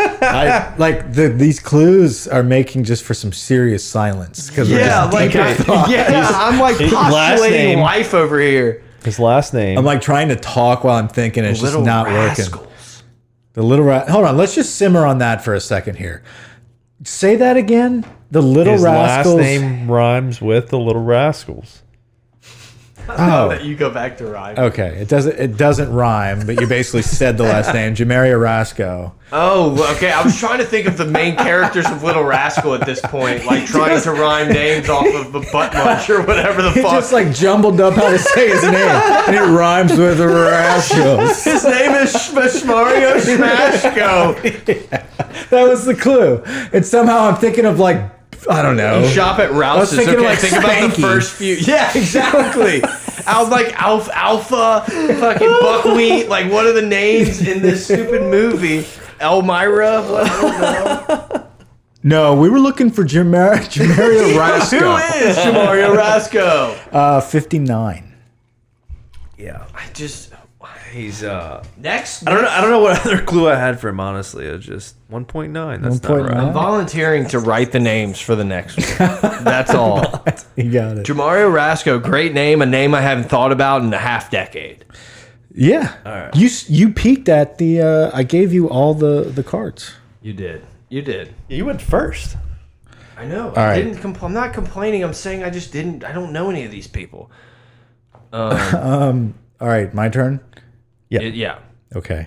Speaker 3: I, like the, these clues are making just for some serious silence because
Speaker 2: Yeah,
Speaker 3: we're
Speaker 2: like *laughs*
Speaker 3: just deep in thought.
Speaker 2: I, yeah, I'm like
Speaker 1: his last
Speaker 2: postulating
Speaker 1: name-
Speaker 2: life over here.
Speaker 1: His last name.
Speaker 3: I'm like trying to talk while I'm thinking it's just not working.
Speaker 2: rascals.
Speaker 3: The little rat. Hold on, let's just simmer on that for a second here. Say that again. The little
Speaker 1: his
Speaker 3: rascals.
Speaker 1: last name rhymes with The Little Rascals.
Speaker 3: Oh,
Speaker 2: You go back to rhyme.
Speaker 3: okay. It doesn't. It doesn't rhyme, but you basically said the last name, Jamaria Rasco.
Speaker 2: Oh, okay. I was trying to think of the main characters of Little Rascal at this point, like trying to rhyme names off of the butt
Speaker 3: *laughs*
Speaker 2: munch or whatever the
Speaker 3: He
Speaker 2: fuck.
Speaker 3: just like jumbled up how to say his name, and it rhymes with Rascos.
Speaker 2: His name is Mario Smashko.
Speaker 3: That was the clue. And somehow I'm thinking of like I don't know.
Speaker 2: Shop at
Speaker 3: was
Speaker 2: Rouse's.
Speaker 3: thinking
Speaker 2: Okay,
Speaker 3: like
Speaker 2: think about the
Speaker 3: Spanky.
Speaker 2: first
Speaker 3: *laughs*
Speaker 2: few. Yeah, exactly. Al like Alf Alpha, fucking Buckwheat. Like, what are the names in this stupid movie? Elmira. What?
Speaker 3: No, we were looking for *laughs* Jamar Jamaria
Speaker 2: Who
Speaker 3: Rasco.
Speaker 2: is Mario Rasco?
Speaker 3: Uh, 59.
Speaker 1: Yeah.
Speaker 2: I just
Speaker 1: He's uh
Speaker 2: next.
Speaker 1: I don't know I don't know what *laughs* other clue I had for him, honestly. It was just one point nine. That's not
Speaker 3: 1.9.
Speaker 1: right.
Speaker 2: volunteering to write the names for the next
Speaker 3: *laughs*
Speaker 2: one. That's all.
Speaker 3: You got it.
Speaker 2: Jamario Rasco, great name, a name I haven't thought about in a half decade.
Speaker 3: Yeah. You s- you peeked at the. Uh, I gave you all the the cards.
Speaker 2: You did. You did.
Speaker 1: You went first.
Speaker 2: I know.
Speaker 3: All
Speaker 2: I
Speaker 3: right.
Speaker 2: didn't compl- I'm not complaining. I'm saying I just didn't. I don't know any of these people.
Speaker 3: All right, my turn.
Speaker 2: It- yeah.
Speaker 3: Okay.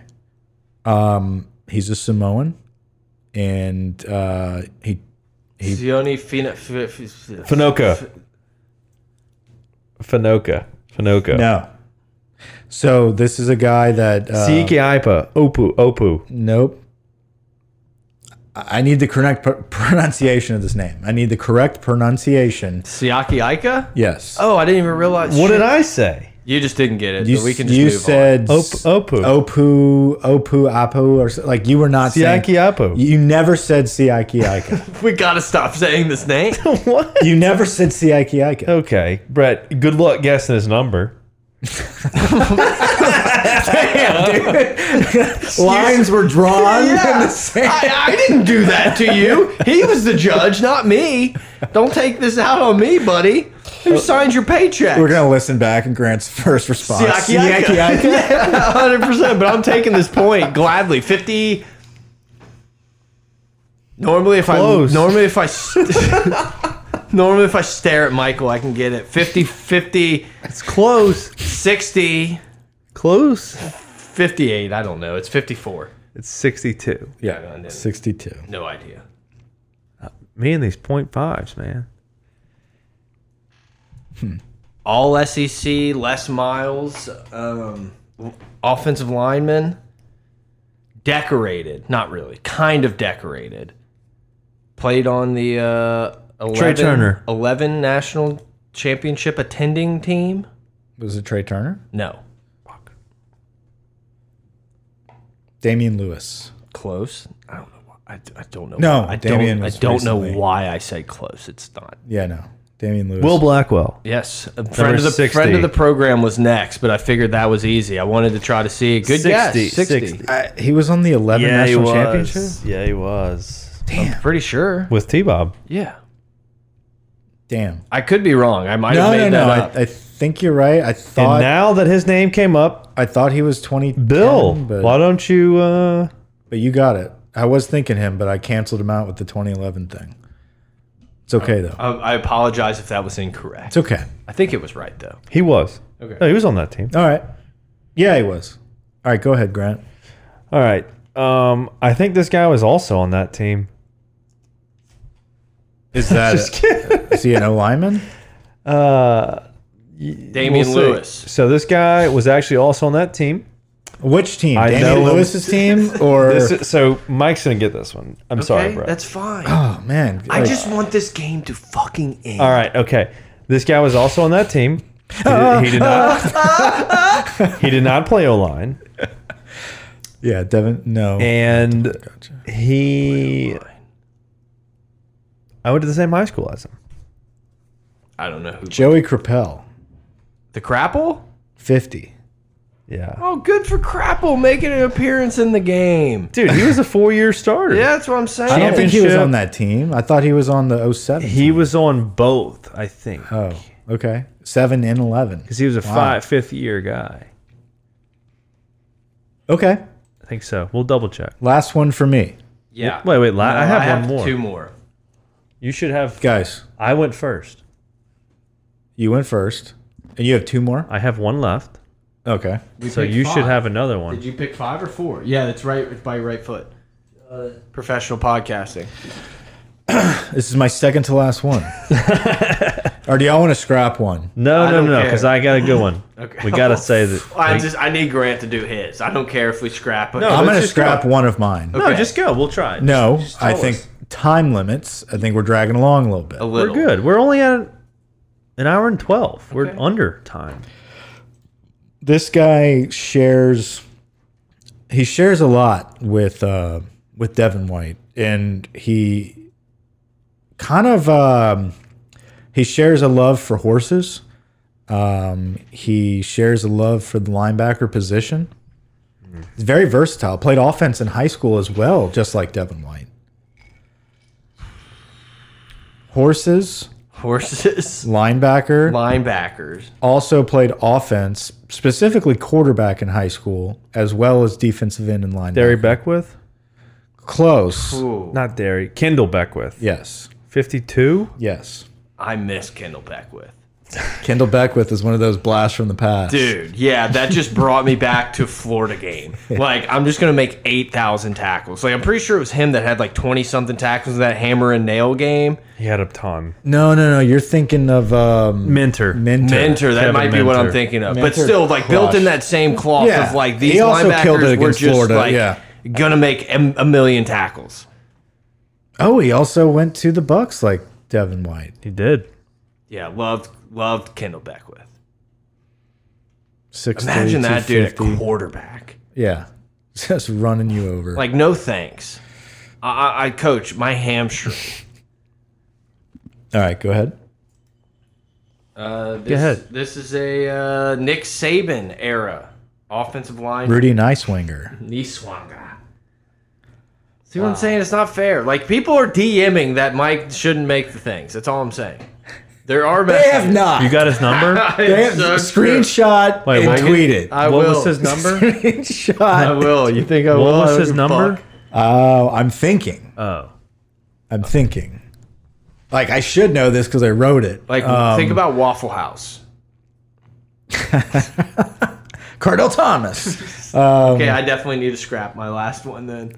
Speaker 3: Um, he's a Samoan, and uh, he
Speaker 2: Sione Fina. F- F- F-
Speaker 1: Finoka. Finoka. Finoka.
Speaker 3: no. So this is a guy that uh,
Speaker 1: Siiki Aipa. Opu. Opu.
Speaker 3: Nope. I I need the correct pr- pronunciation of this name. I need the correct pronunciation.
Speaker 2: Siaki Aika?
Speaker 3: Yes.
Speaker 2: Oh, I didn't even realize.
Speaker 1: What
Speaker 2: shit.
Speaker 1: did I say?
Speaker 2: You just didn't get it.
Speaker 3: you
Speaker 2: but we can
Speaker 3: s-
Speaker 2: just
Speaker 3: you
Speaker 2: move
Speaker 3: said
Speaker 1: Op-
Speaker 3: s-
Speaker 1: Opu.
Speaker 3: opu opu apu or so, like you were not saying-
Speaker 1: Siaki Aipa.
Speaker 3: You never said siaki aika.
Speaker 1: *laughs*
Speaker 2: on. *laughs* We gotta stop saying this name.
Speaker 1: what?
Speaker 3: you never said siaki aika.
Speaker 1: Okay, Brett. Good luck guessing his number.
Speaker 3: Lines were drawn. in the sand.
Speaker 2: I, I didn't do that to you. He was the judge, not me. Don't take this out on me, buddy. Who signed your paycheck?
Speaker 3: *laughs* We're gonna listen back and Grant's first response.
Speaker 2: Siaki Aika.
Speaker 3: Siaki
Speaker 1: *laughs*
Speaker 2: *laughs*
Speaker 3: Aika.
Speaker 2: Yeah, 100%. But I'm taking this point gladly. 50. Normally, if
Speaker 1: Close.
Speaker 2: I normally if I s- *laughs* normally if I stare at Michael, I can get it. 50, 50,
Speaker 1: It's close.
Speaker 2: 60,
Speaker 1: Close.
Speaker 2: 58. I don't know. It's 54.
Speaker 1: It's 62.
Speaker 3: yeah, sixty-two.
Speaker 2: No idea.
Speaker 1: Me and these point fives, man.
Speaker 2: All SEC, Les Miles, um, offensive lineman, decorated. Not really, kind of decorated. Played on the uh, 11,
Speaker 1: Turner.
Speaker 2: eleven national championship attending team.
Speaker 3: Was it Trey Turner?
Speaker 2: No,
Speaker 3: Damian Lewis.
Speaker 2: close. I don't know. why- I, I don't know.
Speaker 3: No,
Speaker 2: I
Speaker 3: Damian
Speaker 2: don't. I
Speaker 3: was
Speaker 2: don't know
Speaker 3: recently.
Speaker 2: why I said close. It's not.
Speaker 3: Yeah, no. Damian Lewis.
Speaker 1: Will Blackwell.
Speaker 2: Yes, a friend of the
Speaker 1: 60.
Speaker 2: friend of the program was next, but I figured that was easy. I wanted to try to see a good guess.
Speaker 1: 60,
Speaker 2: 60.
Speaker 1: 60.
Speaker 3: I- he was on the 11 national championship.
Speaker 1: Yeah, he was.
Speaker 3: Damn.
Speaker 2: Pretty sure.
Speaker 1: With T Bob.
Speaker 2: Yeah.
Speaker 3: Damn.
Speaker 2: I could be wrong. I might
Speaker 3: No,
Speaker 2: have made
Speaker 3: no,
Speaker 2: that
Speaker 3: no.
Speaker 2: up.
Speaker 3: I, I think you're right. I
Speaker 1: And
Speaker 3: thought
Speaker 1: now that his name came up,
Speaker 3: I thought he was 20.
Speaker 1: Bill,
Speaker 3: but,
Speaker 1: why don't you uh
Speaker 3: but you got it. I was thinking him, but I canceled him out with the 2011 thing. It's okay though.
Speaker 2: Uh, I, I apologize if that was incorrect.
Speaker 3: It's okay.
Speaker 2: I think it was right though.
Speaker 1: he was.
Speaker 2: Okay.
Speaker 1: No, he was on that team.
Speaker 3: All right. Yeah, he was. All right, go ahead, Grant.
Speaker 1: All right. Um I think this guy was also on that team.
Speaker 3: Is *laughs* that is he an O lineman?
Speaker 2: Damian
Speaker 1: Uh, We'll see.
Speaker 2: Lewis.
Speaker 1: So this guy was actually also on that team.
Speaker 3: Which team?
Speaker 1: I know
Speaker 3: Damian
Speaker 1: him.
Speaker 3: Lewis's team or
Speaker 1: *laughs* This is- so Mike's gonna get this one. I'm sorry, bro.
Speaker 2: that's fine.
Speaker 3: Oh man.
Speaker 2: I
Speaker 3: Like,
Speaker 2: just want this game to fucking end.
Speaker 1: All right. Okay. This guy was also on that team. He did, he did not. he did not *laughs* play O line,
Speaker 3: Yeah, Devin. No.
Speaker 1: and he. I went to the same high school as him.
Speaker 2: I don't know who.
Speaker 3: Joey Crapel,
Speaker 2: The Crapple?
Speaker 3: 50.
Speaker 1: Yeah,
Speaker 2: Oh, good for Crapple making an appearance in the game.
Speaker 1: dude, he was a four-year starter.
Speaker 2: Yeah, that's what I'm saying.
Speaker 3: I don't think he was
Speaker 1: Championship.
Speaker 3: on that team. I thought he was on the 07.
Speaker 1: he was on both, I think, because
Speaker 3: oh, okay. 7 and 11.
Speaker 1: he was a
Speaker 3: Wow.
Speaker 1: five, fifth-year guy.
Speaker 3: Okay.
Speaker 1: I think so. We'll double check.
Speaker 3: Last one for me.
Speaker 2: yeah.
Speaker 1: Wait, wait, la- I have one more.
Speaker 2: Two more.
Speaker 1: You should have.
Speaker 3: Guys,
Speaker 1: I went first.
Speaker 3: you went first. And you have two more?
Speaker 1: I have one left,
Speaker 3: Okay.
Speaker 1: so you should have another one.
Speaker 2: Did you pick five or four? Yeah, that's right. It's by right foot. Uh, Professional podcasting.
Speaker 3: This is my second to last
Speaker 1: *laughs*
Speaker 3: one. or do y'all want to scrap one?
Speaker 1: no,
Speaker 2: I
Speaker 1: no,
Speaker 2: don't
Speaker 1: no,
Speaker 2: care.
Speaker 1: because I got a good one.
Speaker 2: Okay. *laughs*
Speaker 1: We gotta say that.
Speaker 2: I
Speaker 1: we-
Speaker 2: just I need Grant to do his. I don't care if we scrap it.
Speaker 1: No,
Speaker 3: I'm
Speaker 1: let's
Speaker 3: going to
Speaker 1: just
Speaker 3: scrap
Speaker 1: go.
Speaker 3: one of mine.
Speaker 1: No,
Speaker 2: Okay.
Speaker 1: just go. We'll try. it.
Speaker 3: No,
Speaker 1: Just- just
Speaker 3: I
Speaker 1: tell
Speaker 3: think
Speaker 1: us.
Speaker 3: time limits. I think we're dragging along a little bit.
Speaker 2: a
Speaker 1: we're
Speaker 2: little.
Speaker 1: good. We're only at an hour and 12. We're under time.
Speaker 3: this guy shares he shares a lot with uh with Devin White and he kind of um he shares a love for horses. Um he shares a love for the linebacker position. He's very versatile. Played offense in high school as well, just like Devin White. Horses,
Speaker 2: Horses,
Speaker 3: linebacker,
Speaker 2: linebackers.
Speaker 3: also played offense, specifically quarterback in high school, as well as defensive end and linebacker.
Speaker 1: Derry Beckwith?
Speaker 3: Close.
Speaker 2: Ooh.
Speaker 1: Not Derry. Kendall Beckwith.
Speaker 3: Yes.
Speaker 1: 52?
Speaker 3: Yes.
Speaker 2: I miss Kendall Beckwith.
Speaker 3: Kendall Beckwith is one of those blasts from the past.
Speaker 2: Dude, yeah, that just brought me back to Florida
Speaker 3: *laughs*
Speaker 2: game. Like, I'm just gonna make eight thousand tackles. Like, I'm pretty sure it was him that had like twenty something tackles in that hammer and nail game.
Speaker 1: He had a ton.
Speaker 3: No, no, no. You're thinking of um,
Speaker 1: Mentor.
Speaker 3: Mentor.
Speaker 2: Mentor, that
Speaker 1: Kevin
Speaker 2: might be what I'm
Speaker 1: Minter.
Speaker 2: thinking of. but
Speaker 3: Minter
Speaker 2: still, like built in
Speaker 3: crushed.
Speaker 2: that same cloth
Speaker 3: Yeah.
Speaker 2: of like
Speaker 3: He
Speaker 2: these
Speaker 3: also
Speaker 2: linebackers
Speaker 3: killed it
Speaker 2: were
Speaker 3: against
Speaker 2: just
Speaker 3: Florida,
Speaker 2: like
Speaker 3: yeah.
Speaker 2: gonna make a, a million tackles.
Speaker 3: Oh, he also went to the Bucks like Devin White.
Speaker 1: He did.
Speaker 2: Yeah, loved loved Kendall Beckwith.
Speaker 3: Six.
Speaker 2: Imagine that dude at quarterback.
Speaker 3: Yeah, *laughs* just running you over.
Speaker 2: Like, no thanks. I, I, I coach my hamstring.
Speaker 3: all right, go ahead.
Speaker 2: Uh, this,
Speaker 1: ahead.
Speaker 2: This is a uh, Nick Saban era offensive line.
Speaker 3: Rudy Nicewinger.
Speaker 2: Niswanga. See what I'm saying? It's not fair. Like people are DMing that Mike shouldn't make the things. That's all I'm saying. There are
Speaker 3: They have not.
Speaker 1: You got his
Speaker 2: *laughs*
Speaker 1: number?
Speaker 3: they have screenshot
Speaker 1: Wait,
Speaker 3: and
Speaker 1: what?
Speaker 3: tweet it.
Speaker 2: I
Speaker 1: what
Speaker 2: will.
Speaker 1: was his number?
Speaker 2: *laughs* I
Speaker 3: *laughs* Screenshot.
Speaker 2: will. You think I will?
Speaker 1: What was
Speaker 2: I
Speaker 1: his
Speaker 2: don't
Speaker 1: number?
Speaker 2: give
Speaker 3: Oh, I'm thinking.
Speaker 1: Oh.
Speaker 3: I'm thinking. Like I should know this because I wrote
Speaker 2: a
Speaker 3: it.
Speaker 2: fuck. Like
Speaker 3: Um,
Speaker 2: think about Waffle House. *laughs*
Speaker 3: Cardell Thomas,
Speaker 2: Okay,
Speaker 3: um,
Speaker 2: I definitely need to scrap my last one then.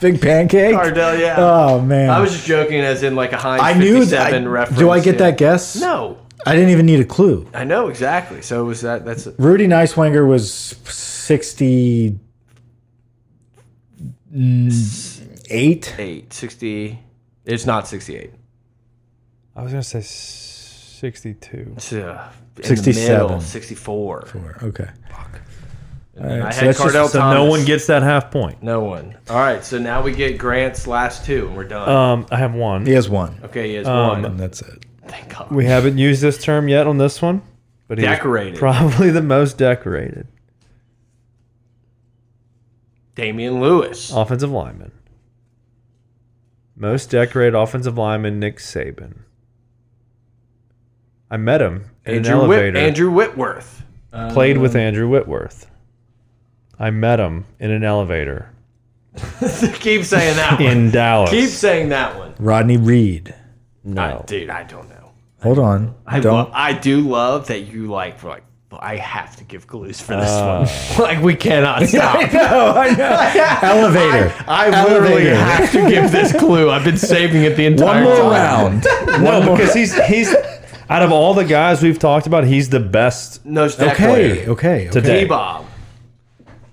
Speaker 3: Big Pancake.
Speaker 2: Cardell, yeah.
Speaker 3: Oh man,
Speaker 2: I was just joking, as in like a Heinz
Speaker 3: I knew.
Speaker 2: 57
Speaker 3: I-
Speaker 2: reference.
Speaker 3: do I get
Speaker 2: yeah.
Speaker 3: that guess?
Speaker 2: No,
Speaker 3: I didn't even need a clue.
Speaker 2: I know exactly. So was that? That's
Speaker 3: Rudy Nicewinger was 68.
Speaker 2: eight sixty. It's not sixty-eight.
Speaker 1: I was going to say 62.
Speaker 2: It's, uh, in the
Speaker 3: 67.
Speaker 2: middle, Sixty-four.
Speaker 3: Okay.
Speaker 2: I
Speaker 3: so
Speaker 2: had
Speaker 3: that's just-
Speaker 2: Cardell
Speaker 1: So
Speaker 2: Thomas.
Speaker 1: no one gets that half point.
Speaker 2: No one. All right, so now we get Grant's last two, and we're done.
Speaker 1: Um, I have one.
Speaker 3: He has one.
Speaker 2: okay, he has one.
Speaker 3: And that's it.
Speaker 2: Thank God.
Speaker 1: We haven't used this term yet on this one, but he was
Speaker 2: Decorated.
Speaker 1: probably the most decorated
Speaker 2: Damian Lewis.
Speaker 1: offensive lineman. Most decorated offensive lineman Nick Saban. I met him in an
Speaker 2: Andrew, Whit-
Speaker 1: elevator.
Speaker 2: Andrew Whitworth. *laughs*
Speaker 1: played with Andrew Whitworth. I met him in an elevator
Speaker 2: Keep saying that
Speaker 1: *laughs*
Speaker 2: one.
Speaker 1: in Dallas.
Speaker 2: Keep saying that one.
Speaker 3: Rodney Reed.
Speaker 1: no.
Speaker 2: I, dude, I don't know.
Speaker 3: Hold on.
Speaker 2: I
Speaker 3: Don't.
Speaker 2: lo- I do love *laughs* that you like were like I have to give clues for this one. *laughs* like we cannot stop.
Speaker 3: no, I know. Elevator.
Speaker 2: I literally
Speaker 3: Elevator.
Speaker 2: have to give this clue. I've been saving it the entire
Speaker 3: One more
Speaker 2: time.
Speaker 3: round.
Speaker 1: no, because he's he's out of all the guys we've talked about, he's the best.
Speaker 2: No, it's that
Speaker 3: Okay.
Speaker 2: player.
Speaker 3: Okay. okay.
Speaker 1: Today.
Speaker 2: T-Bob.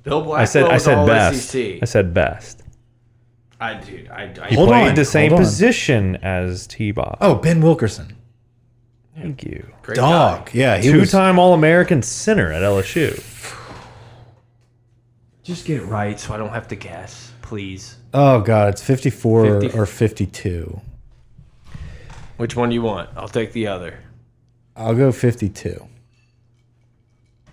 Speaker 2: Bill Blackwell
Speaker 1: I said I
Speaker 2: was
Speaker 1: said
Speaker 2: all E
Speaker 1: best.
Speaker 2: SEC.
Speaker 1: I said best.
Speaker 2: I dude, I, I
Speaker 1: Hold played
Speaker 3: on,
Speaker 1: the same
Speaker 3: hold on.
Speaker 1: position as T Bob.
Speaker 3: Oh, Ben Wilkerson.
Speaker 1: Thank you.
Speaker 2: great guy.
Speaker 3: Dog. Yeah. He
Speaker 1: Two
Speaker 3: was,
Speaker 1: time All American center at LSU.
Speaker 2: Just get it right so I don't have to guess, please.
Speaker 3: Oh, God. It's 54
Speaker 2: 50.
Speaker 3: or 52.
Speaker 2: Which one do you want? I'll take the other.
Speaker 3: I'll go 52.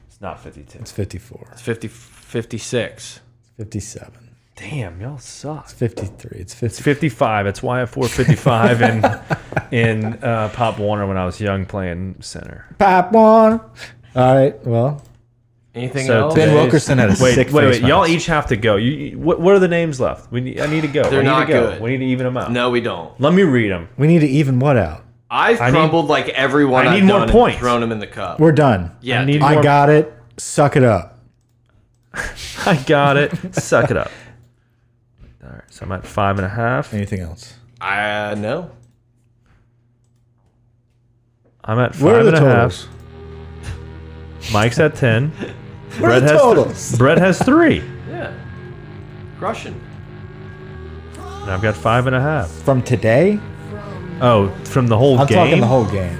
Speaker 2: It's not 52.
Speaker 3: It's 54.
Speaker 2: It's 50, 56.
Speaker 3: It's 57.
Speaker 1: Damn, y'all suck.
Speaker 3: It's 53. It's 50.
Speaker 1: 55. That's why I 455 in in uh, Pop Warner when I was young playing center.
Speaker 3: Pop one. All right. Well,
Speaker 2: Anything
Speaker 1: So
Speaker 2: else?
Speaker 1: Ben
Speaker 3: Ben
Speaker 1: Wait,
Speaker 3: Wilkerson had a
Speaker 1: Wait,
Speaker 3: sick
Speaker 1: wait,
Speaker 3: face
Speaker 1: wait. Y'all
Speaker 3: mask.
Speaker 1: each have to go. You, you- what, what are the names left? We need, I need to go.
Speaker 2: They're
Speaker 1: we need
Speaker 2: not
Speaker 1: to go.
Speaker 2: good.
Speaker 1: We need to even them out.
Speaker 2: No, we don't.
Speaker 1: Let me read them.
Speaker 3: We need to even what out?
Speaker 2: I've
Speaker 1: need-
Speaker 2: crumbled like everyone.
Speaker 1: I
Speaker 2: I've
Speaker 1: need more
Speaker 2: done and
Speaker 1: points.
Speaker 2: Thrown them in the cup.
Speaker 3: We're done.
Speaker 2: yeah,
Speaker 1: I need
Speaker 2: dude.
Speaker 1: more-
Speaker 3: I got it. Suck it up.
Speaker 1: *laughs* I got it. Suck it up. All right. So I'm at five and a half.
Speaker 3: Anything else?
Speaker 2: I uh, know.
Speaker 1: I'm at
Speaker 3: Where
Speaker 1: five
Speaker 3: are
Speaker 1: and
Speaker 3: the
Speaker 1: a
Speaker 3: totals?
Speaker 1: half. Mike's at 10.
Speaker 3: *laughs* Where are the
Speaker 1: has th-
Speaker 3: totals?
Speaker 1: Brett has three.
Speaker 2: Yeah, crushing.
Speaker 1: And I've got five and a half.
Speaker 3: From today?
Speaker 1: Oh, from the whole
Speaker 3: I'm
Speaker 1: game?
Speaker 3: talking the whole game.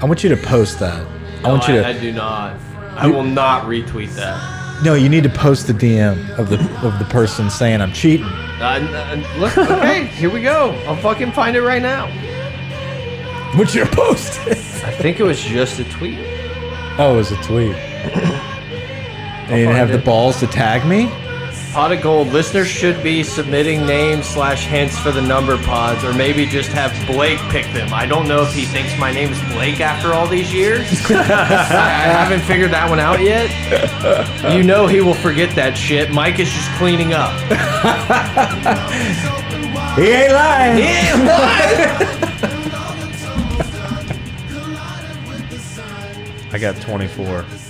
Speaker 3: I want you to post that. I want you
Speaker 2: I,
Speaker 3: to.
Speaker 2: Oh, I do not. I will not retweet that.
Speaker 3: no, you need to post the DM of the of the person saying I'm cheating.
Speaker 2: I, I- Uh, look, okay, here we go. I'll fucking find it right now.
Speaker 3: I want you to *laughs* post it.
Speaker 2: I think it was just a tweet.
Speaker 3: *coughs* Oh, it was a tweet. and you didn't have the balls to tag me?
Speaker 2: Pot of Gold listeners should be submitting names slash hints for the number pods, or maybe just have Blake pick them. I don't know if he thinks my name is Blake after all these years. I, *laughs* I haven't figured that one out yet. You know he will forget that shit. Mike is just cleaning up. *laughs*
Speaker 3: He ain't lying.
Speaker 1: I got 24.